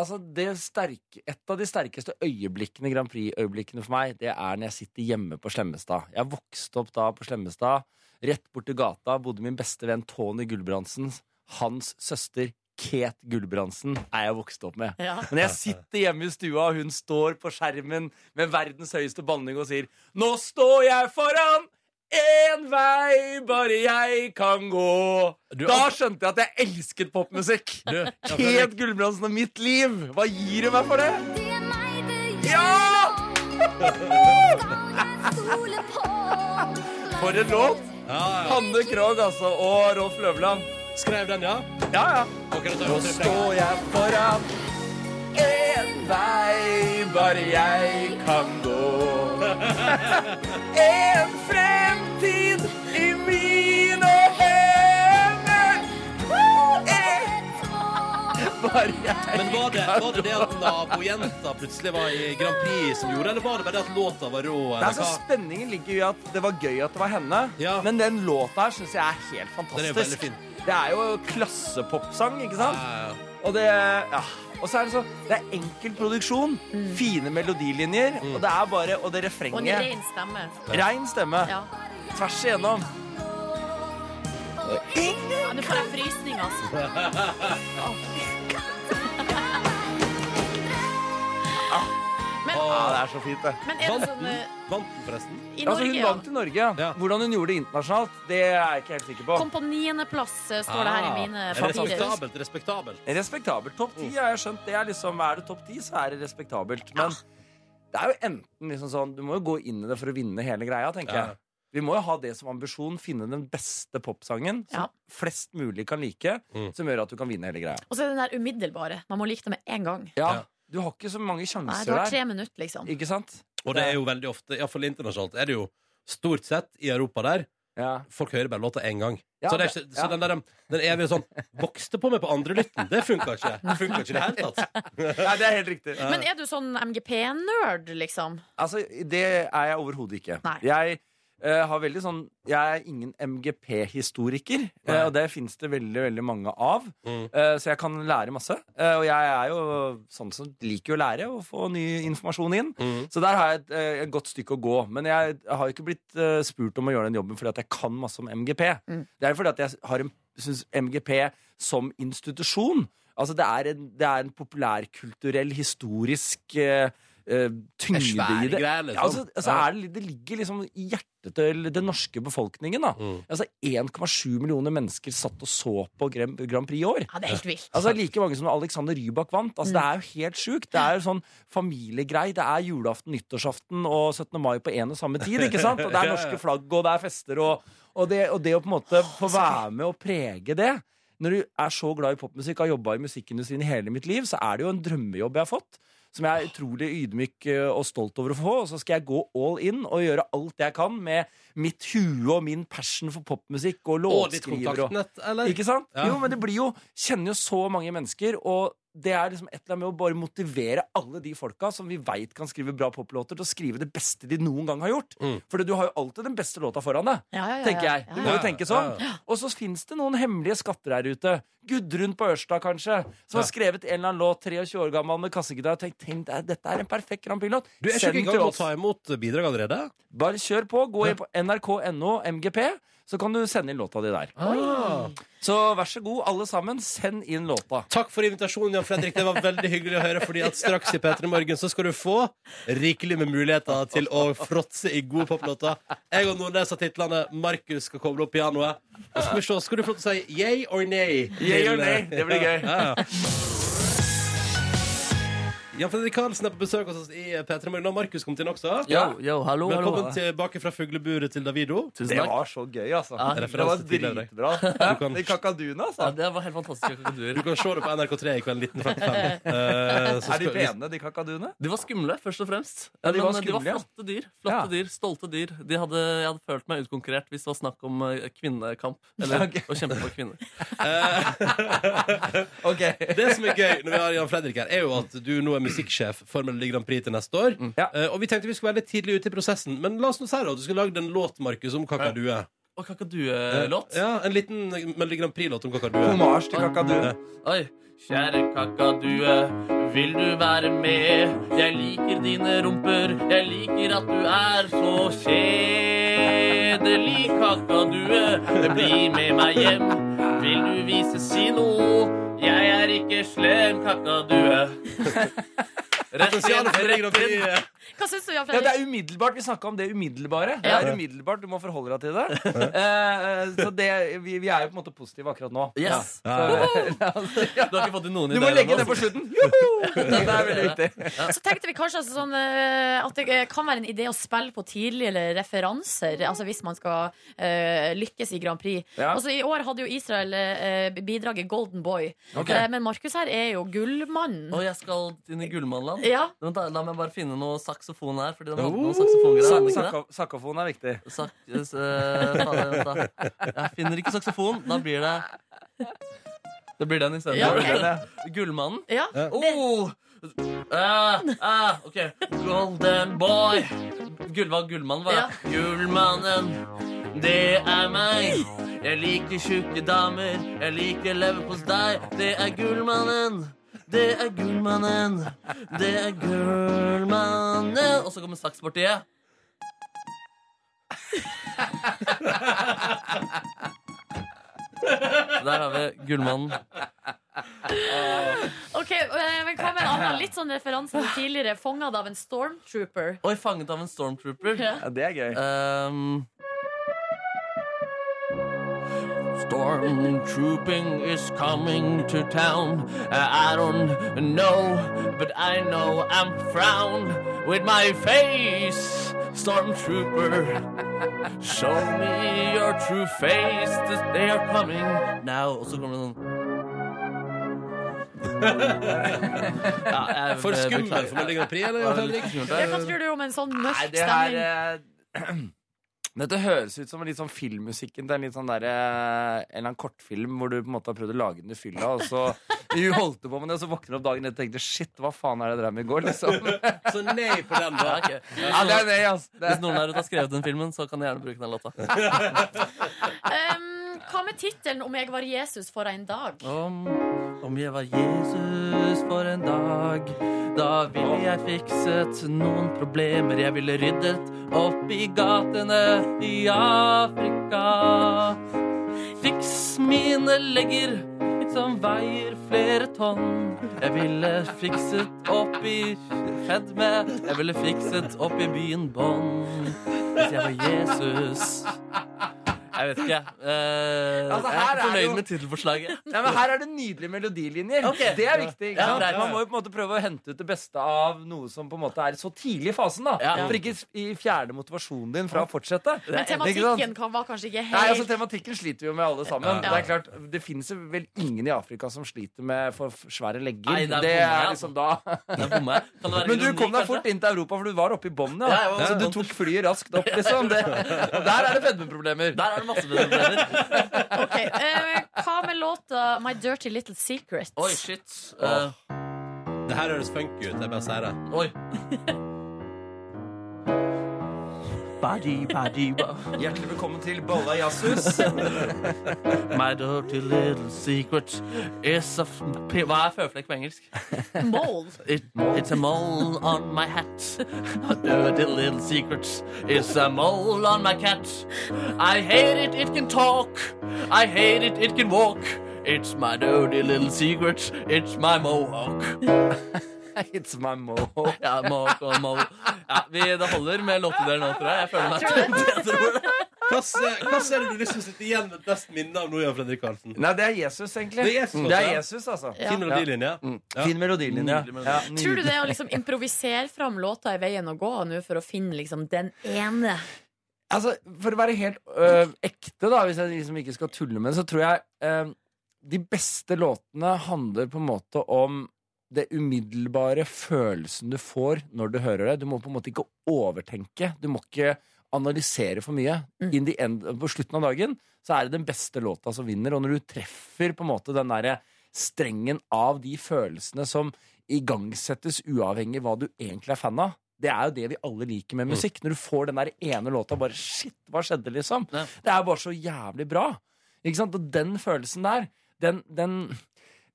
[SPEAKER 11] Altså, det sterke, Et av de sterkeste øyeblikkene, Grand Prix-øyeblikkene for meg, det er når jeg sitter hjemme på Slemmestad. Jeg vokste opp da på Slemmestad. Rett borti gata bodde min beste venn Tony Gulbrandsen. Hans søster Ket Gulbrandsen er jeg vokst opp med.
[SPEAKER 12] Ja.
[SPEAKER 11] Men jeg sitter hjemme i stua, og hun står på skjermen med verdens høyeste banning og sier Nå står jeg foran en vei bare jeg kan gå. da skjønte jeg at jeg elsket popmusikk. Ket Gulbrandsen og mitt liv. Hva gir du meg for det? Ja! <laughs> For en låt! Hanne Krogh altså, og Rolf Løvland. Skrev den, ja? Ja, ja. Nå står jeg foran en vei bare jeg kan <laughs> gå. En fremtid i mine hender. Eh. Bare jeg
[SPEAKER 2] Men var det, var det det at nabojenta plutselig var i Grand Prix som gjorde, eller var det bare det at låta var rå?
[SPEAKER 11] Det
[SPEAKER 2] Eller
[SPEAKER 11] er så
[SPEAKER 2] hva?
[SPEAKER 11] Spenningen ligger i at det var gøy at det var henne, men den låta her syns jeg er helt
[SPEAKER 2] Den er
[SPEAKER 11] fantastisk.
[SPEAKER 2] veldig fin.
[SPEAKER 11] det er jo klassepopsang, ikke sant? Og det ja. Og så er det så Det er enkel produksjon, fine melodilinjer,
[SPEAKER 2] Mm.
[SPEAKER 11] og det er bare Og
[SPEAKER 3] Mm. Og en
[SPEAKER 11] det refrenget.
[SPEAKER 3] ren stemme.
[SPEAKER 11] Rein stemme.
[SPEAKER 3] Ja.
[SPEAKER 11] Tvers
[SPEAKER 2] <laughs>
[SPEAKER 11] igjennom.
[SPEAKER 3] Ja, Nå får jeg frysning, altså. Men,
[SPEAKER 11] Ja, Ah. det er så fint, det.
[SPEAKER 3] Men er det sånn, eh,
[SPEAKER 11] vant den, forresten?
[SPEAKER 3] i
[SPEAKER 11] altså, hun
[SPEAKER 3] Norge, ja.
[SPEAKER 11] vant i Norge, ja. Hvordan hun gjorde det internasjonalt, det er jeg ikke helt sikker på.
[SPEAKER 3] kom på niendeplass, eh, står det her i mine
[SPEAKER 11] Ah,
[SPEAKER 3] papirer.
[SPEAKER 11] Respektabelt. respektabelt. Topp ti har jeg skjønt. Det er liksom, er det topp ti, så er det respektabelt. Men det er jo enten liksom sånn Du må jo gå inn i det for å vinne hele greia, tenker
[SPEAKER 2] Ja.
[SPEAKER 11] jeg. Vi må jo ha det som ambisjon. Finne den beste popsangen som flest mulig kan like, som gjør at du kan vinne hele greia.
[SPEAKER 3] Og så er det den der umiddelbare. Man må like det med en gang.
[SPEAKER 11] Ja, Du har ikke så mange
[SPEAKER 3] Nei,
[SPEAKER 11] sjanser
[SPEAKER 3] du har tre
[SPEAKER 11] der.
[SPEAKER 3] minutter, liksom.
[SPEAKER 11] Ikke sant?
[SPEAKER 2] Og det er jo veldig ofte, iallfall internasjonalt, er det jo stort sett i Europa der Folk hører bare låta én gang.
[SPEAKER 11] Ja,
[SPEAKER 2] så det er ikke,
[SPEAKER 11] det-
[SPEAKER 2] så
[SPEAKER 11] ja.
[SPEAKER 2] den, der, um, den evige sånn 'Vokste på meg på andre lytten', det funka ikke. Det funka ikke i det
[SPEAKER 11] <laughs>
[SPEAKER 2] hele tatt.
[SPEAKER 11] Nei, det er helt riktig.
[SPEAKER 3] Men er du sånn MGP-nerd, liksom?
[SPEAKER 11] Altså, det er jeg overhodet ikke. Jeg eh, har veldig sånn Jeg er ingen MGP-historiker, eh, og det fins det veldig veldig mange av. Eh, så jeg kan lære masse. Eh, og jeg er jo sånn som liker å lære og få ny informasjon inn. Så der har jeg et, eh, et godt stykke å gå. Men jeg har ikke blitt eh, spurt om å gjøre den jobben fordi at jeg kan masse om MGP. Det er fordi at jeg har en, syns MGP som institusjon Altså, det er en, det er en populærkulturell, historisk eh, eh, tyngde
[SPEAKER 2] Det er svære
[SPEAKER 11] i det.
[SPEAKER 2] greier, liksom.
[SPEAKER 11] Ja, altså, altså,
[SPEAKER 2] Ja.
[SPEAKER 11] er det, det ligger liksom i hjertet til den norske befolkningen. Da.
[SPEAKER 2] Mm.
[SPEAKER 11] Altså 1,7 millioner mennesker satt og så på Grand, Grand Prix i år.
[SPEAKER 3] Ja, det er helt vilt. Mm.
[SPEAKER 11] Altså Like mange som da Alexander Rybak vant. Altså Det er jo helt sjukt. Det er jo sånn familiegrei. Det er julaften, nyttårsaften og 17. mai på én og samme tid. ikke sant? Og det
[SPEAKER 2] Ja, ja.
[SPEAKER 11] er norske flagg, og det er fester, og, og, det, og det å på en måte få være med og prege det når du er så glad i popmusikk og har jobba i musikkindustrien hele mitt liv, så er det jo en drømmejobb jeg har fått. Som jeg er utrolig ydmyk eh, og stolt over å få. Og så skal jeg gå all in og gjøre alt jeg kan med mitt hue og min passion for popmusikk og
[SPEAKER 2] Og ditt
[SPEAKER 11] låtskriver.
[SPEAKER 2] kontaktnett, eller?
[SPEAKER 11] Ikke sant?
[SPEAKER 2] Ja.
[SPEAKER 11] Jo, men det blir jo Kjenner jo så mange mennesker, og det er liksom et eller annet med å bare motivere alle de folka som vi veit kan skrive bra poplåter, til å skrive det beste de noen gang har gjort.
[SPEAKER 2] Mm.
[SPEAKER 11] For du har jo alltid den beste låta foran deg,
[SPEAKER 2] Ja, ja, ja,
[SPEAKER 11] tenker jeg.
[SPEAKER 2] ja,
[SPEAKER 11] Du
[SPEAKER 2] ja.
[SPEAKER 11] må jo
[SPEAKER 2] Ja,
[SPEAKER 11] tenke
[SPEAKER 2] ja,
[SPEAKER 11] sånn.
[SPEAKER 2] ja.
[SPEAKER 11] Og så fins det noen hemmelige skatter her ute. Gudrun på Ørsta, kanskje, som
[SPEAKER 2] Ja.
[SPEAKER 11] har skrevet en eller annen låt, 23 år gammel, med kassegitar, og tenkt tenk, det er- dette er en perfekt Grand Prix-låt.
[SPEAKER 2] Du er ikke
[SPEAKER 11] Send
[SPEAKER 2] i gang
[SPEAKER 11] til
[SPEAKER 2] med å
[SPEAKER 11] oss.
[SPEAKER 2] ta imot bidrag allerede?
[SPEAKER 11] Bare kjør på. Gå inn på nrk.no MGP, så kan du sende inn låta di der.
[SPEAKER 4] Ah.
[SPEAKER 11] Så vær så god, alle sammen, send inn låta.
[SPEAKER 2] Takk for invitasjonen, Jan Fredrik. Det var veldig hyggelig å høre. Fordi at straks i P3 Morgen så skal du få rikelig med muligheter til å fråtse i gode poplåter. Jeg og Nordnes har titlene. Markus skal koble opp pianoet. Og så skal vi se, skal du få lov til å si yay or nay?
[SPEAKER 11] Yay or
[SPEAKER 2] til-
[SPEAKER 11] nay, det blir gøy.
[SPEAKER 2] Ja, ja. Jan Fredrik Karlsen er på besøk hos oss i P3 Morgen. Og Markus kom til den også.
[SPEAKER 11] Yo, yo, hallo, hallo.
[SPEAKER 2] Velkommen tilbake fra fugleburet til Davido.
[SPEAKER 11] det var så gøy, altså.
[SPEAKER 2] Ja.
[SPEAKER 11] Det
[SPEAKER 2] Referanse
[SPEAKER 11] var
[SPEAKER 2] til tidligere.
[SPEAKER 11] dritbra.
[SPEAKER 2] Du kan-
[SPEAKER 11] I kakaduen, altså.
[SPEAKER 4] Ja, det var helt
[SPEAKER 3] <laughs>
[SPEAKER 4] fantastiske kakaduer.
[SPEAKER 2] Du kan se det på NRK3 i kveld 1945. Eh, så
[SPEAKER 11] er de
[SPEAKER 2] skal- hvis-
[SPEAKER 11] pene, de kakaduene?
[SPEAKER 4] De var skumle, først og fremst.
[SPEAKER 11] Ja, de
[SPEAKER 4] Men,
[SPEAKER 11] var
[SPEAKER 4] eh,
[SPEAKER 11] skumle, ja.
[SPEAKER 4] flotte dyr. Flotte dyr, Stolte dyr. De hadde, jeg hadde følt meg utkonkurrert hvis det var snakk om eh, kvinnekamp.
[SPEAKER 11] <laughs>
[SPEAKER 4] Eller å kjempe for kvinner.
[SPEAKER 2] <laughs> Det som er gøy når vi har Jan Fredrik her, er jo at du nå er musikksjef for Melodi Grand Prix til neste år.
[SPEAKER 11] Mm.
[SPEAKER 2] Eh, og vi tenkte vi skulle være litt tidlig ute i prosessen, men la oss nå si da at du skulle lagd en låt, Markus, om kakadue. Eh,
[SPEAKER 4] Og kakaduelåt.
[SPEAKER 11] Eh,
[SPEAKER 2] Ja, en liten Melodi Grand Prix-låt om kakadue.
[SPEAKER 11] Hommage til kakadue.
[SPEAKER 4] Oi. Kjære kakadue, vil du være med? Jeg liker dine rumper, jeg liker at du er så kjedelig, kakadue. Bli med meg hjem, vil du vise si noe? Jeg er ikke slem, kakadue. Rett inn, rett inn.
[SPEAKER 3] Hva syns du, Jan
[SPEAKER 11] Ja, det
[SPEAKER 3] Fredrik?
[SPEAKER 11] er umiddelbart. Vi snakka om det umiddelbare. Det
[SPEAKER 4] Ja.
[SPEAKER 11] er umiddelbart, Du må forholde deg til det. Eh, eh, så det, vi, vi er jo på en måte positive akkurat nå.
[SPEAKER 4] Yes.
[SPEAKER 11] Ja. Så,
[SPEAKER 4] Du har ikke fått noen
[SPEAKER 11] Du må
[SPEAKER 4] ideer
[SPEAKER 11] legge
[SPEAKER 4] ennå,
[SPEAKER 11] det på
[SPEAKER 4] altså.
[SPEAKER 11] slutten.
[SPEAKER 4] <laughs>
[SPEAKER 11] Joho! Det er veldig viktig.
[SPEAKER 3] Så tenkte vi kanskje altså sånn, eh, at det eh, kan være en idé å spille på tidligere referanser. Altså hvis man skal eh, lykkes i Grand Prix.
[SPEAKER 13] Ja.
[SPEAKER 3] Altså I år hadde jo Israel eh, bidraget Golden Boy.
[SPEAKER 4] Ok.
[SPEAKER 3] Eh, men Markus her er jo gullmannen.
[SPEAKER 4] Og jeg skal inn i gullmannland.
[SPEAKER 3] Ja.
[SPEAKER 4] Vent da, La meg bare finne noe saksofon her. Fordi de hadde
[SPEAKER 11] Oh!
[SPEAKER 4] noe saksofongreier. hadde de ikke det?
[SPEAKER 11] Sakko- Sakkofon er viktig.
[SPEAKER 4] Sak eh, s- eh, faen, vent da. Jeg finner ikke saksofon. Da blir det Da blir den isteden.
[SPEAKER 11] Ja, ok. Den, ja.
[SPEAKER 4] Gullmannen?
[SPEAKER 3] Ja.
[SPEAKER 4] Oh! Ah, ah, ok. Golden boy. Gull, hva gullmannen var? det? Gullmannen, det er meg. Jeg liker tjukke damer. Jeg liker leverpostei. Det er gullmannen. Det er gullmannen.
[SPEAKER 11] <laughs>
[SPEAKER 4] Det er gullmannen. Og så kommer sakspartiet. Der har vi gullmannen.
[SPEAKER 3] Ok, eh, men Hva med en annen litt sånn referanse til tidligere? Fanget av en stormtrooper.
[SPEAKER 4] Oi, fanget av en stormtrooper. Ehm,
[SPEAKER 3] Ja.
[SPEAKER 11] det er gøy.
[SPEAKER 4] Stormtrooping is coming to town. Uh, I don't know, but I know I'm frown with my face. Stormtrooper, show me your true face. This- They are coming now. Og så kommer det sånn ja, jeg- er
[SPEAKER 2] For skummel
[SPEAKER 4] beklager.
[SPEAKER 2] for Melodi Grand Prix, eller, Jan Fredrik?
[SPEAKER 3] Ja, hva tror du om en sånn mørk
[SPEAKER 11] Nei, det her
[SPEAKER 3] stemning?
[SPEAKER 11] eh, Dette høres ut som litt sånn filmmusikken til en litt sånn der, eh, en eller annen kortfilm hvor du på en måte har prøvd å lage den i fylla,
[SPEAKER 4] <laughs>
[SPEAKER 11] og så du holdt på med det, og så våkner du opp dagen etter og tenkte shit, hva faen er det jeg drev med i går?
[SPEAKER 2] <laughs>
[SPEAKER 11] liksom
[SPEAKER 4] Så nei på den, da.
[SPEAKER 11] Ja, det er nei, ass. Det er-
[SPEAKER 4] Hvis noen der ute har skrevet den filmen, så kan jeg gjerne bruke den låta.
[SPEAKER 3] Um, hva med tittelen 'Om jeg var Jesus for en dag'?
[SPEAKER 4] Om, om jeg var Jesus for en dag, da ville jeg fikset noen problemer. Jeg ville ryddet opp i gatene i Afrika. Fiks <laughs> mine legger som veier flere
[SPEAKER 11] <laughs>
[SPEAKER 4] tonn. Jeg ville fikset opp i fedme. Jeg ville fikset opp i byen Bonn. Hvis jeg var Jesus. Jeg vet ikke. Eh,
[SPEAKER 11] Altså,
[SPEAKER 4] jeg er
[SPEAKER 11] her er
[SPEAKER 4] ikke
[SPEAKER 11] det
[SPEAKER 4] fornøyd
[SPEAKER 11] jo-
[SPEAKER 4] med tittelforslaget.
[SPEAKER 11] Nei, men Her er det nydelige melodilinjer.
[SPEAKER 4] Ok.
[SPEAKER 11] Det er viktig. ikke
[SPEAKER 4] Ja,
[SPEAKER 11] sant?
[SPEAKER 4] greit.
[SPEAKER 11] Man må jo på en måte prøve å hente ut det beste av noe som på en måte er så tidlig i fasen. da
[SPEAKER 4] Ja.
[SPEAKER 11] For ikke i- fjerne motivasjonen din fra å fortsette.
[SPEAKER 3] Men
[SPEAKER 11] Ikke sant?
[SPEAKER 3] tematikken kan, var kanskje ikke helt
[SPEAKER 11] Nei, altså Tematikken sliter vi jo med alle sammen.
[SPEAKER 3] Ja.
[SPEAKER 11] Det er klart, det fins vel ingen i Afrika som sliter med for f- svære legger.
[SPEAKER 4] Nei, det er
[SPEAKER 11] det
[SPEAKER 4] bommer,
[SPEAKER 11] er
[SPEAKER 4] ja.
[SPEAKER 11] liksom da
[SPEAKER 4] Kan det være
[SPEAKER 11] Men du
[SPEAKER 4] ironi,
[SPEAKER 11] kom deg
[SPEAKER 4] kanskje?
[SPEAKER 11] fort inn til Europa, for du var oppe i bånn, ja.
[SPEAKER 4] Ja, jeg var
[SPEAKER 11] Så du tok flyet raskt opp,
[SPEAKER 4] <laughs>
[SPEAKER 11] liksom. Det, og der er det fedmeproblemer.
[SPEAKER 4] Der er det masse problemer.
[SPEAKER 3] Ok, eh, Hva med låta 'My Dirty Little Secret'?
[SPEAKER 4] Oi, shit. Eh.
[SPEAKER 2] Åh. Det her høres funky ut. Jeg bare sier det.
[SPEAKER 4] Oi.
[SPEAKER 11] Hjertelig velkommen til Bolla
[SPEAKER 4] <laughs>
[SPEAKER 11] Jazzus.
[SPEAKER 4] My dirty little secret is a f p Hva er føflekk på engelsk?
[SPEAKER 3] Mole.
[SPEAKER 4] It, it's a mole on my hat. A dirty little secret is a mole on my cat. I hate it, it can talk. I hate it, it can walk. It's my dirty little secret. It's my mohawk.
[SPEAKER 11] <laughs> It's my mohawk.
[SPEAKER 4] <laughs> Ja, mohawk og mohawk. Ja, vi, det holder med låtidelen nå, tror jeg. Jeg føler meg <laughs>
[SPEAKER 2] Hva ser du liksom sitter igjen med best minne av nå, Jan Fredrik Karlsen?
[SPEAKER 11] Nei, det er Jesus, egentlig.
[SPEAKER 2] Det er Jesus,
[SPEAKER 11] det er
[SPEAKER 2] ja.
[SPEAKER 11] Jesus altså.
[SPEAKER 3] Ja. Fin
[SPEAKER 2] melodilinje.
[SPEAKER 11] Mm. Fin melodilinje.
[SPEAKER 2] Nydelig melodi.
[SPEAKER 11] Ja,
[SPEAKER 3] Tror du det er å liksom improvisere fram låta i veien å gå nå for å finne liksom den ene?
[SPEAKER 11] Altså, For å være helt øh, ekte, da, hvis jeg liksom ikke skal tulle med det, så tror jeg øh, de beste låtene handler på en måte om det umiddelbare følelsen du får når du hører det. Du må på en måte ikke overtenke. Du må ikke analysere for mye. In the end, på slutten av dagen så er det den beste låta som vinner. Og når du treffer på en måte den derre strengen av de følelsene som igangsettes uavhengig hva du egentlig er fan av. Det er jo det vi alle liker med musikk. Når du får den der ene låta bare Shit, hva skjedde, liksom? Det er bare så jævlig bra. Ikke sant? Og den følelsen der, den, den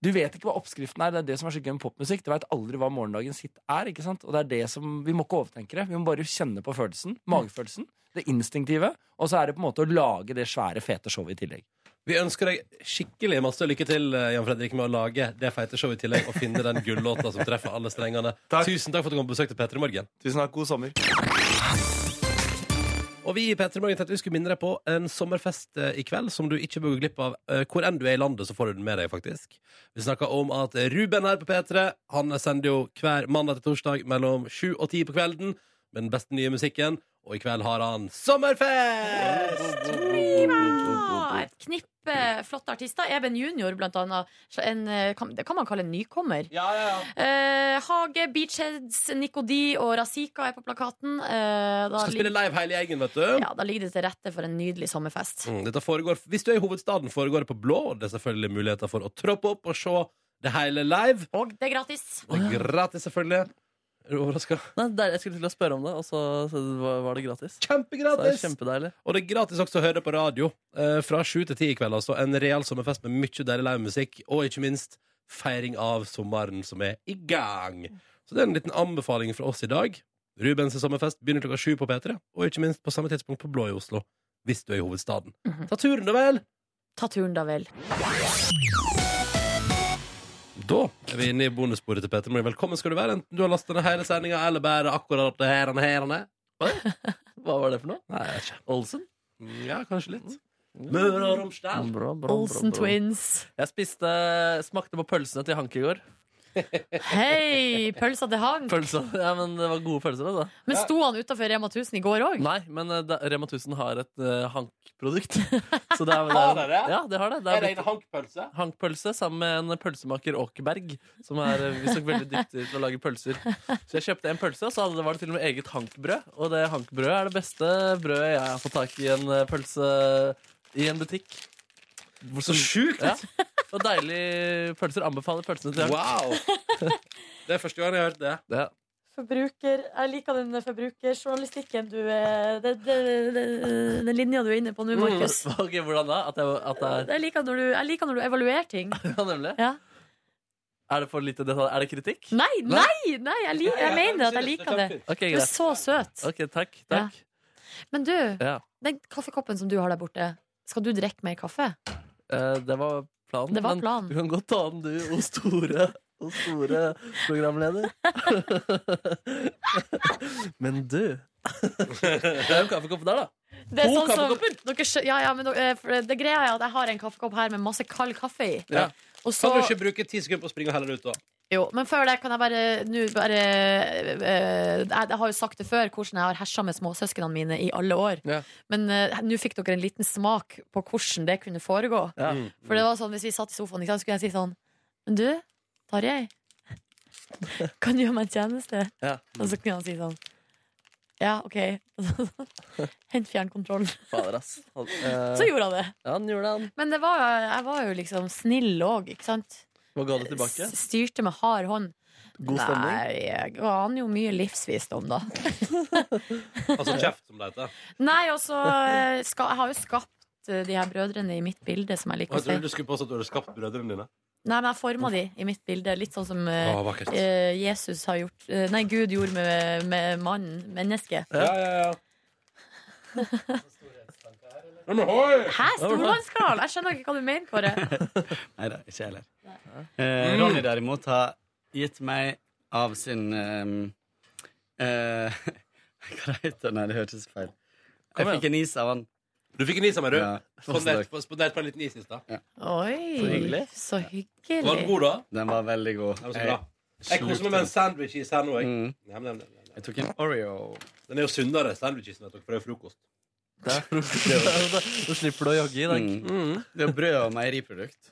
[SPEAKER 11] Du vet ikke hva oppskriften er. Det er det som er så gøy med popmusikk. Du vet aldri hva morgendagens hit er. ikke sant? Og det er det som, Vi må ikke overtenke det. Vi må bare kjenne på følelsen. Magefølelsen. Det instinktive. Og så er det på en måte å lage det svære, fete showet i tillegg.
[SPEAKER 2] Vi ønsker deg skikkelig masse lykke til eh, Jan Fredrik, med å lage det feite showet i tillegg og finne den gullåta som treffer alle strengene.
[SPEAKER 11] <laughs>
[SPEAKER 2] Tusen takk for at du kom på besøk til P3 Morgen.
[SPEAKER 11] Tusen takk, god sommer
[SPEAKER 2] Og vi i P3 Morgen tenkte vi skulle minne deg på en sommerfest eh, i kveld som du ikke bør gå glipp av. Eh, Hvor enn du er i landet, så får du den med deg, faktisk. Vi snakker om at Ruben her på P3 Han sender jo hver mandag til torsdag mellom sju og ti på kvelden med den beste nye musikken, og i kveld har han sommerfest!
[SPEAKER 3] Ja, et knippe flotte artister. Eben Junior, blant annet. Så En, eh, kan- det kan man kalle en nykommer. Eh, Hage, Beachheads, Nikodi og Razika er på plakaten. Eh, da,
[SPEAKER 2] Skal spille
[SPEAKER 3] ligger,
[SPEAKER 2] live hele gjengen, vet du.
[SPEAKER 3] ja, da ligger det til rette for en nydelig sommerfest.
[SPEAKER 2] Mm, dette foregår, hvis du er i hovedstaden, foregår det på blå. og Det er selvfølgelig muligheter for å troppe opp og se det hele live.
[SPEAKER 3] Og det er gratis.
[SPEAKER 2] det er gratis, selvfølgelig. Er du overraska?
[SPEAKER 4] Nei, det er- jeg skulle til å spørre om det, og så, så var- var det gratis.
[SPEAKER 2] Kjempegratis!
[SPEAKER 4] Så det er kjempedeilig.
[SPEAKER 2] Og det er gratis også å høre på radio eh, fra sju til ti i kveld. Altså. En real sommerfest med mye deilig livemusikk, og ikke minst feiring av sommeren som er i gang. Så det er en liten anbefaling fra oss i dag. Rubens sommerfest begynner klokka sju på P3, og ikke minst på samme tidspunkt på Blå i Oslo, hvis du er i hovedstaden. Ta turen, da vel!
[SPEAKER 3] Mhm. Ta turen, da vel.
[SPEAKER 2] Da er vi inne i bonussporet til Peter Morgen. Velkommen skal du være, enten du har lastet ned hele sendinga eller bare akkurat det her og her og her.
[SPEAKER 4] Hva var det <laughs> for noe?
[SPEAKER 2] Nei, jeg vet ikke.
[SPEAKER 4] Olsen? Mm.
[SPEAKER 2] Ja, kanskje litt. Møre og Romsdal.
[SPEAKER 4] Bra, bra, bra,
[SPEAKER 3] Olsen
[SPEAKER 4] bra.
[SPEAKER 3] Twins.
[SPEAKER 4] Jeg spiste, smakte på pølsene til Hanke i går.
[SPEAKER 3] Hei! Pølsa til Hank.
[SPEAKER 4] Pølsa, ja, men Det var gode pølser, altså.
[SPEAKER 3] Men sto han utafor Rema 1000 i går òg?
[SPEAKER 4] Nei, men eh, da, Rema 1000 har et eh,
[SPEAKER 2] <laughs>
[SPEAKER 4] Hank-produkt. Så det er,
[SPEAKER 2] Har dere det?
[SPEAKER 4] Ja, det har det.
[SPEAKER 2] Er det
[SPEAKER 4] blitt-
[SPEAKER 2] en hankpølse?
[SPEAKER 4] Hank-pølse sammen med en pølsemaker Åkerberg, som er eh, visstnok veldig dyktig til å lage pølser. Så jeg kjøpte en pølse, og så hadde, var det til og med eget Hank-brød. Og det Hank-brødet er det beste brødet jeg har fått tak i en eh, pølse i en butikk.
[SPEAKER 2] Så sjukt!
[SPEAKER 4] Ja. Og deilige pølser. Anbefaler pølsene til
[SPEAKER 2] Wow!
[SPEAKER 4] <laughs>
[SPEAKER 2] Det er første gang jeg har hørt det.
[SPEAKER 4] Ja.
[SPEAKER 3] Forbruker, Jeg liker den forbrukerjournalistikken du eh, Den, den, den, den linja du er inne på nå, Markus.
[SPEAKER 4] Mm, <laughs> ok, Hvordan da? At, jeg, at det er
[SPEAKER 3] Jeg liker når du, jeg liker når du evaluerer ting.
[SPEAKER 4] <laughs> Ja, nemlig. Er det for lite detalj? Er det kritikk?
[SPEAKER 3] Nei, nei! nei jeg, li, jeg mener at jeg liker det.
[SPEAKER 4] Ok,
[SPEAKER 3] Du er
[SPEAKER 4] greit.
[SPEAKER 3] så søt.
[SPEAKER 4] Ok, takk. takk.
[SPEAKER 3] Men du,
[SPEAKER 4] Ja.
[SPEAKER 3] den kaffekoppen som du har der borte, skal du drikke mer kaffe?
[SPEAKER 4] Eh, det var planen.
[SPEAKER 3] Det var
[SPEAKER 4] men
[SPEAKER 3] planen.
[SPEAKER 4] Du kan godt ta den, du, o store, o store programleder. <laughs> men
[SPEAKER 2] <laughs>
[SPEAKER 4] du Det er jo en kaffekopp der, da.
[SPEAKER 3] Det er
[SPEAKER 4] to
[SPEAKER 3] sånn som-
[SPEAKER 4] kaffekopper!
[SPEAKER 3] Dere, skjø- ja, ja, men, dere- eh, for det greia er at jeg har en kaffekopp her med masse kald kaffe i.
[SPEAKER 2] Ja.
[SPEAKER 3] Og så,
[SPEAKER 2] Kan du ikke bruke ti sekunder på å springe og helle det ut, da?
[SPEAKER 3] jo, men før det kan jeg bare, nå bare eh, jeg, jeg har jo sagt det før hvordan jeg har hersa med småsøsknene mine i alle år. Men eh, nå fikk dere en liten smak på hvordan det kunne foregå.
[SPEAKER 4] Ja.
[SPEAKER 2] Mm.
[SPEAKER 3] For
[SPEAKER 4] Mm.
[SPEAKER 3] det var sånn, Hvis vi satt i sofaen, ikke sant, skulle jeg si sånn Men du,
[SPEAKER 4] <laughs>
[SPEAKER 3] Tarjei, kan du gjøre meg en tjeneste?
[SPEAKER 4] Ja.
[SPEAKER 3] Og så kunne han si sånn Ja, OK. <laughs> Hent fjernkontrollen.
[SPEAKER 4] Fader, ass. Han, eh,
[SPEAKER 3] Så gjorde han det.
[SPEAKER 4] Ja, han gjorde det. han.
[SPEAKER 3] Men det var, jeg var jo liksom snill òg, ikke sant?
[SPEAKER 4] Hva ga du tilbake?
[SPEAKER 3] S- Styrte med hard hånd.
[SPEAKER 4] God stemning?
[SPEAKER 3] Nei, jeg ga han jo mye livsvisdom, da.
[SPEAKER 2] Altså kjeft, som det heter.
[SPEAKER 3] Nei, og så eh, ska- Jeg har jo skapt eh, de her brødrene i mitt bilde, som jeg
[SPEAKER 2] Og
[SPEAKER 3] liker
[SPEAKER 2] jeg trodde
[SPEAKER 3] å
[SPEAKER 2] du
[SPEAKER 3] si.
[SPEAKER 2] skulle påstå at du hadde skapt brødrene dine.
[SPEAKER 3] Nei, men jeg forma de i mitt bilde, litt sånn som eh,
[SPEAKER 2] Å, vakkert.
[SPEAKER 3] eh, Jesus har gjort eh, Nei, Gud gjorde med, med mannen, mennesket.
[SPEAKER 2] Ja, ja, ja. Nei, men hoi!
[SPEAKER 3] Hæ, stormannskarl? Jeg skjønner ikke hva du mener,
[SPEAKER 2] <laughs>
[SPEAKER 3] Kåre.
[SPEAKER 14] Nei da, ikke jeg heller.
[SPEAKER 3] Mm.
[SPEAKER 14] Eh, Ronny derimot har gitt meg av sin eh, eh, <laughs> Hva heter den? Nei, det hørtes feil.
[SPEAKER 2] Kom
[SPEAKER 14] Jeg
[SPEAKER 2] igjen.
[SPEAKER 14] fikk en is av han.
[SPEAKER 2] Du fikk en is av meg, du?
[SPEAKER 14] Ja, tusen
[SPEAKER 2] Spandert
[SPEAKER 14] takk.
[SPEAKER 2] på, spandert på en liten is i stad.
[SPEAKER 14] Så
[SPEAKER 3] Oi,
[SPEAKER 14] hyggelig.
[SPEAKER 3] så hyggelig.
[SPEAKER 2] Var den god, da?
[SPEAKER 14] Den var veldig god.
[SPEAKER 2] Den var så bra. Jeg koser meg med en sandwich-is her nå. Jeg. Nei, men- nei, nei, nei.
[SPEAKER 14] Jeg tok en Oreo.
[SPEAKER 2] Den er jo sunnere, sandwichisen, vet dere, for det er frokost.
[SPEAKER 4] Det er
[SPEAKER 2] <laughs>
[SPEAKER 4] frokost. Nå slipper du å jogge i dag.
[SPEAKER 14] Mm. Det er brød og meieriprodukt.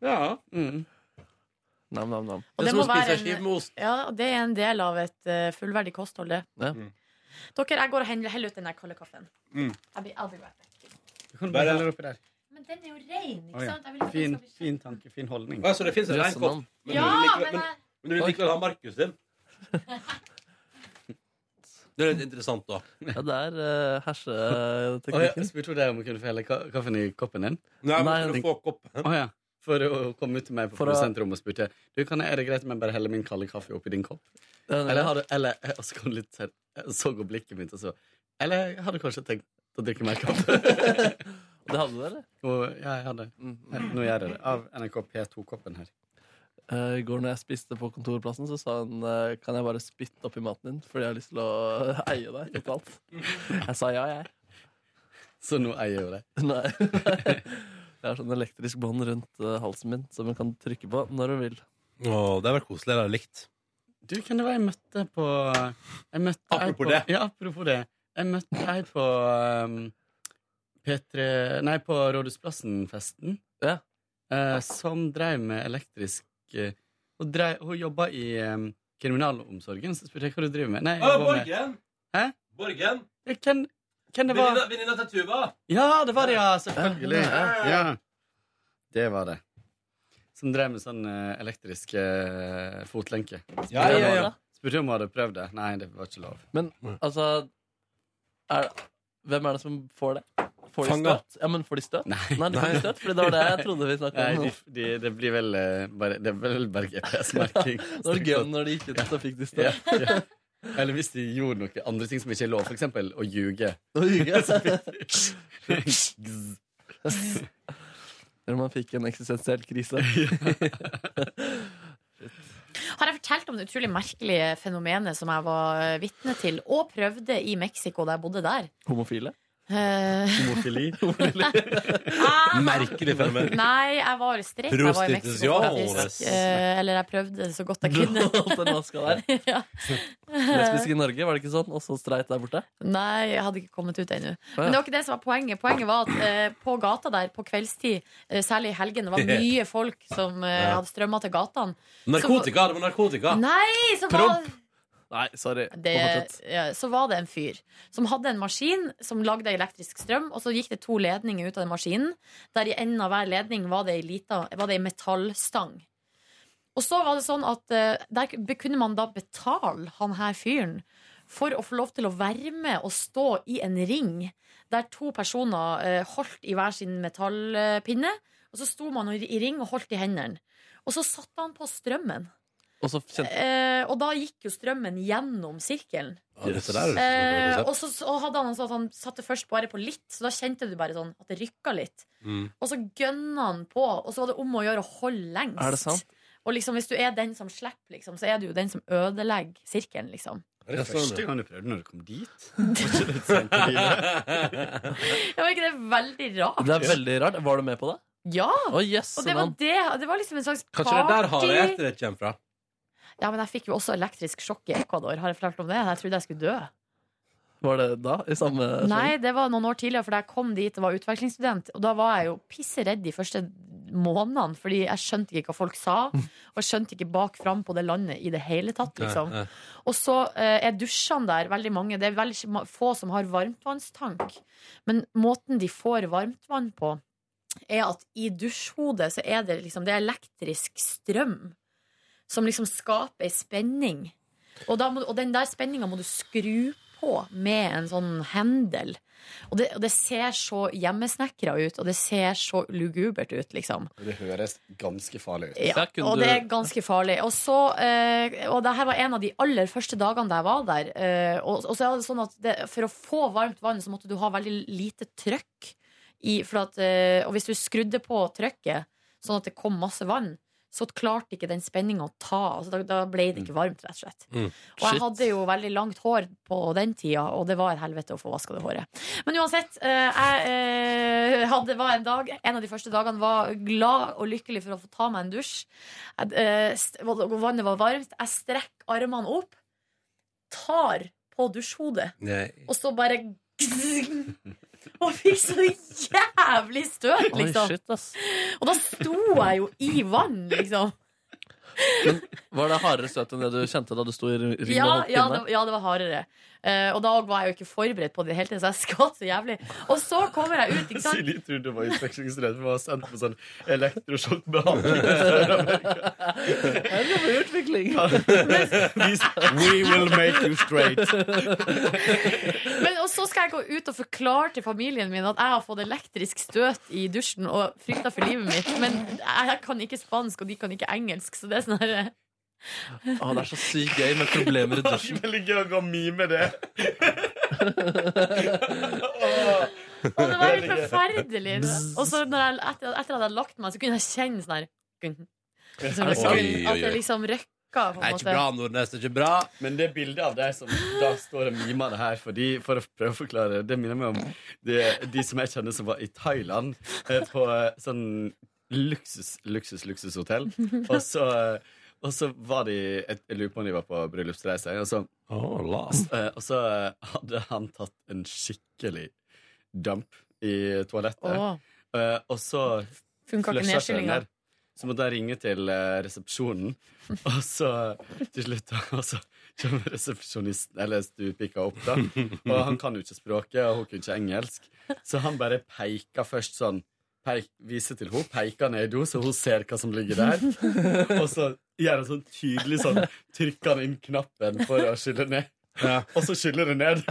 [SPEAKER 14] Mm.
[SPEAKER 2] Ja.
[SPEAKER 4] Nam-nam-nam.
[SPEAKER 3] Og det, må være en, ja, og det er en del av et eh, fullverdig kosthold, det.
[SPEAKER 4] Ja.
[SPEAKER 2] Mm.
[SPEAKER 3] Dere, jeg går og heller, heller ut den der kalde kaffen.
[SPEAKER 14] Mm.
[SPEAKER 3] Jeg blir aldri back.
[SPEAKER 14] Du kan bare helle det oppi der.
[SPEAKER 3] Men den er jo rein, ikke
[SPEAKER 14] Å, ja.
[SPEAKER 3] sant? Jeg vil ikke at den
[SPEAKER 14] Fin,
[SPEAKER 3] skal bli
[SPEAKER 14] fin tanke, fin holdning.
[SPEAKER 2] Ja, så det finnes en reinkopp. Men,
[SPEAKER 3] Ja,
[SPEAKER 2] du vil likevel-
[SPEAKER 3] men
[SPEAKER 2] men, men du vil likevel ha Markus din? Det er litt interessant, da.
[SPEAKER 4] Ja, det er uh,
[SPEAKER 14] Å, ja.
[SPEAKER 4] herseteknikken.
[SPEAKER 14] Spurte hun deg om hun kunne få helle ka- kaffen i koppen din?
[SPEAKER 2] Nei,
[SPEAKER 14] Nei,
[SPEAKER 2] men for å
[SPEAKER 14] den-
[SPEAKER 2] få koppen
[SPEAKER 14] Å ja. For å komme ut til meg på
[SPEAKER 12] For å-
[SPEAKER 14] produsentrommet og spurte Du, kan jeg, er det greit om jeg bare heller min kalde kaffe oppi din kopp.
[SPEAKER 12] Ja, det er
[SPEAKER 14] Eller,
[SPEAKER 12] det.
[SPEAKER 14] har du, eller <laughs> og så kom det litt sånn Så går blikket mitt, og så Eller jeg hadde kanskje tenkt å drikke mer kaffe.
[SPEAKER 12] <laughs> det hadde du, eller?
[SPEAKER 14] Og, ja, jeg hadde.
[SPEAKER 2] Mm.
[SPEAKER 14] Nå gjør jeg det. Av NRK P2-koppen her.
[SPEAKER 12] Eh, I går når jeg spiste på kontorplassen, så sa hun eh, Kan jeg bare spytte oppi maten din fordi jeg har lyst til å <laughs> eie deg totalt. Jeg sa ja, jeg.
[SPEAKER 14] Så nå eier jeg jo deg?
[SPEAKER 12] Nei. <laughs> Jeg har sånn elektrisk bånd rundt eh, halsen min som hun kan trykke på når hun vil.
[SPEAKER 2] Å, det har vært koselig. Det har jeg likt.
[SPEAKER 14] Du, hvem det var jeg møtte på eh, jeg møtte ei
[SPEAKER 2] Apropos
[SPEAKER 14] på,
[SPEAKER 2] det.
[SPEAKER 14] Ja, apropos det. Jeg møtte ei på um, P3 Nei, på Rådhusplassen-festen. eh, som dreiv med elektrisk eh, Hun, dreiv- hun jobba i um, kriminalomsorgen, så spurte jeg hva du driver med. Nei, jeg
[SPEAKER 2] Å,
[SPEAKER 14] jobber med
[SPEAKER 2] Borgen!
[SPEAKER 14] Hæ?
[SPEAKER 2] Borgen!
[SPEAKER 14] Ja, Hvem, hvem det var?
[SPEAKER 2] Venninna venninna til Tuva!
[SPEAKER 14] Ja, det var det, ja! Selvfølgelig.
[SPEAKER 2] Ja.
[SPEAKER 14] Ja. Det var det. Som drev med sånn eh, elektrisk eh, fotlenke. Spurte
[SPEAKER 12] Ja, ja,
[SPEAKER 14] om hun
[SPEAKER 12] ja.
[SPEAKER 14] hadde- Spurte om hun hadde prøvd det. Nei, det var ikke lov.
[SPEAKER 12] Men altså er, Hvem er det som får det? Får de
[SPEAKER 14] Fanga.
[SPEAKER 12] støt? Ja, men får de støt? Nei, de får ikke støt, fordi det var det jeg trodde vi snakka om.
[SPEAKER 14] Nei, de, de, det blir vel eh, bare, Det er vel bare GPS-merking.
[SPEAKER 12] <laughs> Det var gøy når de gikk ut, så fikk de støt.
[SPEAKER 14] Ja, ja. Eller hvis de gjorde noe andre ting som ikke er lov, f.eks. å ljuge.
[SPEAKER 12] Å ljuge.
[SPEAKER 14] <laughs> Så fikk de-
[SPEAKER 12] <laughs> Når man fikk en eksistensiell <laughs> krise.
[SPEAKER 3] Har jeg fortalt om det utrolig merkelige fenomenet som jeg var eh, vitne til, og prøvde i Mexico da jeg bodde der?
[SPEAKER 12] Homofile?
[SPEAKER 3] Eh, <laughs>
[SPEAKER 12] <laughs>
[SPEAKER 14] Homofili?
[SPEAKER 2] Merkelig fenomen.
[SPEAKER 3] Ah, Nei, jeg var streit. Jeg var i Mexico,
[SPEAKER 2] Prostitusjon.
[SPEAKER 3] faktisk. Eh, eller jeg prøvde så godt jeg kunne. <laughs> ja.
[SPEAKER 12] Lesbisk i Norge, var det ikke sånn? Og så streit der borte?
[SPEAKER 3] Nei, jeg hadde ikke kommet ut ennå. Men det var ikke det som var poenget. Poenget var at eh, på gata der på kveldstid, eh, særlig i helgen,
[SPEAKER 2] <laughs>
[SPEAKER 3] det var mye folk som eh,
[SPEAKER 2] Ja.
[SPEAKER 3] hadde strømma til gatene.
[SPEAKER 2] Narkotika! Det var narkotika!
[SPEAKER 3] Nei, så var
[SPEAKER 12] Nei, sorry.
[SPEAKER 3] det, ja, så var det en fyr som hadde en maskin som lagde elektrisk strøm, og så gikk det to ledninger ut av den maskinen. Der i enden av hver ledning var det ei lita- var det ei metallstang. Og så var det sånn at eh, der be- kunne man da betale han her fyren for å få lov til å være med og stå i en ring der to personer eh, holdt i hver sin metallpinne. Og så sto man i ring og holdt i hendene. Og så satte han på strømmen.
[SPEAKER 12] Og så kjente
[SPEAKER 3] Eh, og da gikk jo strømmen gjennom sirkelen.
[SPEAKER 12] Ja, dette der er et
[SPEAKER 3] eh,
[SPEAKER 12] konsept.
[SPEAKER 3] og så så hadde han sånn at han satte først bare på litt, så da kjente du bare sånn at det rykka litt.
[SPEAKER 2] Mm.
[SPEAKER 3] Og så gønna han på, og så var det om å gjøre å holde lengst.
[SPEAKER 12] Er det sant?
[SPEAKER 3] Og liksom, hvis du er den som slipper, liksom, så er du jo den som ødelegger sirkelen, liksom.
[SPEAKER 14] Det
[SPEAKER 12] Ja,
[SPEAKER 14] var
[SPEAKER 12] sånn, ja.
[SPEAKER 14] første gang du prøvde når du kom
[SPEAKER 12] <laughs>
[SPEAKER 14] dit. Var ikke det et sent på livet?
[SPEAKER 3] Ja, Var ikke det veldig rart?
[SPEAKER 12] Det er veldig rart. Var du med på det?
[SPEAKER 3] Ja!
[SPEAKER 12] Å, yes,
[SPEAKER 3] og det var,
[SPEAKER 12] men-
[SPEAKER 3] det, det var liksom en slags party.
[SPEAKER 2] Kanskje det er der hareetet ditt kommer fra?
[SPEAKER 3] Ja, men jeg fikk jo også elektrisk sjokk i Ecuador. Har jeg fortalt om det? Jeg trodde jeg skulle dø.
[SPEAKER 12] Var det da? I samme
[SPEAKER 3] Nei, det var noen år tidligere, for da jeg kom dit og var utvekslingsstudent. Og da var jeg jo pisseredd de første månedene, fordi jeg skjønte ikke hva folk sa. Og jeg skjønte ikke bak fram på det landet i det hele tatt, liksom.
[SPEAKER 2] Mm. Nei, nei.
[SPEAKER 3] Og så eh, er dusjene der veldig mange. Det er veldig ma- få som har varmtvannstank. Men måten de får varmtvann på, er at i dusjhodet så er det liksom Det er elektrisk strøm som liksom skaper ei spenning. Og, da må, og den der spenninga må du skru på med en sånn hendel. Og det, og det ser så hjemmesnekra ut, og det ser så lugubert ut, liksom.
[SPEAKER 14] Det høres ganske farlig ut.
[SPEAKER 3] Ja, og det er ganske farlig. Og, så, eh, og det her var en av de aller første dagene da jeg var der. Eh, og, og så er det sånn at det, for å få varmt vann, så måtte du ha veldig lite trøkk. I, for at, eh, og hvis du skrudde på trøkket, sånn at det kom masse vann, så klarte ikke den spenninga å ta. Altså, da, da ble det ikke varmt, rett og slett.
[SPEAKER 2] Mm.
[SPEAKER 3] Og jeg hadde jo veldig langt hår på den tida, og det var et helvete å få vaska det håret. Men uansett, eh, jeg eh, hadde, var en dag En av de første dagene var glad og lykkelig for å få ta meg en dusj. Jeg, eh, st- og vannet var varmt. Jeg strekker armene opp, tar på dusjhodet,
[SPEAKER 2] Nei.
[SPEAKER 3] og så bare <laughs> Og fikk så jævlig støt,
[SPEAKER 12] Oi,
[SPEAKER 3] liksom.
[SPEAKER 12] shit, ass.
[SPEAKER 3] og da sto jeg jo i vann,
[SPEAKER 12] <laughs>
[SPEAKER 3] liksom.
[SPEAKER 12] Var det hardere støt enn det du kjente da du sto i ring og
[SPEAKER 3] Ja,
[SPEAKER 12] holdt
[SPEAKER 3] ja,
[SPEAKER 12] pinne?
[SPEAKER 3] det, ja, det var hardere. Eh, og da var jeg jo ikke forberedt på det i det hele tatt, så jeg skvatt så jævlig. Og så kommer jeg ut, ikke
[SPEAKER 12] <laughs> <laughs>
[SPEAKER 3] sant.
[SPEAKER 14] Silje trodde det var utvekslingsstudent, for hun var sendt på sånn elektrosjokkbehandling. i Sør-Amerika.
[SPEAKER 5] Her kommer utvikling.
[SPEAKER 15] <laughs> We will make you straight.
[SPEAKER 3] Men og så skal jeg gå ut og forklare til familien min at jeg har fått elektrisk støt i dusjen og frykter for livet mitt. Men jeg kan ikke spansk, og de kan ikke engelsk, så det er sånn her
[SPEAKER 5] Å, Ah, det er så sykt gøy med problemer i dusjen.
[SPEAKER 15] Veldig gøy å gå og mime det.
[SPEAKER 3] Å, det var helt forferdelig. Og så når jeg, etter, etter at jeg hadde lagt meg, så kunne jeg kjenne sånn her gung, som
[SPEAKER 2] Oi,
[SPEAKER 3] liksom,
[SPEAKER 2] oi,
[SPEAKER 3] At det
[SPEAKER 2] oi.
[SPEAKER 3] liksom røkka, på
[SPEAKER 2] Det er
[SPEAKER 3] en
[SPEAKER 2] ikke bra,
[SPEAKER 3] måte.
[SPEAKER 2] Nordnes. Det er ikke bra.
[SPEAKER 14] Men det bildet av deg som da står og mimer det her fordi, For å prøve å forklare Det minner meg om de, de som jeg kjenner som var i Thailand eh, På eh, sånn luksus, luksus, luksushotell Og så, eh, og så var de Jeg jeg lurer på om de var på bryllupsreise Og så, eh, og så eh, hadde han tatt en skikkelig dump i toalettet
[SPEAKER 3] Åh.
[SPEAKER 14] eh, Og så
[SPEAKER 3] Funka ikke
[SPEAKER 14] flusha seg den
[SPEAKER 3] nedskyllinga.
[SPEAKER 14] der. Så måtte jeg ringe til eh, resepsjonen, <laughs> og så til slutt <laughs> og så kommer resepsjonisten, eller stuepika, opp. da Og han kan jo ikke språket, og hun kunne ikke engelsk, så han bare peker først sånn. Peik, viser til henne, peker ned i do, så hun ser hva som ligger der. Og så gjør han sånn tydelig sånn Trykker han inn knappen for å skylle ned. Og så skyller det ned.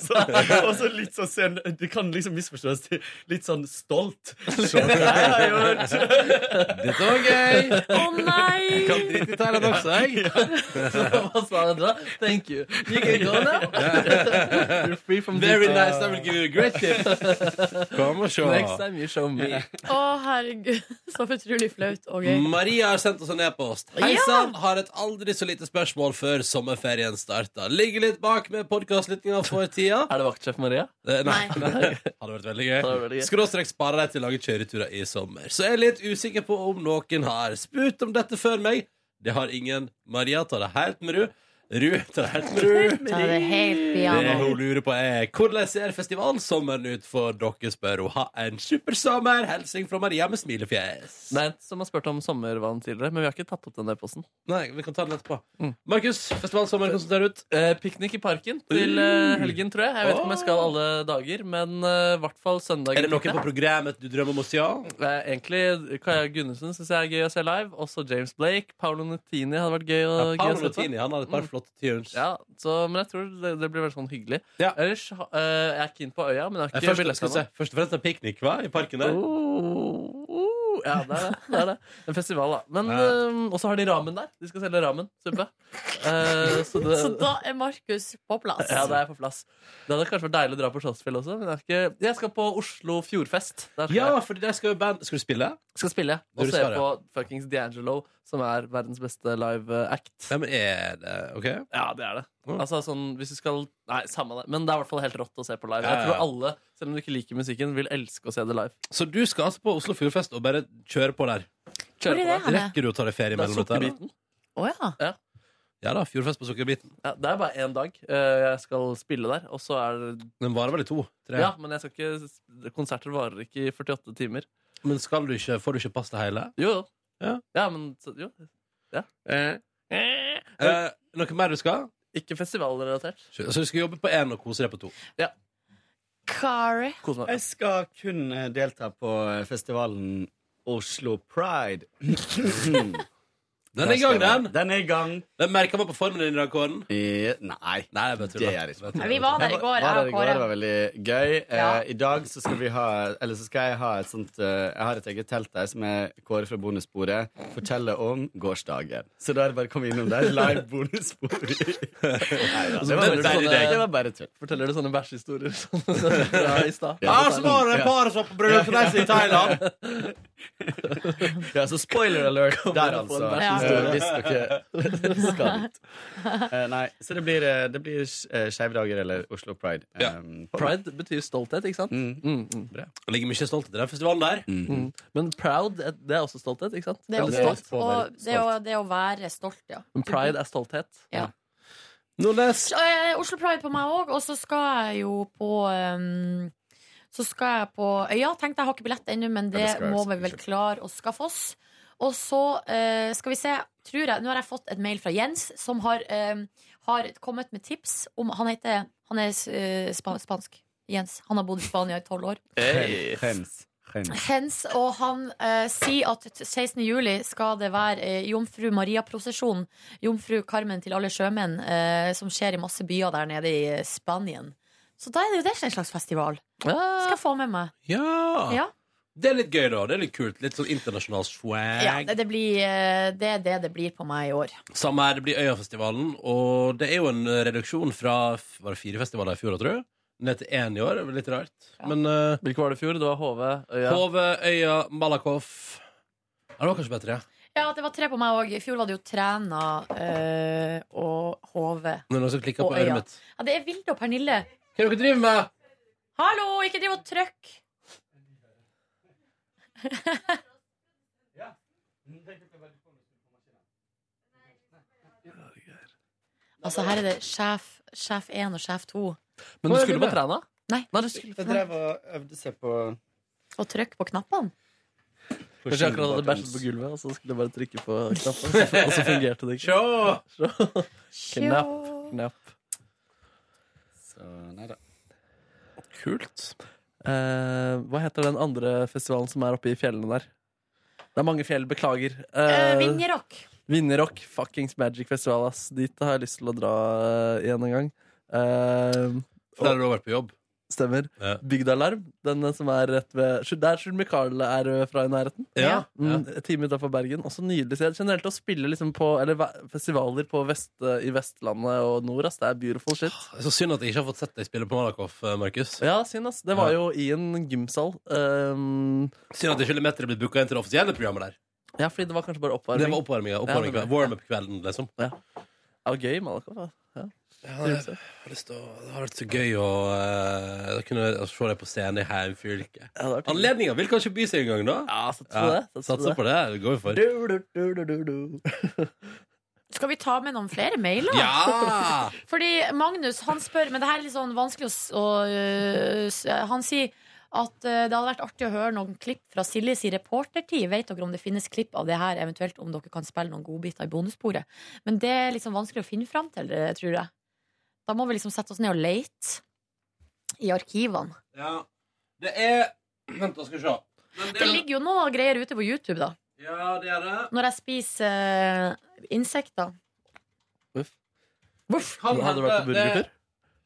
[SPEAKER 14] så, og så litt sånn sen, Det kan liksom misforstås til litt sånn stolt. Se hva jeg har gjort!
[SPEAKER 5] Dette var gøy!
[SPEAKER 3] Å nei!
[SPEAKER 5] Kan drite i altså. Thailand også, jeg. Hva sa han da? Thank you. You can go now.
[SPEAKER 2] <laughs>
[SPEAKER 5] You're free from
[SPEAKER 2] Very
[SPEAKER 5] this-
[SPEAKER 2] nice. I will give you a great
[SPEAKER 5] <laughs>
[SPEAKER 2] tip. Kom og se.
[SPEAKER 5] Next time you show me.
[SPEAKER 3] Å, herregud. <laughs> Så utrolig flaut og gøy.
[SPEAKER 2] Maria har sendt oss en e-post. Hei sann, har et aldri så lite spørsmål før sommerferien starter. Ligger litt bak med podkastlyttinga for tida.
[SPEAKER 5] Er det vaktsjef Maria?
[SPEAKER 2] Eh, <laughs> Nei. Nei. Hadde vært veldig
[SPEAKER 5] vært veldig
[SPEAKER 2] gøy.
[SPEAKER 5] gøy.
[SPEAKER 2] Skråstrek sparer deg til å lage kjøreturer i sommer. Så jeg er litt usikker på om noen har spurt om dette før meg. Det har ingen. Maria tar det helt med ru. Ru tar det helt med ru.
[SPEAKER 3] Ta det helt
[SPEAKER 2] Det
[SPEAKER 3] piano.
[SPEAKER 2] hun lurer på er Hvordan ser festivalsommeren ut for dere, spør hun. Ha en supersommer! Hilsen fra Maria med smilefjes.
[SPEAKER 4] Det er en som har spurt om sommervann tidligere, men vi har ikke tatt opp den e-posten.
[SPEAKER 2] Nei, vi kan ta den etterpå. Markus, festivalsommer, hvordan ser det ut?
[SPEAKER 4] Eh,
[SPEAKER 2] Uh.
[SPEAKER 4] Piknik i parken til eh, helgen, tror jeg. Jeg vet ikke om jeg skal alle dager, men eh, i hvert fall søndag.
[SPEAKER 2] Er det noen på programmet du drømmer om å se?
[SPEAKER 4] Eh, egentlig Kaja Gunnesen syns jeg er gøy å se live. Også James Blake. Paolo Nutini hadde vært gøy, å-
[SPEAKER 2] Ja,
[SPEAKER 4] gøy å
[SPEAKER 2] Paolo
[SPEAKER 4] se på.
[SPEAKER 2] Nutini, han har et par
[SPEAKER 4] Mm.
[SPEAKER 2] flotte tunes.
[SPEAKER 4] Ja, så, men jeg tror det, det blir veldig sånn hyggelig. Ellers eh, jeg er keen på Øya, men jeg har
[SPEAKER 2] Nei,
[SPEAKER 4] ikke
[SPEAKER 2] først, skal vi
[SPEAKER 4] billetter
[SPEAKER 2] se, først og fremst en piknik hva? i parken der.
[SPEAKER 4] Oh. Ja, det er det. det, er det. En festival, da. Men eh, også har de ramen der. De skal selge ramen. Suppe. Eh, så det,
[SPEAKER 3] Så da er Markus på plass.
[SPEAKER 4] ja, det er på plass. Det hadde kanskje vært deilig å dra på Slottsfjell også, men jeg, er ikke, jeg skal på Oslo Fjordfest. Der skal
[SPEAKER 2] Ja,
[SPEAKER 4] jeg.
[SPEAKER 2] for der skal jo band Skal du spille?
[SPEAKER 4] Skal spille
[SPEAKER 2] Du
[SPEAKER 4] og se
[SPEAKER 2] skal,
[SPEAKER 4] på
[SPEAKER 2] ja.
[SPEAKER 4] fuckings D'Angelo, som er verdens beste live eh, act.
[SPEAKER 2] Nei, men er det OK?
[SPEAKER 4] Ja, det er det. Altså, sånn, hvis du skal Nei, samme det. Men det er i hvert fall helt rått å se på live.
[SPEAKER 2] Ja, ja,
[SPEAKER 4] Jeg tror
[SPEAKER 2] ja.
[SPEAKER 4] alle, selv om du ikke liker musikken, vil elske å se det live.
[SPEAKER 2] Så du skal altså på Oslo Fjordfest og bare kjøre på der?
[SPEAKER 4] Kjøre Hvor er på det der. henne?
[SPEAKER 2] Rekker du å ta deg ferie
[SPEAKER 4] Det er
[SPEAKER 2] mellom dette?
[SPEAKER 4] Sukkerbiten.
[SPEAKER 3] Å ja.
[SPEAKER 4] Ja.
[SPEAKER 2] Ja da, Fjordfest på Sukkerbiten.
[SPEAKER 4] Ja, det er bare én dag eh, jeg skal spille der, og så er det
[SPEAKER 2] Den varer vel i to? Tre?
[SPEAKER 4] Ja, men jeg skal ikke Konserter varer ikke i 48 timer.
[SPEAKER 2] Men skal du ikke, får du ikke pass til hele?
[SPEAKER 4] Jo, jo.
[SPEAKER 2] Ja.
[SPEAKER 4] men så, Jo. Ja.
[SPEAKER 2] Eh, noe mer du skal?
[SPEAKER 4] Ikke festivalrelatert.
[SPEAKER 2] Så du skal jobbe på én og kose deg på to?
[SPEAKER 4] Ja.
[SPEAKER 3] Kari?
[SPEAKER 14] Jeg skal kun eh, delta på festivalen Oslo Pride.
[SPEAKER 2] <laughs> Den er i gang, den!
[SPEAKER 14] Den er i gang.
[SPEAKER 2] Den merka man på formen din i dag, Kåren?
[SPEAKER 14] nei.
[SPEAKER 2] nei jeg bare tuller.
[SPEAKER 14] Det gjør jeg ikke.
[SPEAKER 3] Nei, vi var der i går,
[SPEAKER 14] Jeg var
[SPEAKER 3] jeg og
[SPEAKER 14] der i går,
[SPEAKER 3] Kåre.
[SPEAKER 14] det var veldig gøy.
[SPEAKER 3] Ja.
[SPEAKER 14] Eh, I dag så skal vi ha Eller så skal jeg ha et sånt eh, Jeg har et eget telt der som er Kåre fra bonussporet forteller om gårsdagen. Så da er det bare å komme innom der. Live bonusspor.
[SPEAKER 4] Og
[SPEAKER 14] Neida,
[SPEAKER 4] så
[SPEAKER 14] det
[SPEAKER 4] forteller
[SPEAKER 14] var
[SPEAKER 4] du
[SPEAKER 14] bare
[SPEAKER 4] sånne-
[SPEAKER 14] tull. Det var bare tull.
[SPEAKER 4] Forteller du sånne bæsjehistorier som fra i stad?
[SPEAKER 14] Ja,
[SPEAKER 2] så var det paret som var på bryllupsreise i Thailand.
[SPEAKER 14] Ja, så spoiler alert der,
[SPEAKER 5] inn og få en
[SPEAKER 14] altså.
[SPEAKER 5] bæsjehistorie.
[SPEAKER 14] Eh, Hvis dere skal dit. <laughs> Eh, Nei, så det blir, eh, det blir eh, Skeive dager eller Oslo Pride. Um, på-
[SPEAKER 4] Pride betyr stolthet, ikke sant?
[SPEAKER 14] Mm. Bra.
[SPEAKER 2] Det ligger mye stolthet i den festivalen der.
[SPEAKER 4] Mm. Men proud, eh, det er også stolthet, ikke sant?
[SPEAKER 3] Det er,
[SPEAKER 4] Veldig
[SPEAKER 3] jo
[SPEAKER 4] stolt.
[SPEAKER 3] stolt, og det, er å, det er å være stolt, ja.
[SPEAKER 4] Men pride er stolthet.
[SPEAKER 3] Ja.
[SPEAKER 2] Nordnes.
[SPEAKER 3] Så, eh, Oslo Pride på meg òg, og så skal jeg jo på ehm, Så skal jeg på Øya. Tenkte jeg har ikke billett ennå, men det
[SPEAKER 8] Ja, det skal jeg
[SPEAKER 3] må
[SPEAKER 8] også,
[SPEAKER 3] vi vel klare å skaffe oss. Og så eh, skal vi se tror jeg, Nå har jeg fått et mail fra Jens, som har, ehm, har kommet med tips om Han heter Han er eh, spa, spansk. Jens. Han har bodd i Spania i tolv år.
[SPEAKER 14] Hens.
[SPEAKER 3] Hens, og han eh, sier at t- 16. juli skal det være eh, Jomfru Maria-prosesjon. Jomfru Carmen til alle sjømenn, eh, som skjer i masse byer der nede i eh, Spanien. Så da er det jo det en slags festival. Skal jeg få med meg.
[SPEAKER 2] Ja.
[SPEAKER 3] Ja.
[SPEAKER 2] Det er litt gøy, da. Det er litt kult. Litt sånn internasjonal swag.
[SPEAKER 3] Ja, det, det, blir, eh, det er det det blir på meg i år.
[SPEAKER 2] Samme her, det blir Øyafestivalen. Og det er jo en eh, reduksjon fra f- var det fire festivaler i fjor, da, tror jeg, ned til én i år. Det er vel Litt rart. Men eh,
[SPEAKER 4] Hvilke var det i fjor? Det var HV, Øya
[SPEAKER 2] Hove, Øya, Malakoff Ja, det var kanskje bedre, ja.
[SPEAKER 3] Ja, det var tre på meg òg. I fjor var det jo Træna eh, og HV.
[SPEAKER 2] Nå er det noen som klikker
[SPEAKER 3] Og
[SPEAKER 2] på øret
[SPEAKER 3] Øya.
[SPEAKER 2] mitt.
[SPEAKER 3] Ja, det er Vilde og Pernille.
[SPEAKER 2] Hva er det dere driver med?
[SPEAKER 3] Hallo, ikke driv og trykk! <laughs> altså, her er det sjef, sjef 1 og sjef 2.
[SPEAKER 14] Men du Hva er skulle det? på Træna?
[SPEAKER 3] Nei.
[SPEAKER 14] Jeg drev og øvde seg på
[SPEAKER 3] Og trykk på knappene.
[SPEAKER 4] Kanskje jeg akkurat hadde bæsjet på gulvet, og så skulle jeg bare trykke på knappen, og så- og så fungerte det
[SPEAKER 2] ikke.
[SPEAKER 4] Sjå!
[SPEAKER 3] Sjå.
[SPEAKER 4] Knapp, knapp.
[SPEAKER 14] Så nei da.
[SPEAKER 4] Kult. Eh, hva heter den andre festivalen som er oppe i fjellene der? Det er mange fjell, beklager. Eh,
[SPEAKER 3] Eh, Vinjerock.
[SPEAKER 4] Vinjerock, fuckings Magic Festival, ass. Dit har jeg lyst til å dra eh, igjen en gang. Eh,
[SPEAKER 2] For der har du vært på jobb?
[SPEAKER 4] Stemmer. Bygdealarm, den eh, som er rett ved Der Sjur Michael er eh, fra i nærheten.
[SPEAKER 2] Ja,
[SPEAKER 4] Mm, et time utafor Bergen. Også nydelig sted. Generelt å spille liksom på, eller, ve- festivaler på vest, eh, i Vestlandet og nord, ass. Det er beautiful shit.
[SPEAKER 2] Så synd at jeg ikke har fått sett deg spille på Malakoff, eh, Markus.
[SPEAKER 4] Ja, synd, ass. Det var jo i en gymsal. Um,
[SPEAKER 2] Synd at ikke Lemeter ble booka inn til det offisielle programmet der.
[SPEAKER 4] ja, fordi det var kanskje bare oppvarming.
[SPEAKER 2] Det var oppvarminga.
[SPEAKER 4] Ja,
[SPEAKER 2] oppvarming,
[SPEAKER 4] det var-
[SPEAKER 2] Warm-up-kvelden, liksom.
[SPEAKER 4] Ja. Det var gøy, Malakoff. da. Ja.
[SPEAKER 2] det- jeg har lyst til å, det har vært så gøy å eh, kunne å se deg på scenen i heimfylket. Anledninga vil kanskje by seg en gang, da?
[SPEAKER 4] Ja, satser
[SPEAKER 3] på det, satser på
[SPEAKER 2] Satser
[SPEAKER 3] det.
[SPEAKER 2] på det. Det går vi for.
[SPEAKER 3] Skal vi ta med noen flere mailer?
[SPEAKER 2] Ja!
[SPEAKER 3] <laughs> Fordi Magnus, han spør Men det her er litt sånn vanskelig å, s- å øh, s- Han sier at øh, det hadde vært artig å høre noen klipp fra Siljes i reportertid. Vet dere om det finnes klipp av det her, eventuelt om dere kan spille noen godbiter i bonussporet? Men det er liksom vanskelig å finne fram til, øh, tror jeg. Da må vi liksom sette oss ned og leite i arkivene.
[SPEAKER 2] Ja. Det er Vent, da skal vi se.
[SPEAKER 3] Det ligger jo noe greier ute på YouTube, da.
[SPEAKER 2] Ja, det er det.
[SPEAKER 3] Når jeg spiser øh, insekter. Voff.
[SPEAKER 2] Kan
[SPEAKER 4] Hadde du vært på
[SPEAKER 2] hende det-
[SPEAKER 4] burgertur?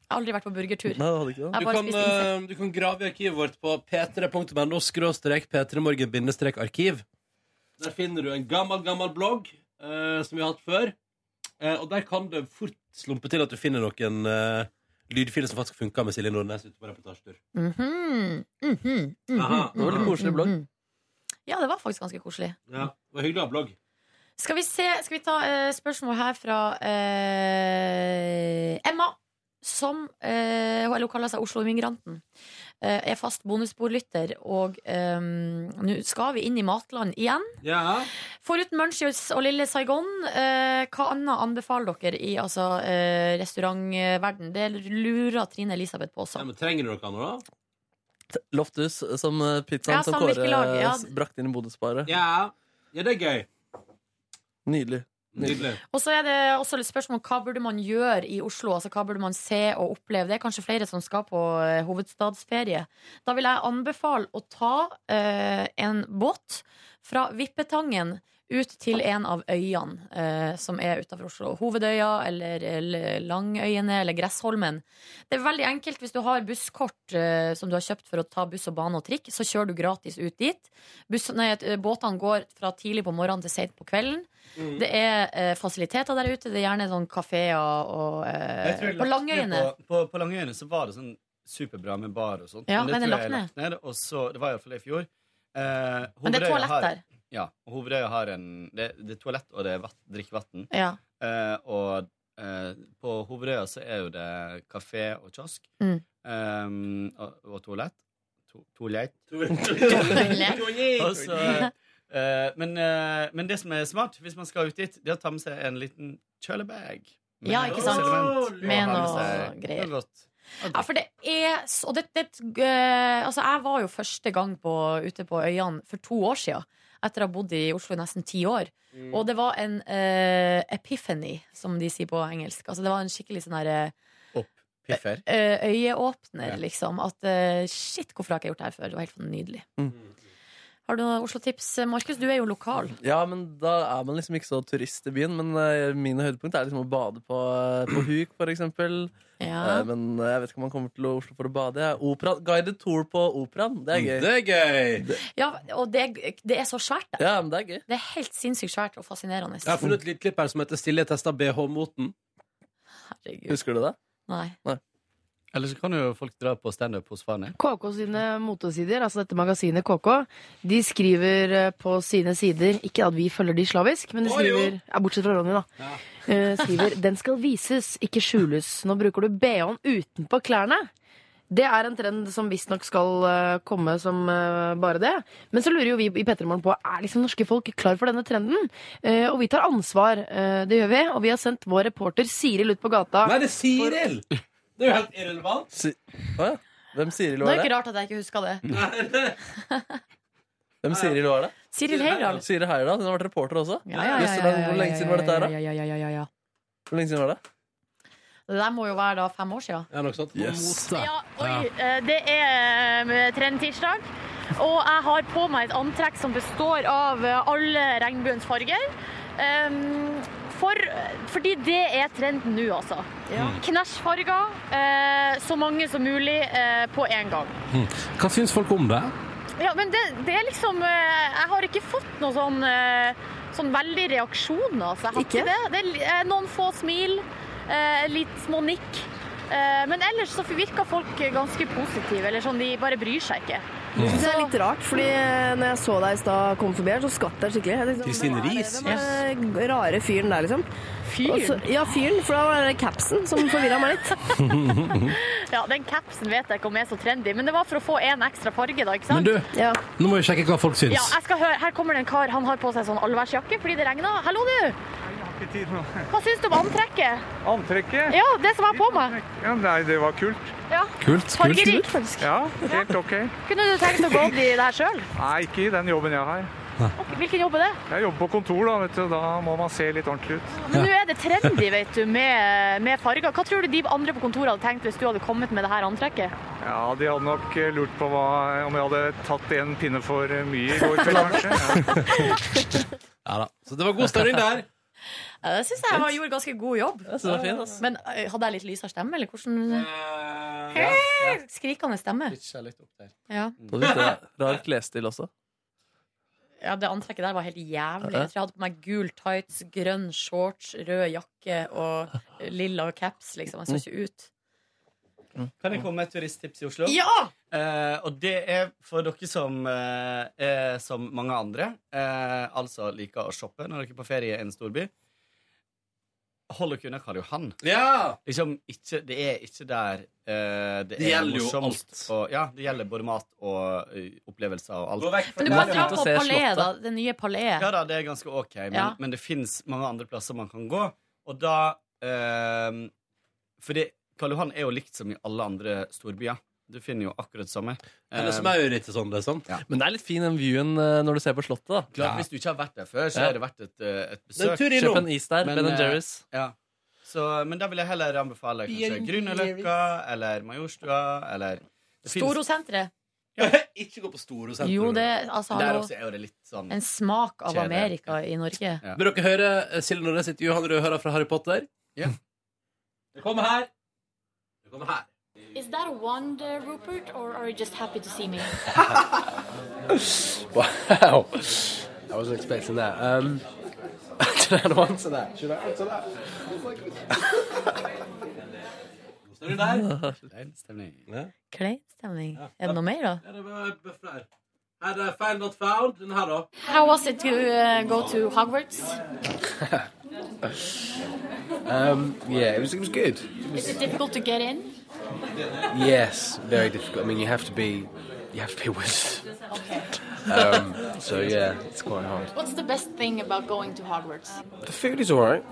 [SPEAKER 3] Jeg har aldri vært på burgertur.
[SPEAKER 4] Nei, det hadde ikke det.
[SPEAKER 3] Jeg
[SPEAKER 2] eh, Du
[SPEAKER 3] bare
[SPEAKER 2] kan,
[SPEAKER 3] spiste insekter.
[SPEAKER 2] eh, du kan grave i arkivet vårt på p3.no skråstrek p3morgen-arkiv. Der finner du en gammel, gammel blogg eh, som vi har hatt før. Eh, og der kan det fort slumpe til at du finner noen uh, lydfiler som faktisk funka med Silje Nordnes ute på reportasjetur.
[SPEAKER 3] Mhm, mhm, mhm,
[SPEAKER 2] Aha, det var
[SPEAKER 3] mhm,
[SPEAKER 2] litt koselig blogg.
[SPEAKER 3] mhm. Ja, det var faktisk ganske koselig.
[SPEAKER 2] Ja, det var hyggelig å ha blogg.
[SPEAKER 3] Skal vi, se, skal vi ta eh, spørsmål her fra eh, Emma, som eh, hun- eller hun kaller seg Oslo-immigranten. eh, er fast bonusbordlytter, og eh, nå skal vi inn i matland igjen. Foruten Munchies og Lille Saigon, eh, hva annet anbefaler dere i altså, eh, restaurantverden? Det lurer Trine Elisabeth på også.
[SPEAKER 2] Ja, men trenger du noe annet, da?
[SPEAKER 4] Lofthus som eh, pizzaen
[SPEAKER 3] Ja,
[SPEAKER 4] som Kåre
[SPEAKER 3] samvirkelag, ja.
[SPEAKER 4] s- brakte inn i bonusparet.
[SPEAKER 2] Ja. ja, det er gøy.
[SPEAKER 4] Nydelig.
[SPEAKER 2] Nydelig.
[SPEAKER 3] Og så er det også litt spørsmål om hva burde man gjøre i Oslo? Altså Hva burde man se og oppleve? Det er kanskje flere som skal på eh, hovedstadsferie. Da vil jeg anbefale å ta eh, en båt fra Vippetangen ut til en av øyene eh, som er utafor Oslo. Hovedøya eller, eller Langøyene eller Gressholmen. Det er veldig enkelt. Hvis du har busskort eh, som du har kjøpt for å ta buss og bane og trikk, så kjører du gratis ut dit. Buss, nei, eh, båtene går fra tidlig på morgenen til seint på kvelden.
[SPEAKER 13] Mm.
[SPEAKER 3] Det er eh, fasiliteter der ute. Det er gjerne sånn kafeer og
[SPEAKER 14] Jeg tror
[SPEAKER 3] eh,
[SPEAKER 14] jeg
[SPEAKER 3] På
[SPEAKER 14] lagt ned
[SPEAKER 3] Langøyene.
[SPEAKER 14] På, på, på Langøyene så var det sånn superbra med bar og sånt.
[SPEAKER 3] Ja, men det
[SPEAKER 14] tror
[SPEAKER 3] er
[SPEAKER 14] jeg
[SPEAKER 3] lagt
[SPEAKER 14] ned. Og så, det var iallfall det i fjor. Eh,
[SPEAKER 3] Men det er
[SPEAKER 14] Hovedøya
[SPEAKER 3] toalett
[SPEAKER 14] har-
[SPEAKER 3] der.
[SPEAKER 14] Ja. og Hovedøya har en Det, det er toalett, og det er vatt, drikkevann.
[SPEAKER 3] Ja.
[SPEAKER 14] Eh, og eh, på Hovedøya så er jo det kafé og kiosk.
[SPEAKER 3] Mm.
[SPEAKER 14] eh, og, og toalett. <laughs> To, toalett.
[SPEAKER 3] Toalett.
[SPEAKER 14] Og så, eh, men, eh, men det som er smart hvis man skal ut dit, det er å ta med seg en liten kjølebag. Med
[SPEAKER 3] Ja, ikke sant?
[SPEAKER 14] element, og
[SPEAKER 3] Med
[SPEAKER 14] ha med
[SPEAKER 3] noe
[SPEAKER 14] seg
[SPEAKER 3] greier.
[SPEAKER 14] noe godt.
[SPEAKER 3] Ja, for det er så og det, det, eh, Altså, jeg var jo første gang på, ute på øyene for to år siden. Etter å ha bodd i Oslo i nesten ti år.
[SPEAKER 13] Mm.
[SPEAKER 3] Og det var en eh, epiphany, som de sier på engelsk. Altså, det var en skikkelig sånn herre
[SPEAKER 14] Piffer.
[SPEAKER 3] eh, øyeåpner,
[SPEAKER 14] Ja.
[SPEAKER 3] liksom. At eh, shit, hvorfor har jeg ikke gjort det her før? Det var helt nydelig.
[SPEAKER 14] Mm.
[SPEAKER 3] Har du noen Oslo-tips? Markus, du er jo lokal.
[SPEAKER 4] Ja, men da er man liksom ikke så turist i byen. Men eh, mine høydepunkt er liksom å bade på, eh, på huk, for eksempel.
[SPEAKER 3] Ja.
[SPEAKER 4] Eh, men eh, jeg vet ikke om man kommer til Oslo for å bade. jeg. Opera, guided tour på operaen. Det er gøy.
[SPEAKER 3] Det
[SPEAKER 4] er gøy.
[SPEAKER 3] Ja, og det, det er så svært der.
[SPEAKER 4] Ja, men det er gøy.
[SPEAKER 3] Det er helt sinnssykt svært og fascinerende.
[SPEAKER 2] Jeg har funnet et lite klipp her som heter 'Silje testa BH-moten'.
[SPEAKER 4] Husker du det?
[SPEAKER 3] Nei.
[SPEAKER 14] Eller så kan jo folk dra på standup hos Farne.
[SPEAKER 13] KK sine motesider, altså dette magasinet KK, de skriver eh, på sine sider Ikke at vi følger de slavisk, men de
[SPEAKER 16] Å, jo.
[SPEAKER 13] skriver ja, Bortsett fra Ronny, da. Eh,
[SPEAKER 2] <laughs>
[SPEAKER 13] skriver 'Den skal vises, ikke skjules'. Nå bruker du BH-en utenpå klærne. Det er en trend som visstnok skal eh, komme som eh, bare det. Men så lurer jo vi i Petremorgen på er liksom norske folk klar for denne trenden. Eh, og vi tar ansvar. eh, det gjør vi. Og vi har sendt vår reporter Siril ut på gata.
[SPEAKER 2] Nei, det er Siril! Det er jo helt irrelevant.
[SPEAKER 4] Hva? Hvem Siril
[SPEAKER 3] Det
[SPEAKER 4] var
[SPEAKER 3] er ikke
[SPEAKER 4] det? Mm.
[SPEAKER 3] rart at jeg ikke huska det. <laughs>
[SPEAKER 4] Hvem Siril var det?
[SPEAKER 3] Siril Heyerdahl.
[SPEAKER 4] Siril Heyerdahl. Hun har vært reporter også.
[SPEAKER 3] Ja, ja, ja,
[SPEAKER 4] Jøss,
[SPEAKER 3] ja, ja,
[SPEAKER 4] Hvor lenge siden var dette her, da?
[SPEAKER 3] ja, ja, ja, ja, ja.
[SPEAKER 4] Hvor lenge siden var det?
[SPEAKER 3] Det der må jo være da fem år siden.
[SPEAKER 2] Ja, noe sånt.
[SPEAKER 4] Yes.
[SPEAKER 3] Ja, oi, eh, det er eh, trendtirsdag. Og jeg har på meg et antrekk som består av eh, alle regnbuens farger. Ehm, For, fordi det er trenden nå, altså.
[SPEAKER 17] Ja.
[SPEAKER 3] Knæsjfarger, eh, så mange som mulig eh, på én gang.
[SPEAKER 2] Hva syns folk om det?
[SPEAKER 3] Ja, men det, det er liksom eh, Jeg har ikke fått noe sånn, eh, sånn veldig reaksjon, altså. Jeg har ikke, det. det er li- eh, noen få smil, eh, litt små nikk. Eh, men ellers så virker folk ganske positive, eller sånn, de bare bryr seg ikke.
[SPEAKER 2] Mm.
[SPEAKER 13] Jeg synes det er litt rart, fordi eh, når jeg så deg i stad komme forbi her, så skvatt jeg skikkelig. Jeg tenkte,
[SPEAKER 2] Kristin
[SPEAKER 13] hvem er det?
[SPEAKER 2] Riis?
[SPEAKER 13] Hvem er den rare fyren der, liksom? Og så- ja, fyren, for da var det capsen som forvirra meg litt.
[SPEAKER 3] Ja, den capsen vet jeg ikke om er så trendy, men det var for å få en ekstra farge, da, ikke
[SPEAKER 18] Men
[SPEAKER 3] sant?
[SPEAKER 18] du, nå må vi sjekke hva folk syns.
[SPEAKER 3] Ja, jeg skal høre. Her kommer det en kar. Han har på seg sånn allværsjakke fordi det regner. Hallo, du! Hva syns du om antrekket?
[SPEAKER 19] Antrekket?
[SPEAKER 3] Ja, det som er på meg.
[SPEAKER 19] Ja, nei, det var kult.
[SPEAKER 3] Ja. Fargerikt.
[SPEAKER 19] Ja, helt ok.
[SPEAKER 3] Kunne du tenkt å gå opp i det her sjøl?
[SPEAKER 19] Nei, ikke i den jobben jeg har.
[SPEAKER 3] Hvilken jobb er det?
[SPEAKER 19] Jeg jobber på kontor, da, vet du. Da må man se litt ordentlig ut.
[SPEAKER 3] Men nå er det trendy, vet du, med, med farger. Hva tror du de andre på kontoret hadde tenkt hvis du hadde kommet med det her antrekket?
[SPEAKER 19] Ja, de hadde nok eh, lurt på hva, om jeg hadde tatt en pinne for eh, mye i går kveld, kanskje.
[SPEAKER 2] <laughs> Ja da. <laughs> Så det var god stemning der.
[SPEAKER 3] Det syns jeg var, gjorde ganske god jobb.
[SPEAKER 2] synes det var fint, ass. Eh,
[SPEAKER 3] Men ø, hadde jeg litt lysere stemme, eller hvordan Skrikende stemme. Ja.
[SPEAKER 4] Da fikk du Rar klesstil også.
[SPEAKER 3] <laughs> ja, det antrekket der var helt jævlig.
[SPEAKER 4] Ja.
[SPEAKER 3] Jeg tror jeg hadde på meg gul tights, grønn shorts, rød jakke og lilla caps, liksom. Jeg så
[SPEAKER 4] Mm.
[SPEAKER 3] ikke ut.
[SPEAKER 14] Kan jeg komme med et turisttips i Oslo?
[SPEAKER 3] Ja!
[SPEAKER 14] Eh, og det er for dere som eh, er som mange andre, eh, altså liker å shoppe når dere er på ferie i en storby. Hold dere unna Karl Johan. Liksom, ikke, det er ikke der eh, det,
[SPEAKER 2] Det
[SPEAKER 14] er
[SPEAKER 2] gjelder jo
[SPEAKER 14] morsomst. Og, ja, det gjelder både mat og eh, opplevelser og alt.
[SPEAKER 3] Men du kan dra på Palais, da. Det nye Palais.
[SPEAKER 14] Ja da, det er ganske ok, men,
[SPEAKER 3] Ja.
[SPEAKER 14] men det fins mange andre plasser man kan gå. Og da ehm, Fordi Karl Johan er jo likt som i alle andre storbyer. Du finner jo akkurat det samme. Ehm,
[SPEAKER 2] Eller som er ørret sånn, liksom.
[SPEAKER 4] Men det er litt fin den viewen eh, når du ser på Slottet, da.
[SPEAKER 14] Klart, Hvis du ikke har vært der før, så
[SPEAKER 4] Ja.
[SPEAKER 14] er det verdt et, eh,
[SPEAKER 4] Det
[SPEAKER 14] et
[SPEAKER 4] er
[SPEAKER 14] besøk.
[SPEAKER 4] en tur innom. Kjøp en is der, Ben
[SPEAKER 14] eh,
[SPEAKER 4] Jerry's.
[SPEAKER 14] Ja. Så, men da vil jeg heller anbefale kanskje
[SPEAKER 3] Ben
[SPEAKER 14] Grünerløkka eller Majorstua eller det finnes-
[SPEAKER 3] Storosenteret.
[SPEAKER 2] <laughs> Ikke gå på Storosenteret.
[SPEAKER 3] Jo, det altså,
[SPEAKER 14] Der
[SPEAKER 3] hallo.
[SPEAKER 14] også er jo det litt sånn
[SPEAKER 3] En smak av
[SPEAKER 2] Kjede.
[SPEAKER 3] Amerika i Norge.
[SPEAKER 2] Vil dere høre eh, Silje Nordnes sitt Johan Rødhøra fra Harry Potter?
[SPEAKER 14] Ja.
[SPEAKER 2] Det kommer her. Det kommer her.
[SPEAKER 20] Is that a wand, uh, Rupert, or are you just happy to see me?
[SPEAKER 5] <laughs> Wow. I wasn't expecting that. Um, <laughs> did I not answer that? Should I answer that?
[SPEAKER 2] Står du der?
[SPEAKER 14] Ja.
[SPEAKER 3] <laughs> Klein stemning. Er det noe mer, da?
[SPEAKER 2] Ja, det var bøffer her. Her er Find Not Found. Den her, da.
[SPEAKER 3] How was it to uh, go to Hogwarts?
[SPEAKER 5] <laughs> Um, yeah, it was, it was good. It
[SPEAKER 20] Is
[SPEAKER 5] was,
[SPEAKER 20] it difficult to get in?
[SPEAKER 5] yes, very difficult. I mean, you have to be, you have to be a wizard.
[SPEAKER 20] <laughs>
[SPEAKER 5] <laughs> Um, so yeah, it's quite hard.
[SPEAKER 20] What's the best thing about going to Hogwarts?
[SPEAKER 5] The food is alright.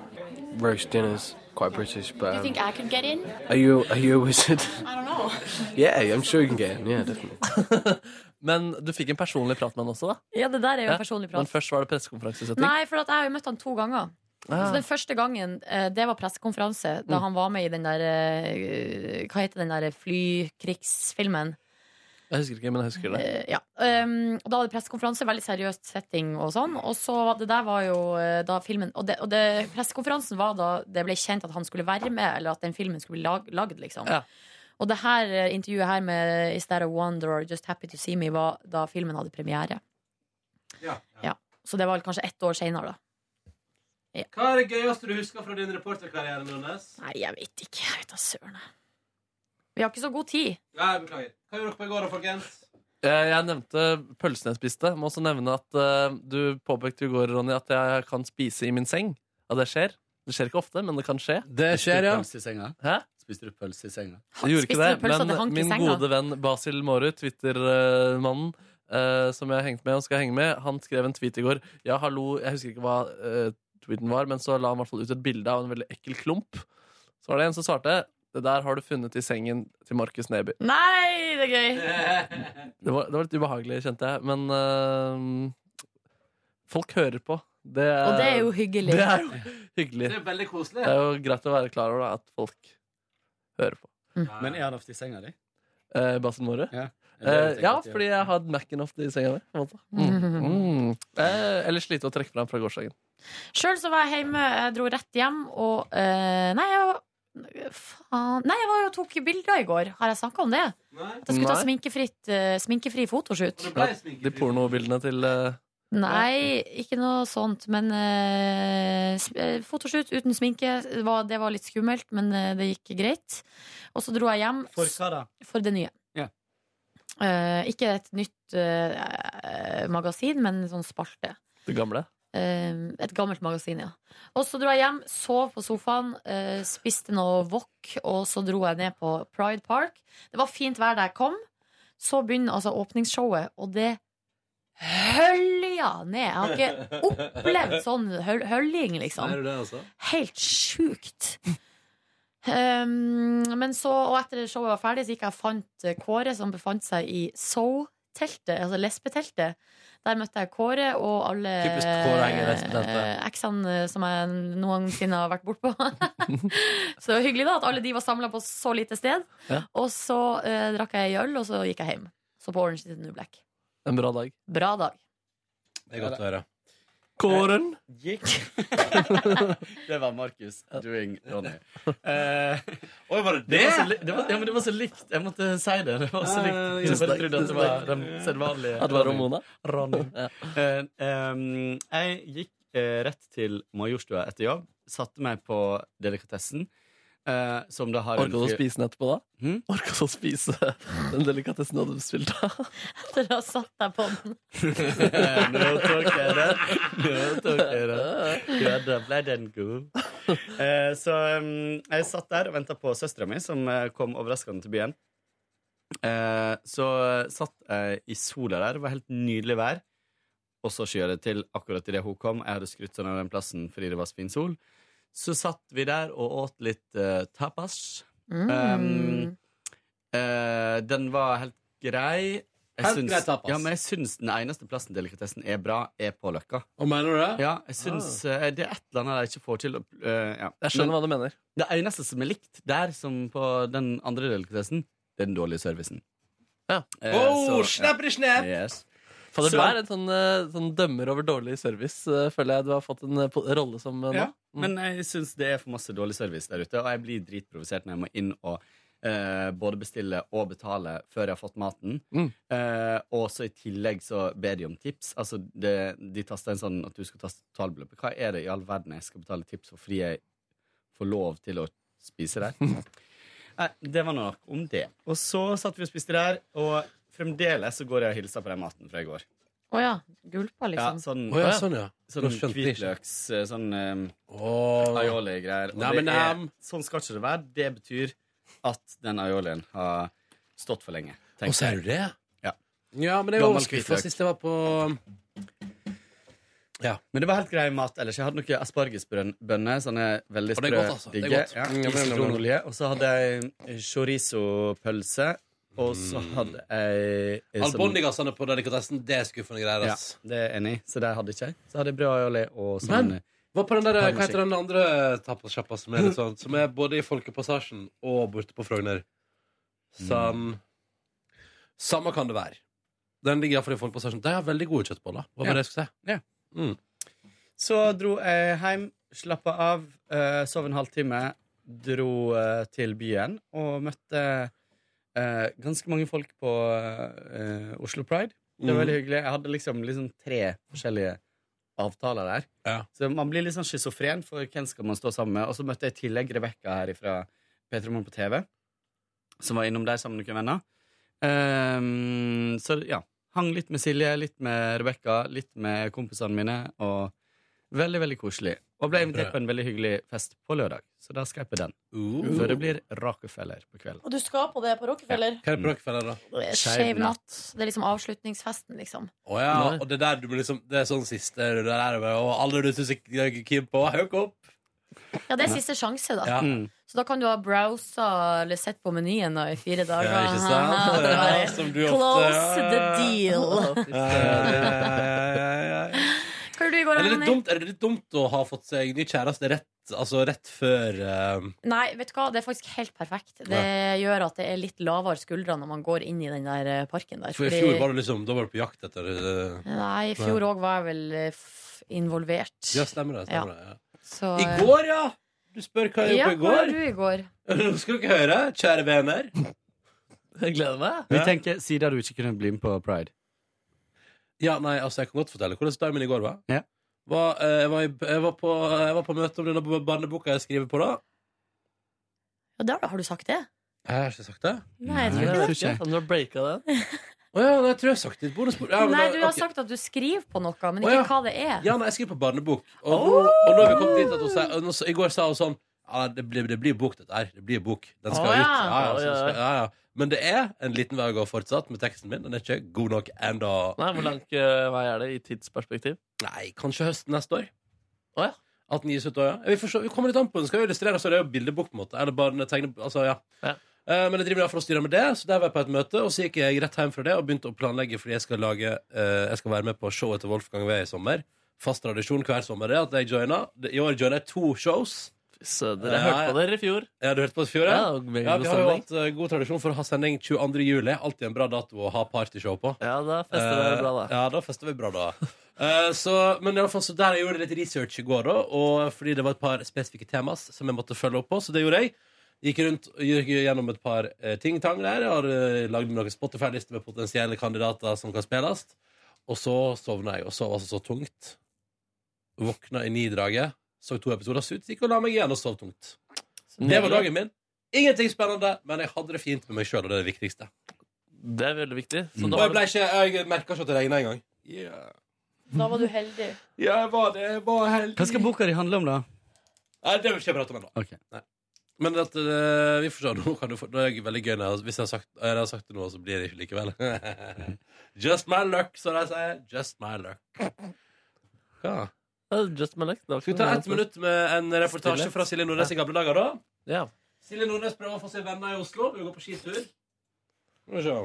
[SPEAKER 5] Roast dinners, quite British, but
[SPEAKER 20] Do you
[SPEAKER 5] um,
[SPEAKER 20] think I could get in?
[SPEAKER 5] are you are you a wizard? <laughs>
[SPEAKER 20] I don't know.
[SPEAKER 5] yeah, I'm sure you can get in. Yeah, definitely.
[SPEAKER 4] <laughs> Men du fikk en personlig prat med han også, da?
[SPEAKER 3] Ja, det der er jo en personlig prat.
[SPEAKER 4] Men først var det pressekonferanse. setter jeg.
[SPEAKER 3] Nei, for at jeg har jo møtt han to ganger.
[SPEAKER 4] Ah.
[SPEAKER 3] Så den første gangen, eh, det var pressekonferanse, da
[SPEAKER 13] Mm.
[SPEAKER 3] han var med i den der eh, Hva heter den der flykrigsfilmen?
[SPEAKER 4] Jeg husker ikke, men jeg husker det.
[SPEAKER 3] Eh, ja. Um, og da var det pressekonferanse, veldig seriøst setting og sånn. Og så var det der var jo eh, da filmen Og, det, og det, pressekonferansen var da det ble kjent at han skulle være med, eller at den filmen skulle bli lag, lagd, liksom.
[SPEAKER 4] Ja.
[SPEAKER 3] Og det her eh, intervjuet her med Is That a Wonder or Just Happy to See Me var da filmen hadde premiere.
[SPEAKER 2] Ja.
[SPEAKER 3] Ja. Så det var vel kanskje ett år seinere, da.
[SPEAKER 2] Hva er det gøyeste du husker fra din reporterkarriere? Nordnes?
[SPEAKER 3] Nei, jeg vet ikke. Jeg vet da søren. jeg. Vi har ikke så god tid.
[SPEAKER 2] Nei, beklager. Hva gjorde dere på i går, da, folkens?
[SPEAKER 4] Eh, Jeg nevnte pølsene jeg spiste. Må også nevne at eh, du påpekte i går, Ronny, at jeg kan spise i min seng. Ja, det skjer. Det skjer ikke ofte, men det kan skje.
[SPEAKER 14] Det skjer, ja. Spiste du pølse i senga?
[SPEAKER 4] Hæ?
[SPEAKER 14] Spiste du pølse i senga?
[SPEAKER 4] Jeg gjorde ikke
[SPEAKER 14] Spiste
[SPEAKER 4] det,
[SPEAKER 14] du pølse og det
[SPEAKER 4] men
[SPEAKER 14] hank i
[SPEAKER 4] min
[SPEAKER 14] senga?
[SPEAKER 4] gode venn Basil Mårud, Twitter-mannen, eh, som jeg har hengt med og skal henge med, han skrev en tweet i går. Ja, hallo, jeg husker ikke hva eh, tweeten var, men så la han i hvert fall ut et bilde av en veldig ekkel klump. Så var det en som svarte det der har du funnet i sengen til Markus Neby.
[SPEAKER 14] Mm.
[SPEAKER 3] Nei, det er gøy!
[SPEAKER 4] Det var, det var litt ubehagelig, kjente jeg, men eh, folk hører på. Det er,
[SPEAKER 3] Og det er jo hyggelig.
[SPEAKER 4] Det er jo hyggelig.
[SPEAKER 2] Det er veldig koselig.
[SPEAKER 4] Det er jo greit å være klar over da, at folk hører på.
[SPEAKER 14] Men er han ofte i senga di?
[SPEAKER 4] Eh, Basen Måre?
[SPEAKER 14] Ja.
[SPEAKER 4] Eh, ja, fordi jeg har Mac-en ofte i senga mi. på en måte. Mm. Mm. Eh, eller slite å trekke fram fra gårsdagen.
[SPEAKER 3] Sjøl så var jeg hjemme, jeg dro rett hjem og eh, Nei, jeg var Faen. Nei, jeg var jo og tok bilder i går. Har jeg snakka om det? At jeg skulle ta
[SPEAKER 4] Nei.
[SPEAKER 3] sminkefritt, eh, sminkefri fotoshoot.
[SPEAKER 4] De pornobildene til eh,
[SPEAKER 3] Nei, ikke noe sånt. Men eh, sm- eh, fotoshoot uten sminke, det var, det var litt skummelt, men eh, det gikk greit. Og så dro jeg hjem
[SPEAKER 14] For hva da?
[SPEAKER 3] for det nye.
[SPEAKER 14] Ja.
[SPEAKER 3] Eh, ikke et nytt eh, magasin, men en sånn spalte.
[SPEAKER 4] det gamle.
[SPEAKER 3] Eh, et gammelt magasin, ja. Og så dro jeg hjem, sov på sofaen, eh, spiste noe wok, og så dro jeg ned på Pride Park. Det var fint vær da jeg kom. Så begynner altså åpningsshowet, og det hølja ned. Jeg har ikke opplevd sånn høl høljing, liksom.
[SPEAKER 2] det, altså?
[SPEAKER 3] Helt sjukt. Um, men så, og etter showet var ferdig, så gikk jeg og fant eh, Kåre, som befant seg i So-teltet, altså lesbeteltet. Der møtte jeg Kåre og alle
[SPEAKER 12] Typisk Kåre Enger, lesbeteltet.
[SPEAKER 3] eh, eksene som jeg noensinne har vært bortpå. så det var hyggelig da at alle de var samla på så lite sted.
[SPEAKER 4] Ja.
[SPEAKER 3] Og så eh, drakk jeg øl, og så gikk jeg hjem. Så på Orange is the New Black.
[SPEAKER 4] En bra dag.
[SPEAKER 3] Bra dag.
[SPEAKER 2] Det er godt å høre.
[SPEAKER 4] Kåren
[SPEAKER 3] <laughs>
[SPEAKER 14] gikk <laughs> Det var Markus doing <laughs> Ronny. Eh,
[SPEAKER 2] var det
[SPEAKER 14] Det
[SPEAKER 2] det?
[SPEAKER 14] var, så, li- det, var, ja, men det var så likt. Jeg måtte si det. Det var så
[SPEAKER 2] Ja,
[SPEAKER 14] likt.
[SPEAKER 2] ja, ja,
[SPEAKER 14] Ah, Jeg bare
[SPEAKER 2] tusen takk,
[SPEAKER 14] trodde at det
[SPEAKER 2] tusen
[SPEAKER 14] var
[SPEAKER 2] takk.
[SPEAKER 14] den sedvanlige
[SPEAKER 4] At det var Ramona?
[SPEAKER 14] Ronny. Eh, ehm, jeg gikk eh, rett til Majorstua etter jobb. Satte meg på delikatessen. eh, som da har en
[SPEAKER 4] Orka du å
[SPEAKER 14] fyr-
[SPEAKER 4] spise den etterpå, da?
[SPEAKER 2] Hmm?
[SPEAKER 4] Orka du å spise <laughs> den delikatessen du hadde bestilt? da?
[SPEAKER 3] Etter å ha satt deg på den.
[SPEAKER 14] Nå tok jeg den. Nå tok jeg den. Ja, da ble den god. Eh, så mm, jeg satt der og venta på søstera mi, som eh, kom overraskende til byen. Eh, så satt jeg i sola der. Det var helt nydelig vær. Og så skyet det til akkurat idet hun kom. Jeg hadde skrutt sånn av den plassen fordi det var så fin sol. Så satt vi der og åt litt eh, tapas.
[SPEAKER 12] Mm.
[SPEAKER 14] Um, eh, den var helt grei. Jeg
[SPEAKER 12] Helt
[SPEAKER 14] syns-
[SPEAKER 12] grei tapas.
[SPEAKER 14] Ja, men jeg syns den eneste plassen delikatessen er bra, er på Løkka. Ja, jeg syns eh, Det er et eller annet jeg ikke får til. eh, ja.
[SPEAKER 4] Ah. Jeg skjønner hva du mener.
[SPEAKER 14] Det eneste som er likt der, som på den andre delikatessen, det er den dårlige servicen. Eh, så-
[SPEAKER 2] oh, snapper i snap!
[SPEAKER 14] Yes.
[SPEAKER 4] Fader, du
[SPEAKER 14] Så-
[SPEAKER 4] er en sånn, eh, sånn dømmer over dårlig service, eh, føler jeg du har fått en eh, po- rolle som eh, nå.
[SPEAKER 14] Ja, men jeg syns det er for masse dårlig service der ute, og jeg blir dritprovosert når jeg må inn og eh, både bestille og betale før jeg har fått maten. Eh, og så i tillegg så ber de om tips. Altså, det, de taster en sånn at du skal taste totalbeløpet. Hva er det i all verden jeg skal betale tips for fordi jeg får lov til å spise der? Nei, det var nok om det. Og så satt vi og spiste der, og fremdeles så går jeg og hilser på den maten fra i går.
[SPEAKER 3] Å ja. Gulpa, liksom.
[SPEAKER 14] Ja, sånn,
[SPEAKER 3] Å ja,
[SPEAKER 2] sånn, ja.
[SPEAKER 14] Sånn
[SPEAKER 2] Da skjønte jeg ikke.
[SPEAKER 14] hvitløks, sånn um, aioli-greier. Og
[SPEAKER 2] Nei,
[SPEAKER 14] det
[SPEAKER 2] men,
[SPEAKER 14] er-
[SPEAKER 2] um,
[SPEAKER 14] sånn skal ikke det være. Det betyr at den aiolien har stått for lenge. tenker
[SPEAKER 2] Og så er
[SPEAKER 14] jeg.
[SPEAKER 2] du det?
[SPEAKER 14] Ja.
[SPEAKER 2] Ja, men jeg var
[SPEAKER 14] Gammel
[SPEAKER 2] skuffa
[SPEAKER 14] hvitløk.
[SPEAKER 2] sist jeg var på Ja.
[SPEAKER 14] Men det var helt grei mat ellers. Jeg hadde noen aspargesbønner. Sånne veldig
[SPEAKER 2] Og det er
[SPEAKER 14] sprø,
[SPEAKER 2] godt, altså. Det er
[SPEAKER 14] digge.
[SPEAKER 2] godt.
[SPEAKER 14] Ja,
[SPEAKER 2] Mm, ja, men-
[SPEAKER 14] sitronolje. Og så hadde jeg chorizo-pølse. Og så
[SPEAKER 2] Mm.
[SPEAKER 14] hadde jeg sånn-
[SPEAKER 2] Albondigassene på delikatessen, det er skuffende greier.
[SPEAKER 14] Ja,
[SPEAKER 2] ass.
[SPEAKER 14] det er jeg enig i. Så det hadde ikke jeg. Så hadde jeg brød og olje og sånn
[SPEAKER 2] Var på den der,
[SPEAKER 12] Hva
[SPEAKER 2] hva heter den andre tapasjappa som er litt sånn, som er både i Folkepassasjen og borte på Frogner? San... Mm. Samme kan det være. Den ligger iallfall i Folkepassasjen. De har veldig gode kjøttboller. Hva var
[SPEAKER 14] Ja.
[SPEAKER 2] det jeg skulle si?
[SPEAKER 14] Ja. Så dro jeg hjem, slappa av, eh, sov en halvtime, dro eh, til byen og møtte eh, ganske mange folk på eh, Oslo Pride. Det var
[SPEAKER 12] Mhm.
[SPEAKER 14] veldig hyggelig. Jeg hadde liksom, liksom tre forskjellige avtaler der. Så man blir litt sånn schizofren for hvem skal man stå sammen med. Og så møtte jeg i tillegg Rebekka her fra P3 Morgen på TV, som var innom der sammen med noen venner. Ehm, så ja, hang litt med Silje, litt med Rebekka, litt med kompisene mine, og veldig, veldig koselig. Og ble invitert på en veldig hyggelig fest på lørdag, så da skal jeg på den.
[SPEAKER 2] Uh.
[SPEAKER 14] Så det blir Rockefeller på kvelden.
[SPEAKER 3] Og du skal på det på Rockefeller?
[SPEAKER 2] Hva er det på Rockefeller, da?
[SPEAKER 3] Skeiv natt. Det er liksom avslutningsfesten, liksom.
[SPEAKER 2] Å ja, og det der du blir liksom Det er sånn siste runde der, og alle du syns er keen på, hauk opp!
[SPEAKER 3] Ja, det er siste sjanse, da.
[SPEAKER 2] Ja. Mm.
[SPEAKER 3] Så da kan du ha browsa eller sett på menyen da, i fire dager.
[SPEAKER 2] Ja, ikke sant?
[SPEAKER 3] Det var-
[SPEAKER 2] Ja, som du ofte-
[SPEAKER 3] Close the deal.
[SPEAKER 2] Ja, ja, ja, ja, ja.
[SPEAKER 3] Hva gjorde du i går,
[SPEAKER 2] Er det, litt
[SPEAKER 3] Ronny?
[SPEAKER 2] dumt, er det litt dumt å ha fått seg ny kjæreste rett, altså rett før eh,
[SPEAKER 3] Nei, vet du hva? det er faktisk helt perfekt. Det gjør at det er litt lavere skuldre når man går inn i den der eh, parken der.
[SPEAKER 2] For i
[SPEAKER 3] fordi-
[SPEAKER 2] fjor var du liksom Da var du på jakt etter eh,
[SPEAKER 3] Nei, i fjor òg var jeg vel eh, f- involvert.
[SPEAKER 2] Ja, stemmer det. Stemmer det ja.
[SPEAKER 3] Så,
[SPEAKER 2] I går, ja! Du spør hva jeg
[SPEAKER 3] ja,
[SPEAKER 2] gjorde
[SPEAKER 3] hva gjorde
[SPEAKER 2] på i går.
[SPEAKER 3] du i går?
[SPEAKER 2] <laughs> Nå skal dere høre, kjære venner.
[SPEAKER 12] Jeg gleder meg.
[SPEAKER 14] Vi tenker, siden du ikke kunne bli med på Pride.
[SPEAKER 2] Ja, nei, altså, jeg kan godt fortelle hvordan dagen min i går var.
[SPEAKER 14] Ja.
[SPEAKER 2] var, eh, jeg, var i, jeg, var på, jeg var på møte om denne b- barneboka jeg skriver på, da.
[SPEAKER 3] Ja, der, da, har du sagt det?
[SPEAKER 2] Jeg har ikke sagt det.
[SPEAKER 3] Nei, jeg tror ikke det.
[SPEAKER 12] Om du har breaka den.
[SPEAKER 2] Å ja, nei, jeg tror jeg har sagt det. i et bonusbord. Ja, men
[SPEAKER 3] Nei,
[SPEAKER 2] da-
[SPEAKER 3] du har
[SPEAKER 2] ok.
[SPEAKER 3] sagt at du skriver på noe, men
[SPEAKER 2] Å,
[SPEAKER 3] ikke
[SPEAKER 2] ja.
[SPEAKER 3] hva det er.
[SPEAKER 2] Ja, nei, jeg skriver på barnebok. Og, og nå har vi kommet dit at hun sier og nå, s- I går sa hun sånn ja, det, blir, det blir bok, dette her. Det blir bok. Den skal
[SPEAKER 12] Å,
[SPEAKER 2] ut.
[SPEAKER 12] ja.
[SPEAKER 2] Ja, ja,
[SPEAKER 12] Å,
[SPEAKER 2] så den
[SPEAKER 12] ja, ja.
[SPEAKER 2] skal, ja, ja. Men det er en liten vei å gå fortsatt med teksten min. Den er ikke god nok ennå.
[SPEAKER 12] Nei, Hvor lang eh, vei er det i tidsperspektiv?
[SPEAKER 2] Nei, kanskje høsten neste år.
[SPEAKER 12] Å, ja.
[SPEAKER 2] At den gis ut da, ja. Vi, får se, vi kommer litt an på den. Skal jo illustrere, så det er jo bildebok, på en måte. Eller bare tegne, altså, ja. Eh, men jeg driver i hvert fall og styrer med det, så der var jeg på et møte. Og så gikk jeg rett hjem fra det og begynte å planlegge fordi jeg skal, lage, eh, jeg skal være med på showet til Wolfgang Wee i sommer. Fast tradisjon hver sommer er at jeg joiner. I år joiner jeg to shows. Eh,
[SPEAKER 12] Søder, jeg hørte på dere i fjor.
[SPEAKER 2] Ja, du hørte på oss i fjor, ja?
[SPEAKER 12] Ja, og meget
[SPEAKER 2] ja
[SPEAKER 12] god
[SPEAKER 2] vi har jo
[SPEAKER 12] stemning.
[SPEAKER 2] hatt eh, god tradisjon for å ha sending 22. juli. Alltid en bra dato å ha partyshow på. Eh,
[SPEAKER 12] Ja, da fester dere bra, da.
[SPEAKER 2] Ja, da fester vi bra, da. Eh, så, men i alle fall, så der jeg gjorde litt research i går, da, og fordi det var et par spesifikke temas som jeg måtte følge opp på, så det gjorde jeg. Gikk rundt gikk gjennom et par eh, ting-tang der. Jeg har eh, lagd noen Spotify-lister med potensielle kandidater som kan spilles. Og så sovna jeg, og sov altså så tungt. Våkna i nidraget, så to episoder ut, gikk og la meg igjen og sov tungt. Det var dagen min. Ingenting spennende, men jeg hadde det fint med meg sjøl, og det er det viktigste. Mm.
[SPEAKER 12] Det er veldig viktig. Så
[SPEAKER 2] Og
[SPEAKER 12] da var
[SPEAKER 2] jeg, ble ikke, jeg merka ikke at det regna engang. Yeah.
[SPEAKER 3] Da var du heldig.
[SPEAKER 2] Ja, jeg var det. Jeg var heldig.
[SPEAKER 14] Hva skal boka di handle om, da?
[SPEAKER 2] Nei, det vil ikke jeg prate om ennå.
[SPEAKER 14] Ok.
[SPEAKER 2] Nei. Men at, eh, vi får se. Nå kan du få, det er det veldig gøy når jeg, hvis jeg har, sagt, eller jeg har sagt det nå, så blir det ikke
[SPEAKER 12] <laughs>
[SPEAKER 2] likevel. Just my luck, som de sier. Just my luck. Hva?
[SPEAKER 12] Ja, Just my luck. Det var ikke
[SPEAKER 2] Skal vi ta
[SPEAKER 12] noe
[SPEAKER 2] ett minutt med en reportasje
[SPEAKER 12] Stillhet.
[SPEAKER 2] fra Silje Nordnes i gamle dager, da?
[SPEAKER 12] Ja.
[SPEAKER 2] Silje Nordnes prøver å få seg venner i Oslo. Hun går på skitur. Skal vi se.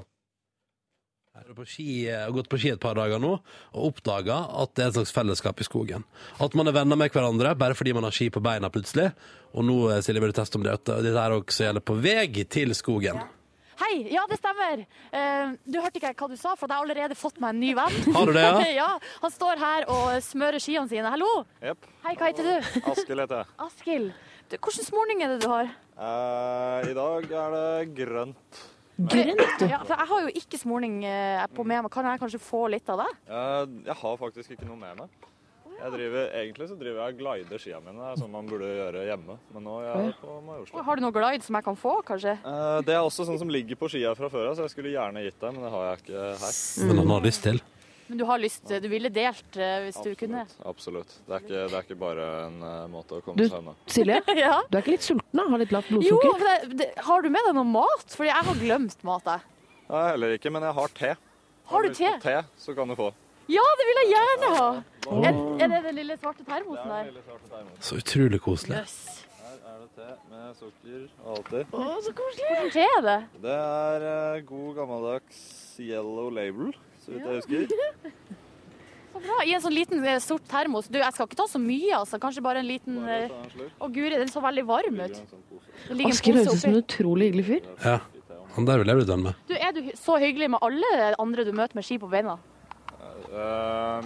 [SPEAKER 2] Her er du på ski, har gått på ski et par dager nå og oppdaga at det er et slags fellesskap i skogen. At man er venner med hverandre bare fordi man har ski på beina plutselig. Og nå eh, Silje, vil du teste om det, at dette her også gjelder på vei til skogen.
[SPEAKER 16] Hei, ja det stemmer. Eh, du hørte ikke hva du sa, for at jeg har allerede fått meg en ny venn.
[SPEAKER 2] <laughs> Har du det, ja?
[SPEAKER 16] <laughs> ja, han står her og smører skiene sine. Hallo!
[SPEAKER 17] Jepp.
[SPEAKER 16] Hei, hva heter du?
[SPEAKER 2] <laughs>
[SPEAKER 17] Askild heter jeg.
[SPEAKER 16] Askild. Du, Hvilken småning er det du har?
[SPEAKER 17] Eh, I dag er det grønt.
[SPEAKER 16] Eh, Ja, for jeg har jo ikke småning eh, på meg, men kan jeg kanskje få litt av det?
[SPEAKER 17] Eh, jeg har faktisk ikke noe med meg. Jeg driver, egentlig så driver jeg og glider skia mine, det er sånn man burde gjøre hjemme. Men nå er jeg på Majorstuen.
[SPEAKER 16] Har du noe glide som jeg kan få, kanskje?
[SPEAKER 17] Eh, det er også sånn som ligger på skia fra før av, så jeg skulle gjerne gitt deg, men det har jeg ikke her.
[SPEAKER 2] Men han har lyst til.
[SPEAKER 16] Men du har lyst, du ville delt eh, hvis du kunne?
[SPEAKER 17] Absolutt. Det er ikke, det er ikke bare en eh, måte å komme
[SPEAKER 13] Du,
[SPEAKER 17] seg unna.
[SPEAKER 3] <laughs>
[SPEAKER 13] Silje, du er ikke litt sulten? da? Har litt lavt
[SPEAKER 16] Jo,
[SPEAKER 13] blodsukker?
[SPEAKER 16] men det, det, har du med deg noe mat? Fordi jeg har glemt mat, jeg.
[SPEAKER 17] Nei, heller ikke, men jeg har te.
[SPEAKER 16] Har du
[SPEAKER 17] lyst på
[SPEAKER 16] te?
[SPEAKER 17] Te, så kan du få.
[SPEAKER 16] Ja, det vil jeg gjerne ha! Er, er det den lille svarte termosen der?
[SPEAKER 2] Så utrolig koselig.
[SPEAKER 17] Her er det te med sukker og alltid.
[SPEAKER 16] Å, så koselig! Hvilken te er det?
[SPEAKER 17] Det er eh, god gammeldags yellow label, så vidt jeg husker.
[SPEAKER 3] <laughs> Så bra. I en sånn liten eh, sort termos. Du, jeg skal ikke ta så mye, altså. Kanskje bare en liten eh, Å guri, den så veldig varm ut. Det ligger en sånn
[SPEAKER 13] Asker
[SPEAKER 3] pose
[SPEAKER 13] høres ut som
[SPEAKER 3] oppi.
[SPEAKER 13] en utrolig hyggelig fyr.
[SPEAKER 2] Ja. Han der vil jeg bli dømt med.
[SPEAKER 3] Du, er du hy- så hyggelig med alle andre du møter med ski på beina?
[SPEAKER 16] <laughs>
[SPEAKER 17] Eh,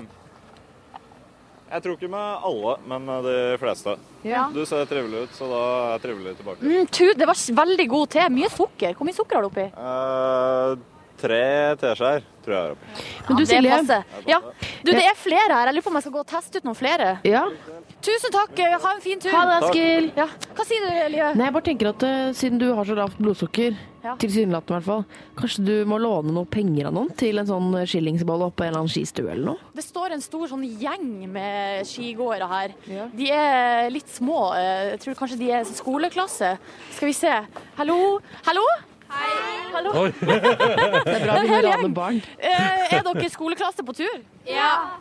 [SPEAKER 17] jeg tror ikke med alle, men med de fleste.
[SPEAKER 3] Ja.
[SPEAKER 17] Du ser trivelig ut, så da er jeg trivelig tilbake.
[SPEAKER 3] Mm, tu, det var s- veldig god te. Mye sukker. Hvor mye sukker har du oppi?
[SPEAKER 17] Eh, tre teskjeer tror jeg er oppi.
[SPEAKER 3] Men
[SPEAKER 13] du,
[SPEAKER 3] det
[SPEAKER 13] Silje.
[SPEAKER 3] passer. Ja. Du, det er flere her. Jeg lurer på om jeg skal gå og teste ut noen flere.
[SPEAKER 13] Ja.
[SPEAKER 3] Tusen takk. Ha en fin tur.
[SPEAKER 13] Ha det, Askild.
[SPEAKER 3] Ja. Hva sier du, Live?
[SPEAKER 13] Nei, jeg bare tenker at eh, Siden du har så lavt blodsukker,
[SPEAKER 3] Ja.
[SPEAKER 13] tilsynelatende i hvert fall, kanskje du må låne noe penger av noen til en sånn skillingsbolle oppå en eller annen skistue eller noe?
[SPEAKER 3] Det står en stor sånn gjeng med skigåere her. De er litt små. eh, Jeg tror kanskje de er skoleklasse. Skal vi se. Hallo? Hallo? Hei. Hallo.
[SPEAKER 13] Oi. <laughs> Det er bra vi
[SPEAKER 3] En hel
[SPEAKER 13] raner
[SPEAKER 3] gjeng.
[SPEAKER 13] barn.
[SPEAKER 3] Eh, Er dere skoleklasse på
[SPEAKER 21] <laughs>
[SPEAKER 3] tur? Ja.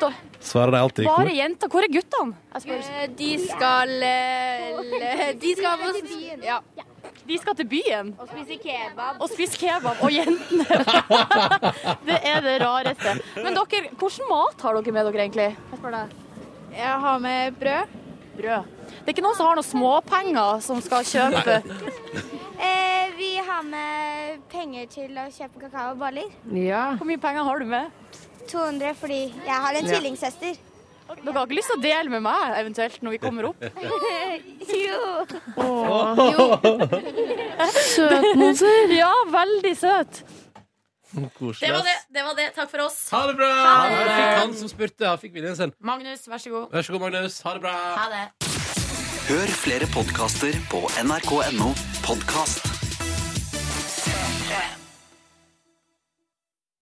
[SPEAKER 3] Da-
[SPEAKER 2] Svarer de alltid i
[SPEAKER 3] Bare
[SPEAKER 2] kor?
[SPEAKER 3] jenter. Hvor er guttene? Jeg spør.
[SPEAKER 21] Eh, De skal le- De skal på Ja.
[SPEAKER 3] De skal til byen.
[SPEAKER 21] Og spise kebab.
[SPEAKER 3] og spise kebab. Og jentene Det er det rareste. Men dere, hvilken mat har dere med dere, egentlig? Jeg spør deg.
[SPEAKER 21] Jeg har med brød.
[SPEAKER 3] Brød. Det er ikke noen som har noen småpenger som skal kjøpe
[SPEAKER 21] Eh, vi har med penger til å kjøpe kakaoballer.
[SPEAKER 3] Hvor mye penger har du med?
[SPEAKER 21] 200 fordi jeg har en
[SPEAKER 3] Ja.
[SPEAKER 21] tvillingsøster.
[SPEAKER 3] Dere har ikke lyst til å dele med meg, eventuelt, når vi kommer opp?
[SPEAKER 21] <laughs> jo.
[SPEAKER 13] Søt, Monser.
[SPEAKER 3] Ja, veldig søt.
[SPEAKER 2] Koselig.
[SPEAKER 22] Det var det.
[SPEAKER 2] ass.
[SPEAKER 22] det var det. Takk for oss.
[SPEAKER 2] <laughs> Ha det bra!
[SPEAKER 22] Ha det.
[SPEAKER 2] Der fikk han som spurte. Han fikk viljen sin.
[SPEAKER 22] Magnus, vær så god.
[SPEAKER 2] Vær så god, Magnus. Ha det bra.
[SPEAKER 22] Ha det.
[SPEAKER 4] Hør flere podkaster på nrk.no podkast.